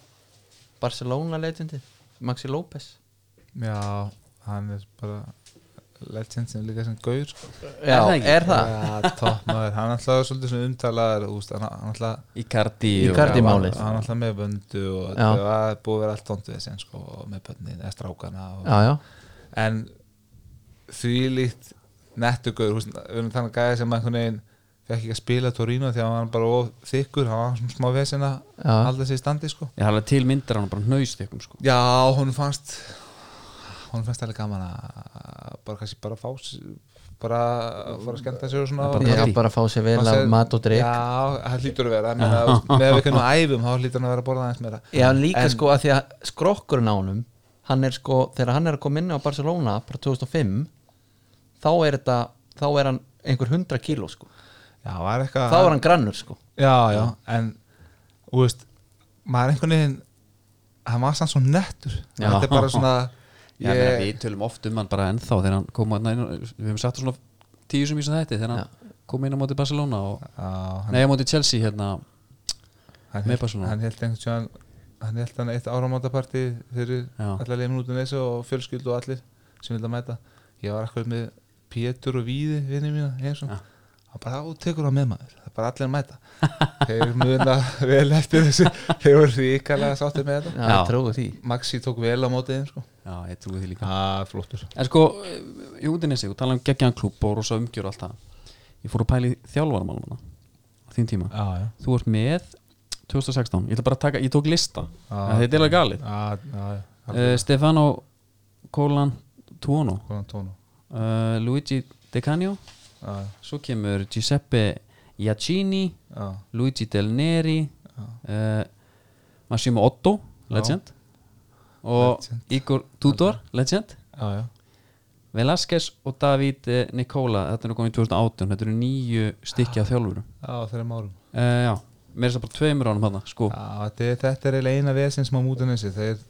Speaker 2: Barcelona leitindi Maxi López
Speaker 3: Já, hann er bara legend sem er líka sem gaur sko.
Speaker 2: Já,
Speaker 1: það
Speaker 2: er
Speaker 1: ekki?
Speaker 2: það,
Speaker 3: ja, topp maður, hann alltaf svolítið svona umtalaður úst, hann, hann alltaf
Speaker 1: Icardi og-
Speaker 2: Icardi
Speaker 1: Já,
Speaker 2: málið.
Speaker 3: hann alltaf með vöndu
Speaker 2: Já.
Speaker 3: og það var búið að vera allt tóndu þessi sko, og með bönnin, eða strákana og,
Speaker 2: Já, já,
Speaker 3: en því líkt nettugur, húst, við erum þannig gæði sem einhvern veginn fekk ekki að spila Torino því að hann var bara of þykkur, hann var svona smá vesinn að
Speaker 2: Já.
Speaker 3: halda sig í standi sko.
Speaker 1: Ég hafði til myndir hann bara hnaust ykkur sko
Speaker 3: Já, hún fannst hún fannst alveg gaman að bara kannski bara fá s- bara að fara að skemmta sér og svona
Speaker 1: Bara
Speaker 3: og-
Speaker 2: ég
Speaker 1: partí.
Speaker 2: hef bara að fá sér vel af
Speaker 3: Fannst þér-
Speaker 2: mat og drikk
Speaker 3: Já, það hlýtur að vera ég meina, þú veist, með við kannum æfum, þá hlýtur hann að vera að borða aðeins meira
Speaker 2: Já, líka sko að því að skrokkurinn á honum hann er sko, þegar hann er að koma inn á Barcelona bara 2005 þá er þetta, þá er hann einhver 100 kíló sko,
Speaker 3: Já, var eitthvað
Speaker 2: þá er hann grannur sko
Speaker 3: Já, já, en þú veist, maður einhvern veginn hann var sann svo nettur
Speaker 1: Já.
Speaker 3: þetta er bara svona
Speaker 2: <laughs>
Speaker 1: Já, ég... meina,
Speaker 3: ég,
Speaker 1: við tölum oft um hann bara ennþá þegar hann kom að, næ, við hefum sagt svona tíu sem vísa þetta þegar hann kom inn á móti Barcelona og,
Speaker 3: á, hann,
Speaker 1: nei, á móti Chelsea hérna
Speaker 3: hann,
Speaker 1: með
Speaker 3: hélt-
Speaker 1: Barcelona.
Speaker 3: hann held einhvern tjóðan hann held hann eitt áramátaparti fyrir
Speaker 1: Já.
Speaker 3: allar leifin út um þessu og fjölskyld og allir sem vilja mæta ég var akkur með Pétur og Víði vinni mína eins og
Speaker 1: Já.
Speaker 3: hann bara á tekur það með maður, það er bara allir að mæta <laughs> þeir muna vel eftir þessu þeir voru ríkalega sáttir með þetta
Speaker 2: Já,
Speaker 1: Já.
Speaker 2: ég trúi því
Speaker 3: Maxi tók vel á mótið þeim sko.
Speaker 1: Já, ég trúi því líka
Speaker 3: ah, flottur
Speaker 1: En sko, í útinni sig, og tala um geggjan klúb og rosa umgjör og allt það Ég fór að pæli þjálfarmálum hana á þín tíma
Speaker 3: já, já
Speaker 1: Þú ert með 2016, ég ætla bara að taka, ég tók lista
Speaker 3: Já.
Speaker 1: Þetta er alveg galið
Speaker 3: Já, Ah, já, já,
Speaker 1: uh, Stefano Colan Tuono
Speaker 3: Konan tónu
Speaker 1: uh, Luigi De Canio
Speaker 3: Já,
Speaker 1: Svo kemur Giuseppe Iacini
Speaker 3: já,
Speaker 1: Luigi Del Neri uh, Massimo Otto Legend Og
Speaker 3: Legend.
Speaker 1: Igor Tudor Legend
Speaker 3: já, já.
Speaker 1: Velasquez og David eh, Nicola Þetta er nú komið í 2018 Þetta eru nýju stykki af þjálfurum
Speaker 3: já þreim árum
Speaker 1: uh, Já, mér er það bara tveimur ánum hann sko.
Speaker 3: já, þetta, er- þetta er eiginlega eina vesen sem á mútunessi þeir,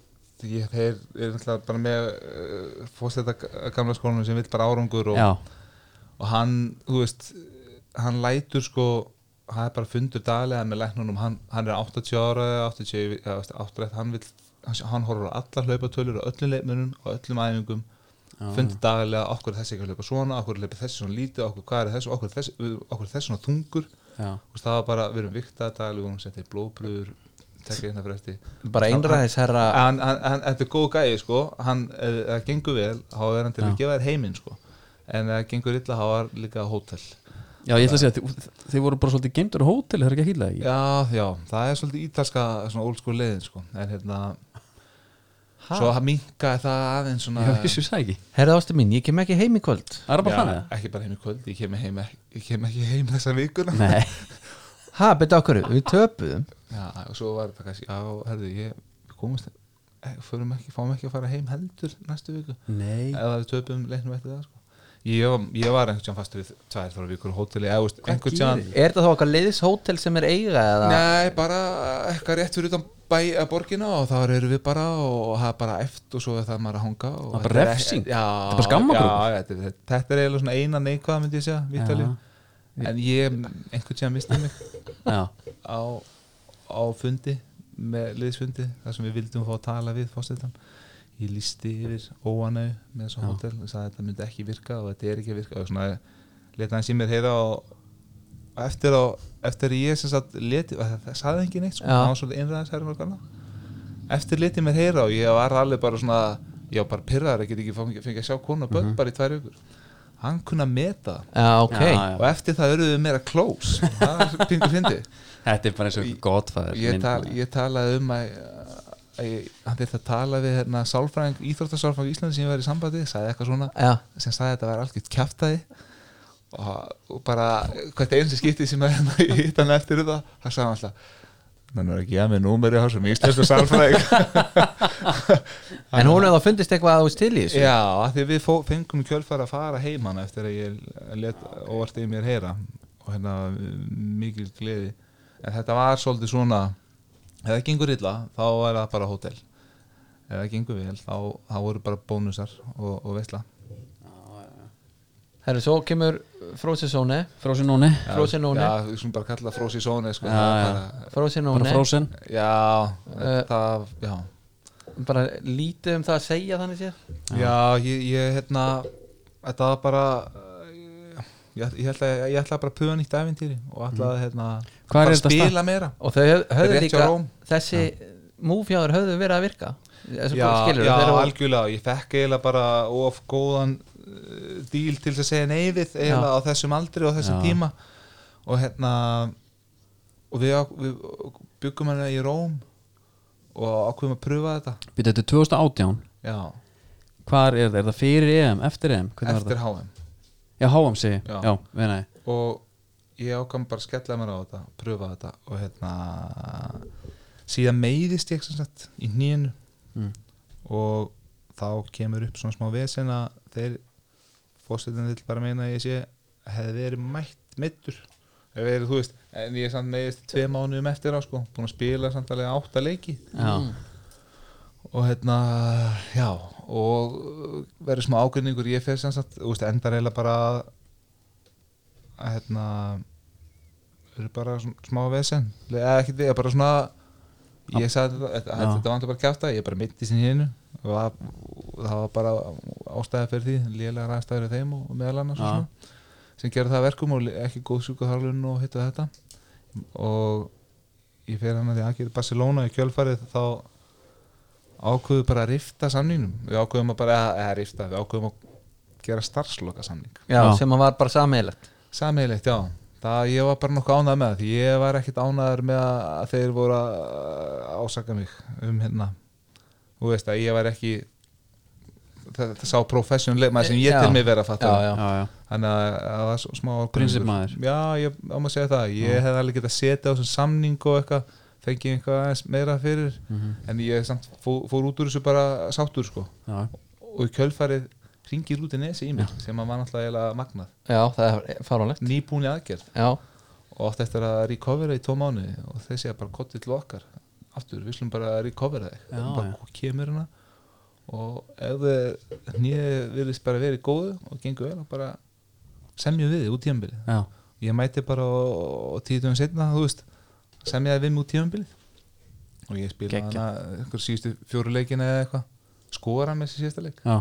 Speaker 3: ég, þeir eru náttúrulega bara með uh, fórstæta gamla skólanum sem vill bara árangur og,
Speaker 1: Já,
Speaker 3: og hann, þú veist hann lætur sko hann er bara fundur daglega með læknunum hann, hann er 80 ára, 80, ja, 80 hann, vill, hann, hann horfur á allar hlaupatölur og öllum leikmönum og öllum æfingum fundur daglega, okkur er þessi ekki að hlaupa svona okkur er hlaupa þessi svona lítið, okkur hvað er þessi okkur er þessi, okkur er þessi svona þungur
Speaker 1: já
Speaker 3: Þú veist, það var bara, við erum viktaða dag við vorum settir blóðbröður tekja hérna fyrir eftir
Speaker 2: bara einræðis herra
Speaker 3: hann, hann, hann, þetta er góð gæði sko hann, ef það gengur vel, þá er hann til að
Speaker 1: Já.
Speaker 3: gefa þér heiminn sko en ef það gengur illa, þá er líka hótel
Speaker 1: Já, ég ætla að segja, þið, þið voru bara svolítið geimtur á hóteli, það er ekki að hýla ekki
Speaker 3: já, já, það er svolítið ítalska svona old school leiðin sko en hérna,
Speaker 2: Ha?
Speaker 3: svo hann minkaði það aðeins svona
Speaker 1: Já, ég svo ekki
Speaker 2: herra ástu mín, ég kem ekki heim í kvöld
Speaker 1: Það er bara
Speaker 3: já,
Speaker 1: þannig að
Speaker 3: ekki bara heim í kvöld, ég kem, heim, ég kem ekki heim þessa vikuna
Speaker 1: Nei,
Speaker 2: ha, beti okkur, við töpuðum
Speaker 3: já, og svo var þetta kannski, já, herðu, ég við komumst, eh, förum ekki fáum ekki að fara heim heldur næstu viku
Speaker 1: nei
Speaker 3: eða við töpum leiknum eftir það sko. ég, var- ég var einhvern tíðan fastur við tvær þóra vikur á hóteli eða veist, einhvern tíðan
Speaker 1: gerir?
Speaker 2: er þetta þá okkar leiðishótel sem er eiga eða
Speaker 3: Nei, bara eitthvað rétt fyrir utan bæ að borgina og þar eru við bara og það er bara eft og svo er það maður að hanga og
Speaker 1: Það er bara
Speaker 3: þetta
Speaker 1: refsing.
Speaker 3: Já,
Speaker 1: Þetta er bara skammargróf.
Speaker 3: já, þetta, er- þetta er eiginlega svona eina neikvað myndi ég segja, Vítali en ég, einhvern tíðan misti mig
Speaker 1: Já,
Speaker 3: á, á fundi með liðsfundi þar sem við vildum fá að tala við fórsetan ég lísti yfir óanau með þessu
Speaker 1: Já.
Speaker 3: hótel og sagði að þetta myndi ekki virka og þetta er ekki að virka og svona leta hans í mér heyra og, og eftir á eftir ég sem sagt leti og það, það sagði engin neitt sko,
Speaker 2: Já.
Speaker 3: það var svolítið innræðis herrum og gana eftir leti mér heyra og ég var alveg bara svona ég var bara pyrraður að geta ekki fengið fengið að sjá konu og börn
Speaker 1: Mhm.
Speaker 3: bara í tvær vikur hann kunna meta
Speaker 2: já, ok
Speaker 1: Já,
Speaker 3: og eftir það eruðu meira
Speaker 1: <laughs>
Speaker 3: close það er pingu fyndið
Speaker 1: þetta er bara eins og gottfæður
Speaker 3: ég, tal, ég talaði um að, að ég, hann þurfti að tala við hérna, sálfræðing, íþróttasálfræðing í Íslandi sem ég var í sambandi, sagði eitthvað svona
Speaker 2: já,
Speaker 3: sem sagði að þetta var algjört kjaftaði og, og bara hvert einu sem skiptið sem að ég hitt hann eftir það, það sagði hann alltaf Þannig er ekki ég með númeri á sem íslensku sálfræðing
Speaker 2: en hún hefði þá fundist eitthvað að þú veist til í þessu
Speaker 3: Já, af því við fó, fengum í kjölfæra að fara heimann eftir að ég let óvart í mér heyra og hérna mikil gleði en þetta var svolítið svona ef það gengur illa, þá er það bara hótel ef það gengur vel, þá, þá voru bara bónusar og, og veistla
Speaker 2: herru, svo kemur Frosinone
Speaker 1: Frozen Noni
Speaker 2: Frozen Noni.
Speaker 3: Já, við skulum bara kalla Frosi Sóni sko,
Speaker 1: Já,
Speaker 3: það er
Speaker 1: já. Bara
Speaker 2: Frosinone,
Speaker 1: Frozen
Speaker 3: bara, já,
Speaker 2: Eh.
Speaker 3: það, já
Speaker 2: bara lítið um það að segja þannig séð
Speaker 3: Já, ég, ég hérna þetta var bara eh, ég, ég ætla, ég ætla bara að puða nýtt æfintýri og ætla að hérna,
Speaker 1: Hvar Mhm. er
Speaker 3: bara
Speaker 1: þetta
Speaker 3: spila meira
Speaker 2: og þau höf- höfðu
Speaker 3: Rétt hjá
Speaker 2: líka
Speaker 3: Róm.
Speaker 2: þessi múfjáður höfðu verið að virka þessi
Speaker 3: já,
Speaker 2: skilur
Speaker 3: já
Speaker 2: þeir eru
Speaker 3: algjörlega, ég fekk eiginlega bara of góðan uh, díl til þess að segja neyfið eiginlega á þessum aldri og þessum
Speaker 1: Já.
Speaker 3: tíma og hérna og við, á- við byggum hana í Róm og ákveðum að pröfa þetta
Speaker 1: Býta, þetta er 2018
Speaker 3: já,
Speaker 1: Hvar er þetta? Er það fyrir EM? Eftir EM? Hvernig var
Speaker 3: eftir
Speaker 1: það?
Speaker 3: HM
Speaker 1: Já, háam sig
Speaker 3: Já.
Speaker 1: Já, við nei
Speaker 3: og ég ákvæm bara að skella mér á þetta pröfa þetta og hérna síðan meiðist ég sem sagt í hnýinu
Speaker 1: Mm.
Speaker 3: og þá kemur upp svona smá vesen að þeir fórsetin vill bara meina að ég sé hefði verið mætt mittur hefði verið, þú veist, en ég er samt meiðist tvei mánuðum eftir á sko, búin að spila samt alveg átta leiki
Speaker 1: Já,
Speaker 3: Mm. og hérna, já og verður smá ágrinningur ég fer sem sagt, þú veist, endar eiginlega bara að- að hérna verður bara sm- smá vesen eða ekki, ég bara svona ég sagði þetta, þetta,
Speaker 1: Já.
Speaker 3: þetta vantur bara að kjáta ég bara mitti sinni hinnu og það- og það var bara ástæði fyrir því lélega ræðstæður þeim og, og meðal annars og
Speaker 1: Já.
Speaker 3: svona sem gerði það að verkum og le- ekki góð sjúkuharlun og hitt og þetta og ég fer hann að því aðgerði Barcelona í kjölfarið þá ákveðu bara að rifta samningnum við ákveðum að bara, eða rifta við ákveðum að gera starfsloka samning
Speaker 2: já,
Speaker 1: Já.
Speaker 2: sem að var bara sameigilegt
Speaker 3: sammeilegt, já það ég var bara nokkuð ánægð með það því ég var ekkit ánægður með að þeir voru að ásaka mig um hérna þú veist að ég var ekki þetta, þetta sá professional leikmaður sem ég
Speaker 2: Já.
Speaker 3: til mig vera að fatta
Speaker 2: Já.
Speaker 1: já, já
Speaker 3: þannig að það var svo- smá ágreiningur.
Speaker 1: Prinsippmaður.
Speaker 3: já, ég á maður að segja það ég hefði alveg getað setið á þessum samning og eitthvað fengið eitthvað aðeins meira fyrir
Speaker 1: Mhm.
Speaker 3: en ég samt fór, fór út úr þessu bara sáttur sko
Speaker 1: Já,
Speaker 3: og í kjölfarið ringir út í nesi í mig sem að var náttúrulega eiginlega magnað
Speaker 2: já, það er faranlegt
Speaker 3: nýbúni aðgerð
Speaker 2: já,
Speaker 3: og átti eftir að recovera í tvo mánu og þeir segja bara kottið til okkar aftur, við slum bara að recovera þig
Speaker 1: Já,
Speaker 3: bara
Speaker 1: já.
Speaker 3: já. kemur hana og ef þið nýðið virðist bara verið góðu og gengur vel og bara semjum við þig út tímabilið
Speaker 1: já
Speaker 3: ég mæti bara og, og tíu dögum setna þú veist, semjaði við mig út tífambilið og ég spilaði
Speaker 1: Geggjað.
Speaker 3: hana einhver síðustu fjóru leikina eða eitthvað skora með þessi síðasta leik
Speaker 1: Já,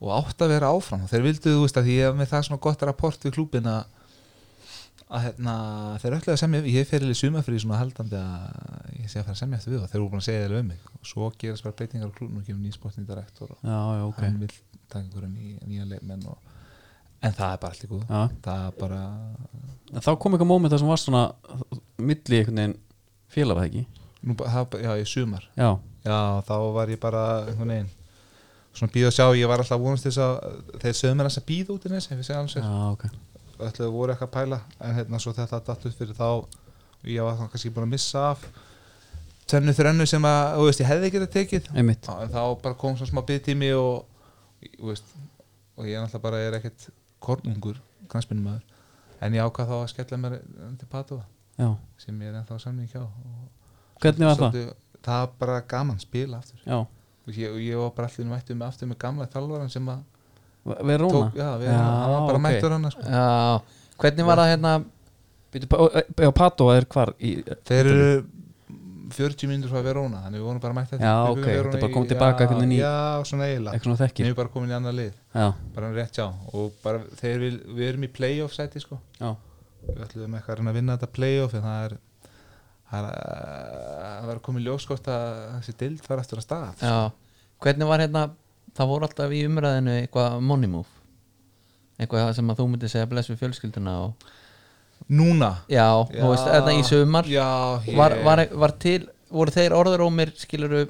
Speaker 3: og átt að vera áfram og þeir vildu, þú veist, að því ég hef með það svona gott rapport við klúbin að að hérna, þeir öllu að semja ég fer í sumafrið svona haldandi að ég sé að fara að semja eftir við og þeir eru búin að segja þeir um mig og svo gerast bara breytingar á klúbin og kemur nýsportin direktor og
Speaker 1: já, já, ok
Speaker 3: hann vil taka einhverja ný, nýja leikmenn og, en það er bara allt í góð
Speaker 1: Já.
Speaker 3: það er bara,
Speaker 1: En þá kom eitthvað móment þar sem var svona milli einhvern veginn félag var það ekki
Speaker 3: Nú, ba- það, já, í sumar
Speaker 1: Já,
Speaker 3: Já, þá var ég bara einhvern veginn Svona býð og sjá, ég var alltaf að vonast til þess að Þeir sögðu mér þess að býða út í næs Ef ég segja alls
Speaker 1: já,
Speaker 3: er,
Speaker 1: ok
Speaker 3: öllu voru eitthvað að pæla En hérna svo þetta datt upp fyrir þá Ég var þá kannski búin að missa af Tönnu þrennu sem að, þú veist, ég hefði ekki þetta tekið
Speaker 1: Einmitt,
Speaker 3: Já, En þá bara kom svona smá byggtími og, þú veist, og ég er alltaf bara, ég er ekkert kornungur, knanspinnum En ég ákvað þá að skella mér til Padova
Speaker 1: já
Speaker 3: sem ég er ennþá samning hjá og
Speaker 1: Hvernig var það?
Speaker 3: Svolítið- það var bara gaman spila aftur
Speaker 1: Já,
Speaker 3: og ég, og ég var bara allir mættu með aftur með gamla þjálfaran sem að
Speaker 1: við róna
Speaker 3: tók, já, við, hann var bara mættur hann sko.
Speaker 2: já, hvernig var það hérna
Speaker 1: Býtu, pa- og- Já, Pato er hvar í
Speaker 3: þeir eru 40 mínútur frá Verona þannig við vorum bara mætt
Speaker 1: Já, ok, þetta bara kom tilbaka einhvern veginn í-
Speaker 3: já, svona eiginlega,
Speaker 1: eitthvað svona
Speaker 3: við
Speaker 1: þekkir
Speaker 3: erum bara komin í annar lið
Speaker 1: Já,
Speaker 3: bara rétt hjá og bara, þeir, vil- við erum í playoff sæti sko.
Speaker 1: já,
Speaker 3: við ætlum eitthvað að reyna að vinna þetta playoff en það er það er- það var að koma í ljós hvort að þessi dild var aftur að stað
Speaker 2: já, hvernig var hérna það voru alltaf í umræðinu eitthvað money move eitthvað sem að þú myndir segja bless við fjölskylduna og
Speaker 3: núna
Speaker 2: já, þú veist, þetta í sumar
Speaker 3: já, ég,
Speaker 2: var, var, var til, voru þeir orðarómir skiluru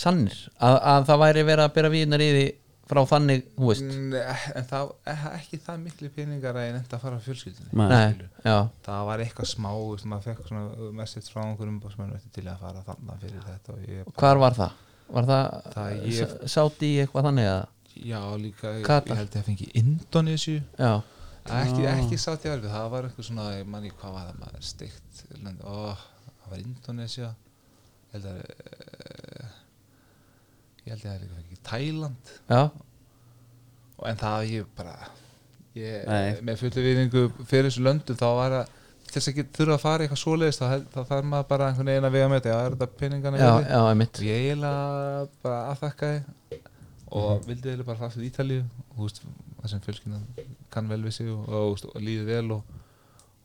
Speaker 2: sannir að, að það væri verið að bera vínar í því frá þannig, þú veist
Speaker 3: Nei, en það e- ekki það miklu peningar að ég nefndi að fara á fjölskyldinni
Speaker 1: Nei.
Speaker 2: nei, já,
Speaker 3: það var eitthvað smá, þú veist, maður fekk svona uh, message frá einhverjum og sem maður til að fara þannig fyrir þetta og ég bara,
Speaker 2: hvar var það? var það,
Speaker 3: Það
Speaker 2: það
Speaker 3: ég-
Speaker 2: sátt í eitthvað þannig að
Speaker 3: já líka, ég,
Speaker 2: Katar.
Speaker 3: ég held ég að fengi Indonésiu,
Speaker 2: já,
Speaker 3: ekki,
Speaker 2: Ah.
Speaker 3: ekki sátt ég alveg það var eitthvað svona, ég manni hvað var það maður steikt, lönd, ó, það var Indonésia ég held að eh, ég held ég að líka fengi Tæland
Speaker 2: já,
Speaker 3: og en það ég bara ég, eh,
Speaker 1: Nei.
Speaker 3: með fullu viðingu fyrir þessu löndum þá var að til þess að ekki þurfa að fara í eitthvað svoleiðist þá, held- þá þarf maður bara einhvern veginn að vega með þetta já, er þetta peningana
Speaker 2: já,
Speaker 3: virði?
Speaker 2: já, einmitt
Speaker 3: og ég eiginlega bara aðþakkaði
Speaker 1: Mhm.
Speaker 3: og vildi eiginlega bara fara til Ítalíu og þú veist, það sem fjölskyndan kann vel við sig og, og, þú veist, og líði vel og,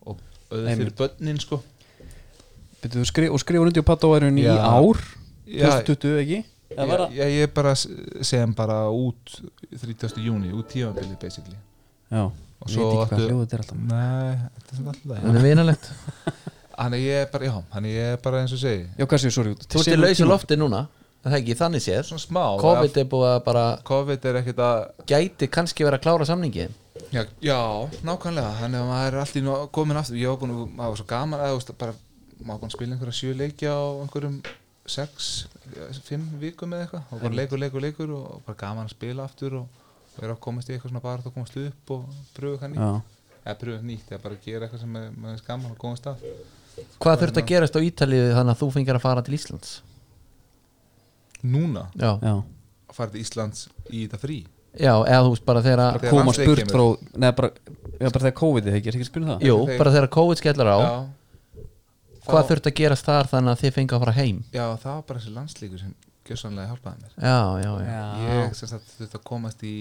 Speaker 3: og auðvitað fyrir
Speaker 1: Einmitt.
Speaker 3: börnin sko
Speaker 1: Byrju, þú skri, og skrifur undir pattaværin í
Speaker 3: Já.
Speaker 1: ár
Speaker 3: Já,
Speaker 1: 2020 ekki Eða var
Speaker 3: ég,
Speaker 1: það-
Speaker 3: ég, ég bara s- sem bara út 30. júni, út tímabilið basically
Speaker 1: Já,
Speaker 3: og
Speaker 1: ég
Speaker 3: svo
Speaker 1: veit ekki hvað
Speaker 3: áttu-
Speaker 1: hljóðu þetta er alltaf
Speaker 3: Nei, þetta er svona alltaf
Speaker 2: Það er vinalegt
Speaker 3: Þannig ég er bara, já, þannig ég er bara eins og segi
Speaker 1: Já, hvað séu, sorry
Speaker 2: Þú ert í lausa lofti núna en Það er ekki þannig séð
Speaker 3: Svona smá
Speaker 2: COVID er búið að bara
Speaker 3: COVID er ekkert að
Speaker 2: Gæti kannski verið að klára samningi
Speaker 3: Já, já nákvæmlega, þannig að maður er alltaf komin aftur, ég var búin að, maður var svo gaman að, þú veist, bara, maður var búin að spila einhverja sjö leikja á einhverjum sex, eh, fimm vikum eða eitthvað og bara leikur, leikur, leikur og bara gaman að spila aftur og vera að komast í eitthvað svona bara að komast upp og pröfu eitthvað nýtt
Speaker 1: Já,
Speaker 3: eða pröfu eitthvað nýtt, eða bara gera eitthvað sem er- maður er gaman að komast að
Speaker 2: Hvað þurft að gerast á Ítalíu þannig að þú fengir að fara til Íslands
Speaker 3: Núna,
Speaker 2: Já,
Speaker 1: já
Speaker 3: að fara til Íslands í þetta frí
Speaker 2: já eða þú veist bara þegar að
Speaker 3: Þegar
Speaker 1: Komast
Speaker 3: landsleik
Speaker 1: burt frá, neða bara Já, bara þegar COVID er ekki, er ekki að spila það
Speaker 2: Jú,
Speaker 3: þegar-
Speaker 2: bara þegar COVID skellar á
Speaker 3: Já,
Speaker 2: Hvað
Speaker 3: Þá-
Speaker 2: þurft að gerast þar þannig að þið fengið að fara heim
Speaker 3: já, það var bara þessi landslíkur sem gjössanlega hjálpaði mér
Speaker 2: Já, já, já,
Speaker 1: Já,
Speaker 3: Ég sem sagt þurfti að komast í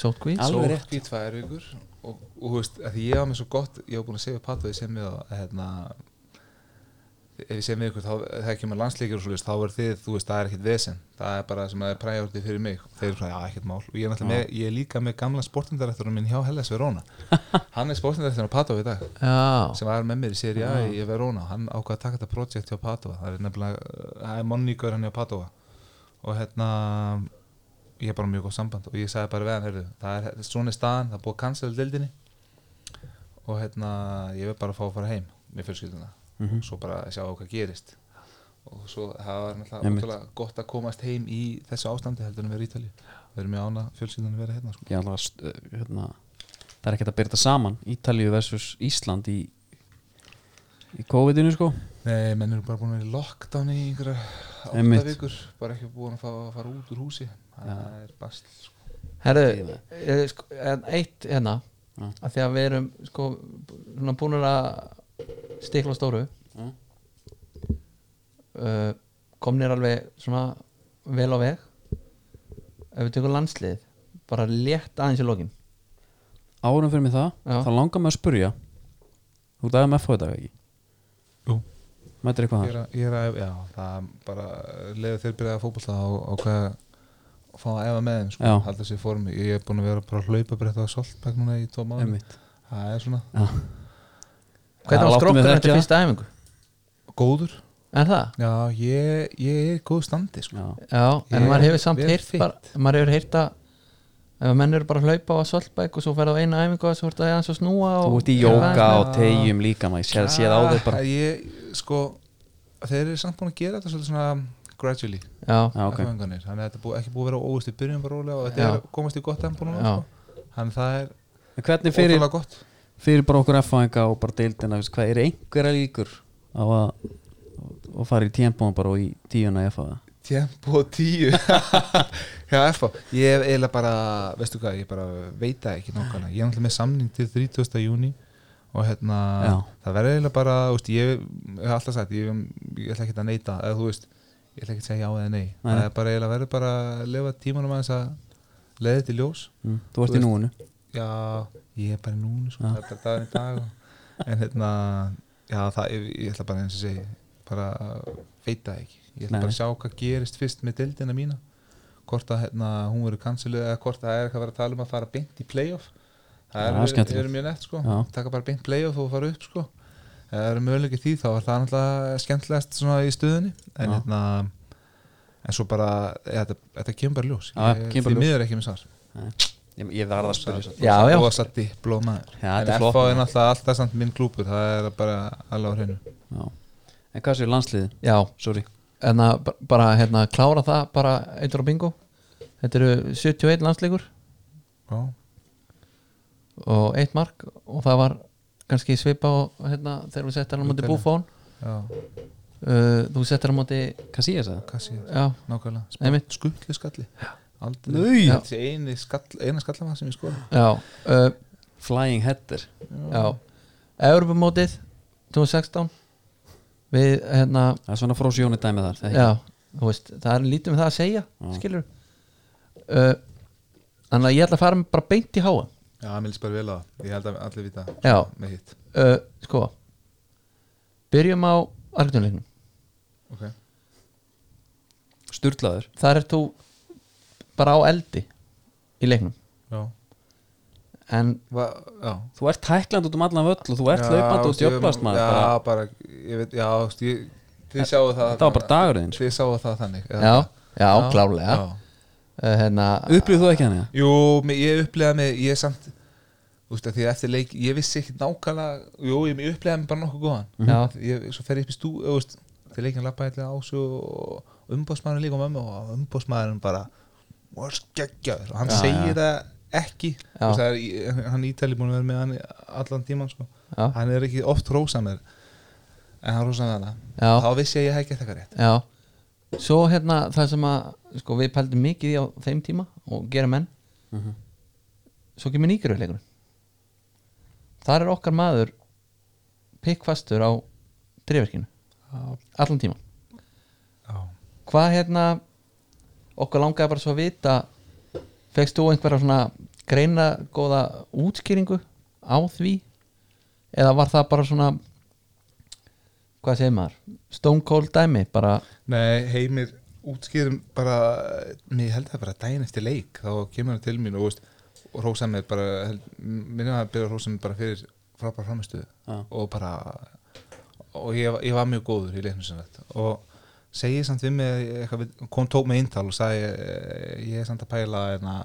Speaker 2: sótkví
Speaker 1: Al- Alveg rétt.
Speaker 3: sótt í tvær vikur og, og þú veist, að því ég var með svo gott ég var búin að segja pataði sem ég að hérna, ef ég segi með ykkur þá þegar kemur landsleikir og svo þá er þið, þú veist, það er ekkert vesen það er bara sem að það er præjórtið fyrir mig og þeir eru svona, já, ekkert mál og ég er, náttúrulega með, ég er líka með gamla sportundarætturinn minn hjá Hellas Verona hann er sportundarætturinn á Patova í dag
Speaker 2: Já,
Speaker 3: sem var með mér í séri A í Verona hann ákvað að taka þetta projekt hjá Padova það er nefnilega, uh, það er monníkur hann hjá Padova og hérna ég er bara mjög góð samband og ég sagði bara við hann, heyrðu, það er svona er staðan það er búið að cancela dildinni og hérna, ég vil bara fá að fara heim með fjölskylduna, svo bara sjá hvað gerist og svo það var náttúrulega
Speaker 1: Einmitt.
Speaker 3: ótrúlega gott að komast heim í þessu ástandi heldur en við erum í Ítali við erum mjög ána fjölskyldunum vera hérna sko.
Speaker 1: ég alveg að st- eh, hérna, það er ekkert að byrja þetta saman Ítalíu versus Ísland í í COVID-inu sko
Speaker 3: Nei, menn eru bara búin að vera í lockdown í einhverja átta
Speaker 1: Einmitt.
Speaker 3: vikur, bara ekki búin að fá að fara út úr húsi það er bast sko.
Speaker 2: Herru, eh, sko, en eitt hérna
Speaker 1: Já.
Speaker 2: að því að við erum sko svona búinir að stikla á stóru
Speaker 1: Já.
Speaker 2: uh, komnir alveg svona vel á veg ef við tökum landslið bara létt aðeins í lokin
Speaker 1: árum fyrir mig það,
Speaker 2: Já.
Speaker 1: þá langar mig að spurja þú ert AMF á þetta ekki
Speaker 3: Jú.
Speaker 1: mætir eitthvað
Speaker 3: ég, er
Speaker 1: þar
Speaker 3: að, ég er að, já, það er bara leiðu þeir byrjaði að fótbolta og, og hvað fá að efa með þeim, sko,
Speaker 1: Já.
Speaker 3: halda sér í formi ég er búin að vera bara að hlaupa breytta á soltbæk núna í tvo mánu,
Speaker 1: einmitt
Speaker 3: það er svona
Speaker 1: Já. Já,
Speaker 2: hvernig var
Speaker 1: láttu mig
Speaker 2: skrokkur
Speaker 1: þekkja
Speaker 2: eftir
Speaker 1: það.
Speaker 2: fyrsta æfingu
Speaker 3: góður,
Speaker 2: en það,
Speaker 3: já, ég, ég er í góð standi, sko
Speaker 1: Já.
Speaker 2: já, en
Speaker 3: Ég
Speaker 2: maður hefur
Speaker 3: er
Speaker 2: samt
Speaker 3: vel
Speaker 2: heyrt
Speaker 3: fit.
Speaker 2: bara, maður hefur heyrt að ef að menn eru bara að hlaupa á solbæk og svo ferða á eina æfingu og svo verða aðeins að snúa og
Speaker 1: þú ert í jóka og tegjum líka maður séð sé á þér bara
Speaker 3: Ah, ég, sko, þeir eru samt búin að gera þetta svolítið svona gradually
Speaker 2: já,
Speaker 1: Já, Ah, ok.
Speaker 3: æfingarnir, þannig að þetta er búið, ekki búið að vera óvist í byrjun bara rólega og þetta
Speaker 2: Já.
Speaker 3: er að komast í gott tempo núna
Speaker 2: Já.
Speaker 3: sko. þannig að það er
Speaker 1: En hvernig fyrir,
Speaker 3: ótrúlega gott
Speaker 1: fyrir bara okkur F-fæðinga og bara deildina veist, hvað er einhverja líkur á að og fara í tímpóðum bara og í tíuna F-fæða
Speaker 3: tempo 10 <laughs> já, FH, ég hef eiginlega bara veistu hvað, ég bara veit það ekki nákvæmlega ég er náttúrulega með samning til 30. júni og hérna,
Speaker 1: Já.
Speaker 3: það verður eiginlega bara úst, ég hef alltaf sagt ég, ég ætla ekki að neita, eða þú veist ég ætla ekki að segja já eða nei,
Speaker 1: Nei.
Speaker 3: það er bara eiginlega verður bara að lifa tímanum aðeins að leiði til ljós
Speaker 1: mm. þú ert
Speaker 3: Þú
Speaker 1: í núinu
Speaker 3: Já, ég er bara í núna sko,
Speaker 1: Já.
Speaker 3: það er bara daginn í dag og- En hérna, já það, ég, ég ætla bara eins og segi bara uh, veit það ekki Ég ætla
Speaker 1: Nei.
Speaker 3: bara að sjá hvað gerist fyrst með deildina mína Hvort að hérna, hún verður canceluð eða hvort það er eitthvað að vera að tala um að fara beint í playoff
Speaker 1: Já,
Speaker 3: Það er,
Speaker 1: skemmtilegt.
Speaker 3: er mjög nett sko,
Speaker 1: Já.
Speaker 3: taka bara beint playoff og fara upp sko Ef Það eru möguleiki því þá er það náttúrulega skemmtilegast svona í stöðunni En
Speaker 1: Já.
Speaker 3: hérna, en svo bara, ja, þetta, þetta kemur bara í ljós
Speaker 1: Já, kemur bara
Speaker 3: Ég-
Speaker 1: í
Speaker 3: Því
Speaker 1: ljós.
Speaker 3: miður ekki með svar
Speaker 1: Nei. ég, ég verð að spyrja samt.
Speaker 2: Já, já.
Speaker 3: rosa diplómaður
Speaker 1: Já,
Speaker 3: en
Speaker 1: þetta er flott,
Speaker 3: FH er náttúrulega alltaf samt minn klúpur það er bara alveg á hreinu
Speaker 1: Já. en hvað séu landsliðin?
Speaker 2: já,
Speaker 1: sorry
Speaker 2: en að b- bara hérna klára það bara eitthvað á bingo þetta eru 71 landsleikur
Speaker 3: já,
Speaker 2: og eitt mark og það var kannski svipa á hérna þegar við settum hann á móti
Speaker 3: Ítalíu.
Speaker 2: Buffon
Speaker 3: já,
Speaker 2: uh, þú settir hann á móti
Speaker 1: hvað sé ég það?
Speaker 3: hvað sé ég
Speaker 2: já,
Speaker 3: nákvæmlega,
Speaker 2: Einmitt.
Speaker 3: Sp- skutlu skalli aldrei,
Speaker 1: Nei.
Speaker 3: þetta sé eini skall, eina skallama sem ég skoði
Speaker 2: já, uh,
Speaker 1: Flying Header
Speaker 2: já Europamótið 2016 við hérna
Speaker 1: Það er svona frós Jóni dæmi þar það er ekki?
Speaker 2: um já, þú veist, það er lítið með það að segja
Speaker 1: Já.
Speaker 2: skilur uh, Þannig að ég ætla að fara bara beint í háa
Speaker 3: Já, mér líst bara vel á það, ég held að allir vita
Speaker 2: Já,
Speaker 3: með hitt
Speaker 2: uh, sko Byrjum á Argentunleiknum
Speaker 3: okay.
Speaker 1: Sturlaður
Speaker 2: Þar ert þú bara á eldi í leiknum
Speaker 3: Já,
Speaker 2: En
Speaker 3: Va, já
Speaker 1: Þú ert hækland út um allan völl og þú ert
Speaker 3: Já,
Speaker 1: hlaupand og
Speaker 3: veist, ég-
Speaker 1: djöflast maður
Speaker 3: Já,
Speaker 1: bara,
Speaker 3: bara, ég veit, já, veist, ég, þið sjáu það
Speaker 1: Þetta var bara dagurinn sko.
Speaker 3: Þið sjáu það þannig
Speaker 2: já,
Speaker 3: eða-
Speaker 2: já, klárlega
Speaker 3: já.
Speaker 2: Uh, hérna,
Speaker 1: Upplýðu þú ekki hann eða?
Speaker 3: Jú, mér- ég upplega mig, ég samt Þú veist að því að eftir leik, ég vissi ekki nákvæmlega Jú, ég ég upplega mig bara nokkuð góðan
Speaker 2: Já.
Speaker 3: ég, Svo fer ég upp í stú, þú veist Þegar leikin lappa eitthvað á svo Umbóðsmaðurinn líka á mömmu og umbóðsmaðurinn bara Var skeggjaður Og hann
Speaker 2: Já,
Speaker 3: segir
Speaker 2: já.
Speaker 3: það ekki Þú veist, það er, í- Hann ítali búin að vera með hann í allan tíman sko.
Speaker 2: Já.
Speaker 3: Hann er ekki oft rósað mér En hann rósað mér
Speaker 2: Já.
Speaker 3: hana Þá vissi ég að ég hef ekki eitthvað rétt
Speaker 2: Já Svo hérna það sem að sko, við pældum mikið í á þeim tíma og gera menn
Speaker 1: Mhm.
Speaker 2: Svo kemur nýguröðleikur Þar er okkar maður pikkfastur á dreifverkinu allan tíma
Speaker 3: Já,
Speaker 2: Hvað hérna okkur langaði bara svo að vita fegst þú einhverja svona greina góða útskýringu á því eða var það bara svona hvað segir maður stone cold dæmi bara
Speaker 3: Nei, heimir útskýrum bara, mér held það bara daginn eftir leik, þá kemur hann til mín og, veist, og rósa mér bara held- minna að byrja að rósa mér bara fyrir frábæra framistuð
Speaker 1: Já.
Speaker 3: og bara og ég, ég var mjög góður í leiknum sem þetta og segi samt við mig eitthvað, við- kom tók mig eintal og sagði eh, ég er samt að pæla en að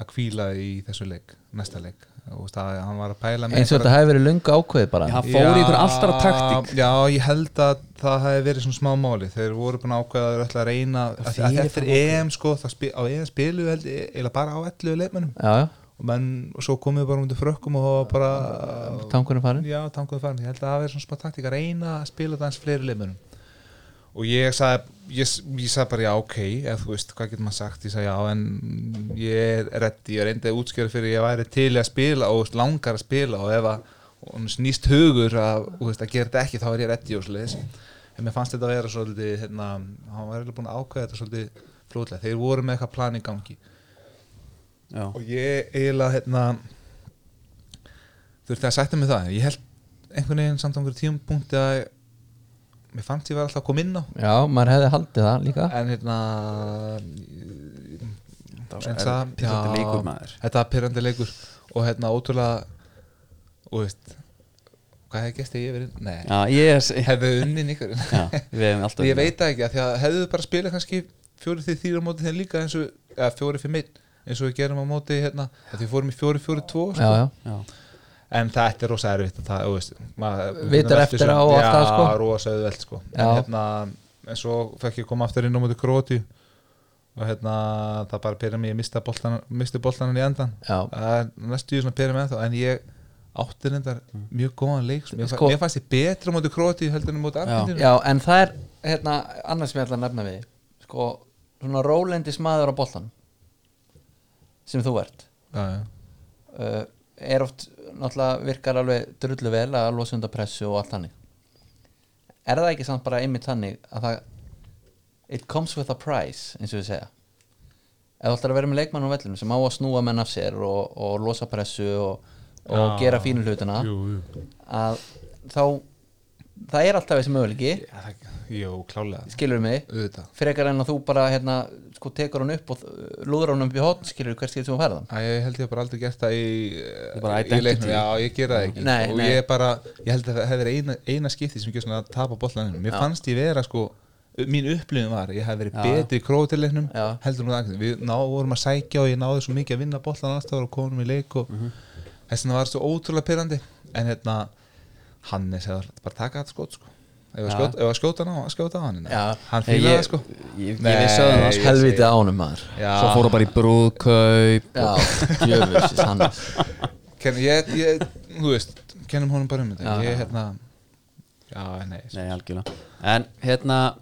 Speaker 3: að kvíla í þessu leik, næsta leik og veist, að hann var að pæla með
Speaker 2: eins og
Speaker 3: einhverja-
Speaker 2: þetta hefði verið löngu ákveðið bara
Speaker 1: Já, hann fór í einhver alltara taktík
Speaker 3: Já, ég held að það hefði verið svona smá máli þeir voru búin að ákveða að þeir ætla að reyna að
Speaker 1: fyrir
Speaker 3: því eftir EM sko, það spil, á EM spilu held ég eiginlega bara á 11 leikmennum
Speaker 2: já, já,
Speaker 3: og, menn, og svo komum við bara undir frökkum og það var bara
Speaker 2: tankurinn farin
Speaker 3: Já, tankuðu farin, ég held að það verið svona smá taktík að reyna að spila það eins fleiri leikmennum og ég sagði ég, ég sagði bara já, ok, ef þú veist hvað getur maður sagt, ég sagði já, en ég er reddi, ég reyndi að útskjöra fyrir ég væri til í að spila og þú veist, langar að spila og ef að og snýst hugur að, þú veist, að gera þetta ekki þá er ég reddi og svoleiðis en mér fannst þetta að vera svolítið hérna, hann var eiginlega búin að ákveða þetta svolítið flótlega, þeir voru með eitthvað plan í gangi
Speaker 1: Já,
Speaker 3: og ég eiginlega hérna, þurfti að sætta mig það ég held einhvern veginn samt á einhverjum tímapunkti að mér fannst ég vera alltaf að koma inn á
Speaker 2: já, maður hefði haldið það líka
Speaker 3: en hérna
Speaker 1: það var
Speaker 3: en
Speaker 1: svo
Speaker 3: það-
Speaker 1: pyrrandi
Speaker 3: já,
Speaker 1: leikur maður
Speaker 3: þetta var pyrrandi leikur og hérna ótrúlega og veist hvað hefði gestið ég verið? Nei,
Speaker 1: Já, ég er
Speaker 3: <laughs>
Speaker 1: s-
Speaker 3: hefði unnin ykkur
Speaker 1: Já, við hefum alltaf
Speaker 3: ég veit það ekki, af því að hefðu bara spilað kannski fjóri því þýra móti þeim líka eins og, eða fjóri fyrir minn eins og við gerum á móti hérna, af því við fórum í fjóri fjóri tvo sko.
Speaker 2: já, já,
Speaker 1: Já,
Speaker 3: en þetta er rosa erfitt að það, þú veist, maður,
Speaker 2: Vitar
Speaker 3: veltir
Speaker 2: eftir
Speaker 3: þessu.
Speaker 2: á og allt það, sko.
Speaker 3: já, rosa auðvelt sko. en
Speaker 2: Já.
Speaker 3: hérna, en svo fekk ég koma aftur inn á móti gróti og hérna, það bara pyrra mig ég mista boltan, misti boltanan í endan
Speaker 2: Já.
Speaker 3: Það er næstu ég svona pyrra mig ennþá en ég átti reyndar mjög góðan leik sko. mér,
Speaker 2: Sko-
Speaker 3: sko, mér fannst ég betra á móti gróti heldur en á móti Argentínu
Speaker 2: já, en það er hérna, annars sem ég ætla að nefna við sko, svona rólendis maður á boltan sem þú ert
Speaker 3: Já, já.
Speaker 2: uh, er oft, náttúrulega virkar alveg drullu vel að losa undan pressu og allt hannig er það ekki samt bara einmitt þannig að það it comes with a price, eins og við segja ef þú ætlar að vera með leikmann á vellum sem á að snúa menn af sér og, og losa pressu og, og
Speaker 3: Já.
Speaker 2: gera fínu hlutina
Speaker 3: jú, jú.
Speaker 2: að þá það er alltaf þessi möguleiki
Speaker 3: Já, það, jú, klálega
Speaker 2: skilur mig,
Speaker 3: auðvitað
Speaker 2: frekar en að þú bara hérna, sko tekur hann upp og uh, lúður hann upp í hotn, skilur hvert skilur sem þú færðan
Speaker 3: Æ, ég held ég bara aldrei gert það í,
Speaker 1: er bara
Speaker 3: í
Speaker 1: identity.
Speaker 3: leiknum, já ég gera það ekki sko.
Speaker 2: Nei,
Speaker 3: og
Speaker 2: nei.
Speaker 3: ég bara, ég held að það hefði verið eina, eina skipti sem ég gjör svona að tapa bollanum mér fannst ég vera sko, mín upplifun var ég hefði verið
Speaker 1: Já.
Speaker 3: betri í krótileiknum
Speaker 2: Já.
Speaker 3: heldur nú það, við ná, vorum að sækja og ég náði svo mikið að vinna bollan alltaf og konum í leik og
Speaker 1: Mhm.
Speaker 3: þess vegna var það svo ótrúlega pyrrandi en hérna, Hannes hefði bara taka þetta skot sko ef að
Speaker 1: Já.
Speaker 3: skjóta- ef að skjóta hann á, að skjóta á hann hérna.
Speaker 2: Já.
Speaker 3: hann
Speaker 1: Hey,
Speaker 3: fílaði
Speaker 1: ég-
Speaker 3: það sko
Speaker 1: ég- ég vissi að það,
Speaker 3: Nei,
Speaker 1: sko.
Speaker 3: ég-
Speaker 2: helviti ánum maður
Speaker 3: Já.
Speaker 1: svo fór það bara í brúðkaup
Speaker 2: já, djöfus, sannas
Speaker 3: Ken, ég, ég, þú veist, kennum honum bara um þetta
Speaker 2: Já,
Speaker 3: Ég,
Speaker 2: já.
Speaker 3: hérna Já, nei, sko,
Speaker 1: Nei, algjörlega En hérna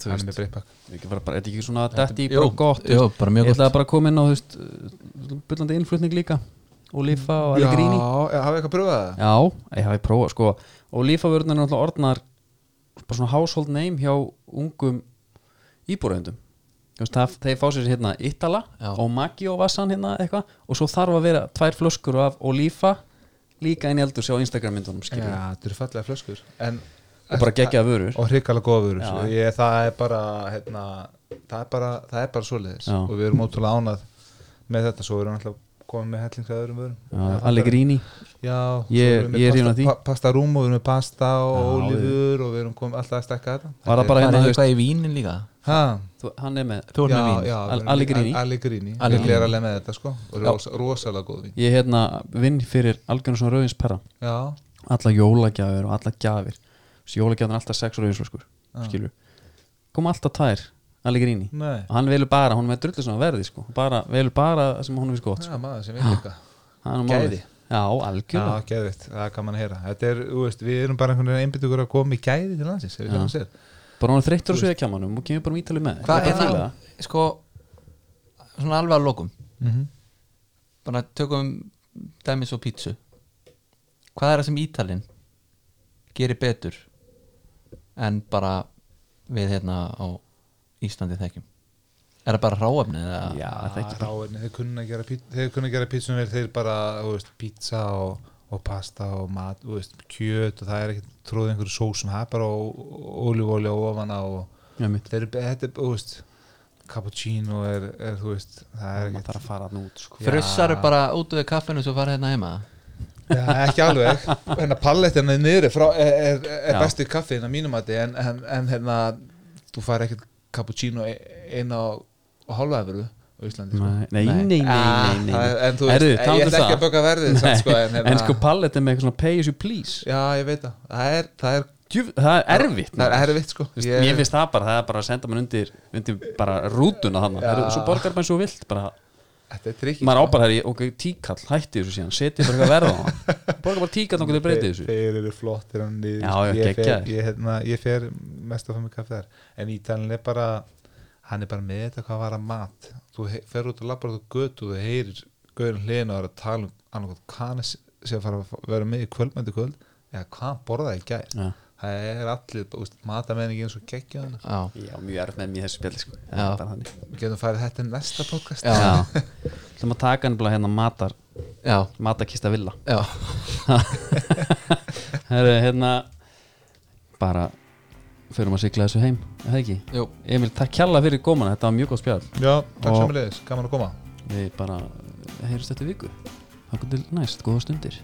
Speaker 1: Þú
Speaker 3: hann er
Speaker 1: veist,
Speaker 3: með breypak
Speaker 1: við ekki bara, bara, er þetta ekki svona dætt í
Speaker 2: Jú,
Speaker 1: bara gott
Speaker 2: jú, bara mjög
Speaker 1: Ég
Speaker 2: gott.
Speaker 1: ætlaði bara að koma inn á, þú veist, byllandi innflutning líka Olifa og Allegrini
Speaker 3: já, hafið eitthvað pröfað það?
Speaker 1: Já, ég hafi prófað sko og lífavörðunar er náttúrulega orðnar bara svona household name hjá ungum íbúröðundum Þú veist, það, þeir fá sér hérna Ítala
Speaker 2: Já.
Speaker 1: og Maggi og Vassan hérna eitthvað og svo þarf að vera tvær flöskur af Olífa líka inn í eldur sér á Instagram myndunum
Speaker 3: Já,
Speaker 1: ja.
Speaker 3: þetta eru fallega flöskur en,
Speaker 1: og bara gegja vörur
Speaker 3: og hrikalega góða vörur
Speaker 1: Já.
Speaker 3: sko. ég, það er bara hérna, það er bara, það er bara svoleiðis
Speaker 1: Já.
Speaker 3: og við erum ótrúlega ánað með þetta svo erum við alltaf komið með helling að öðrum vörum
Speaker 1: Já, Allegrini
Speaker 3: já, svo
Speaker 1: Ég-
Speaker 3: erum við með
Speaker 1: ég er hrifinn af
Speaker 3: pasta-
Speaker 1: því.
Speaker 3: pa- pasta rúm og við erum með pasta og
Speaker 1: Já,
Speaker 3: ólífur og við erum komið alltaf að stekka þetta
Speaker 1: Var það bara
Speaker 3: Þetta
Speaker 2: Það er
Speaker 1: hérna, þú veist,
Speaker 2: eitthvað í vínin líka
Speaker 3: ha,
Speaker 1: þú- hann er með
Speaker 2: Þú erum
Speaker 3: já,
Speaker 2: með vín
Speaker 3: já, við
Speaker 1: Al-
Speaker 3: erum-
Speaker 1: Allegrini.
Speaker 3: Al- Allegrini
Speaker 2: Allegrini.
Speaker 3: við erum alveg með þetta sko og ros, rosalega góð vín
Speaker 1: ég hérna vinn fyrir Algjörnarsson Rauðins perra
Speaker 3: já,
Speaker 1: alla jólagjafir og alla gjafir þessi jólagjafir er alltaf sex rauðinsflöskur skilur koma alltaf tær Allegrini
Speaker 3: nei,
Speaker 1: og hann velur bara, hún er með drullu sem að verði sko. bara, velur bara það sem hún er gott sko.
Speaker 3: það er maður sem við líka
Speaker 1: Það er nú
Speaker 3: Gæði.
Speaker 1: málið. já, algjörða
Speaker 3: Já, geðvitt, það er gaman að heyra Þetta er, þú veist, við erum bara einhvern veginn einbyttugur að koma í gæði til landsins ef við getum séð.
Speaker 1: bara hún er þreyttur á sviðakjamanum og kemur bara um ítali með Ég
Speaker 2: Hvað er
Speaker 1: bara
Speaker 2: það?
Speaker 1: fíla
Speaker 2: Sko, svona alveg að lokum
Speaker 3: Mhm.
Speaker 2: Bara tökum dæmis og pítsu Hvað er það sem Ítalinn gerir betur en bara við hérna á Íslandi þekkjum? Er það bara hráefni eða?
Speaker 1: það. já, það er ekki
Speaker 3: Ráinni, Ah, þeir kunna gera, pít- þeir kunna gera pítsunum vel þeir bara, þú veist, pizza og, og pasta og mat, þú veist, kjöt og það er ekki tróðið einhverju sósum það er bara ólífóli og ofana og
Speaker 1: mjög mitt
Speaker 3: þeir eru, be- þetta er, þú veist cappuccino er, er þú veist það er
Speaker 1: maður
Speaker 3: ekki,
Speaker 1: þarf að fara hann út sko.
Speaker 2: Frussar bara út úr kaffinu svo fara hérna heima
Speaker 3: já, ekki alveg hérna pallettina í niðri frá, er, er, er
Speaker 1: Já.
Speaker 3: besti kaffin að mínum mati en, en, en hérna, þú fær ekkert cappuccino einn á og hálfa efru á Íslandi sko.
Speaker 1: nei, nei, nei, nei,
Speaker 2: Ah,
Speaker 1: nei, nei.
Speaker 3: Það er- en þú veist,
Speaker 1: Herðu,
Speaker 3: ég
Speaker 1: talandi
Speaker 3: ætla
Speaker 1: um
Speaker 3: ekki
Speaker 1: það.
Speaker 3: að bögga verðið,
Speaker 1: Nei,
Speaker 3: samt, sko, en hérna-
Speaker 1: <laughs> en sko palletin með eitthvað svona pay as you please
Speaker 3: Já, ég veit það. Það er, það er,
Speaker 1: Djú, það er erfitt
Speaker 3: það
Speaker 1: maður.
Speaker 3: er erfitt sko.
Speaker 1: Þú veist, mér finnst það bara, það er bara að senda mann undir, undir bara rútuna þannig, ja. svo borgar maður svo vilt bara,
Speaker 3: Þetta er sko. trikk.
Speaker 1: maður ábar það, ok, tíkall, hætti þessu síðan seti bara eitthvað verða á hann, borgar bara tíkall og þau breytið þessu,
Speaker 3: Þeir eru flottir en niður.
Speaker 1: Já,
Speaker 3: sko.
Speaker 1: já,
Speaker 3: ég, fer,
Speaker 1: geggjaðir.
Speaker 3: ég, hérna, ég fer mest að fá mig kaffi þar. En Ítalinn er bara, hann er bara með þetta hvað var að mat. Þú he- fer út og labbar út á götu og þú heyrir gauðin hliðin og er að tala um annarkot kanis sem að fara að fá- vera með í kvöldmænti kvöld. Já, hvað hann borðaði í gær?
Speaker 1: Já.
Speaker 3: Það er allir, þú veist, matamenningin svo geggjaðan.
Speaker 2: Já,
Speaker 1: já, mjög erf með mér í þessu spjalli sko.
Speaker 2: Já.
Speaker 1: bara þannig
Speaker 3: Við getum farið þetta í næsta podcast.
Speaker 2: Já.
Speaker 1: já, þú maður taka hann bara hérna matar,
Speaker 2: já,
Speaker 1: matakista villa
Speaker 2: já
Speaker 1: Herru, hérna bara, förum að sigla þessu heim er það ekki,
Speaker 2: Jú,
Speaker 1: Emil, takk kjalla fyrir gómana þetta var mjög góð spjall
Speaker 3: Já, takk
Speaker 1: Og-
Speaker 3: samanlegis, gaman að koma.
Speaker 1: við bara heyrjumst eftir viku þá til næst, góða stundir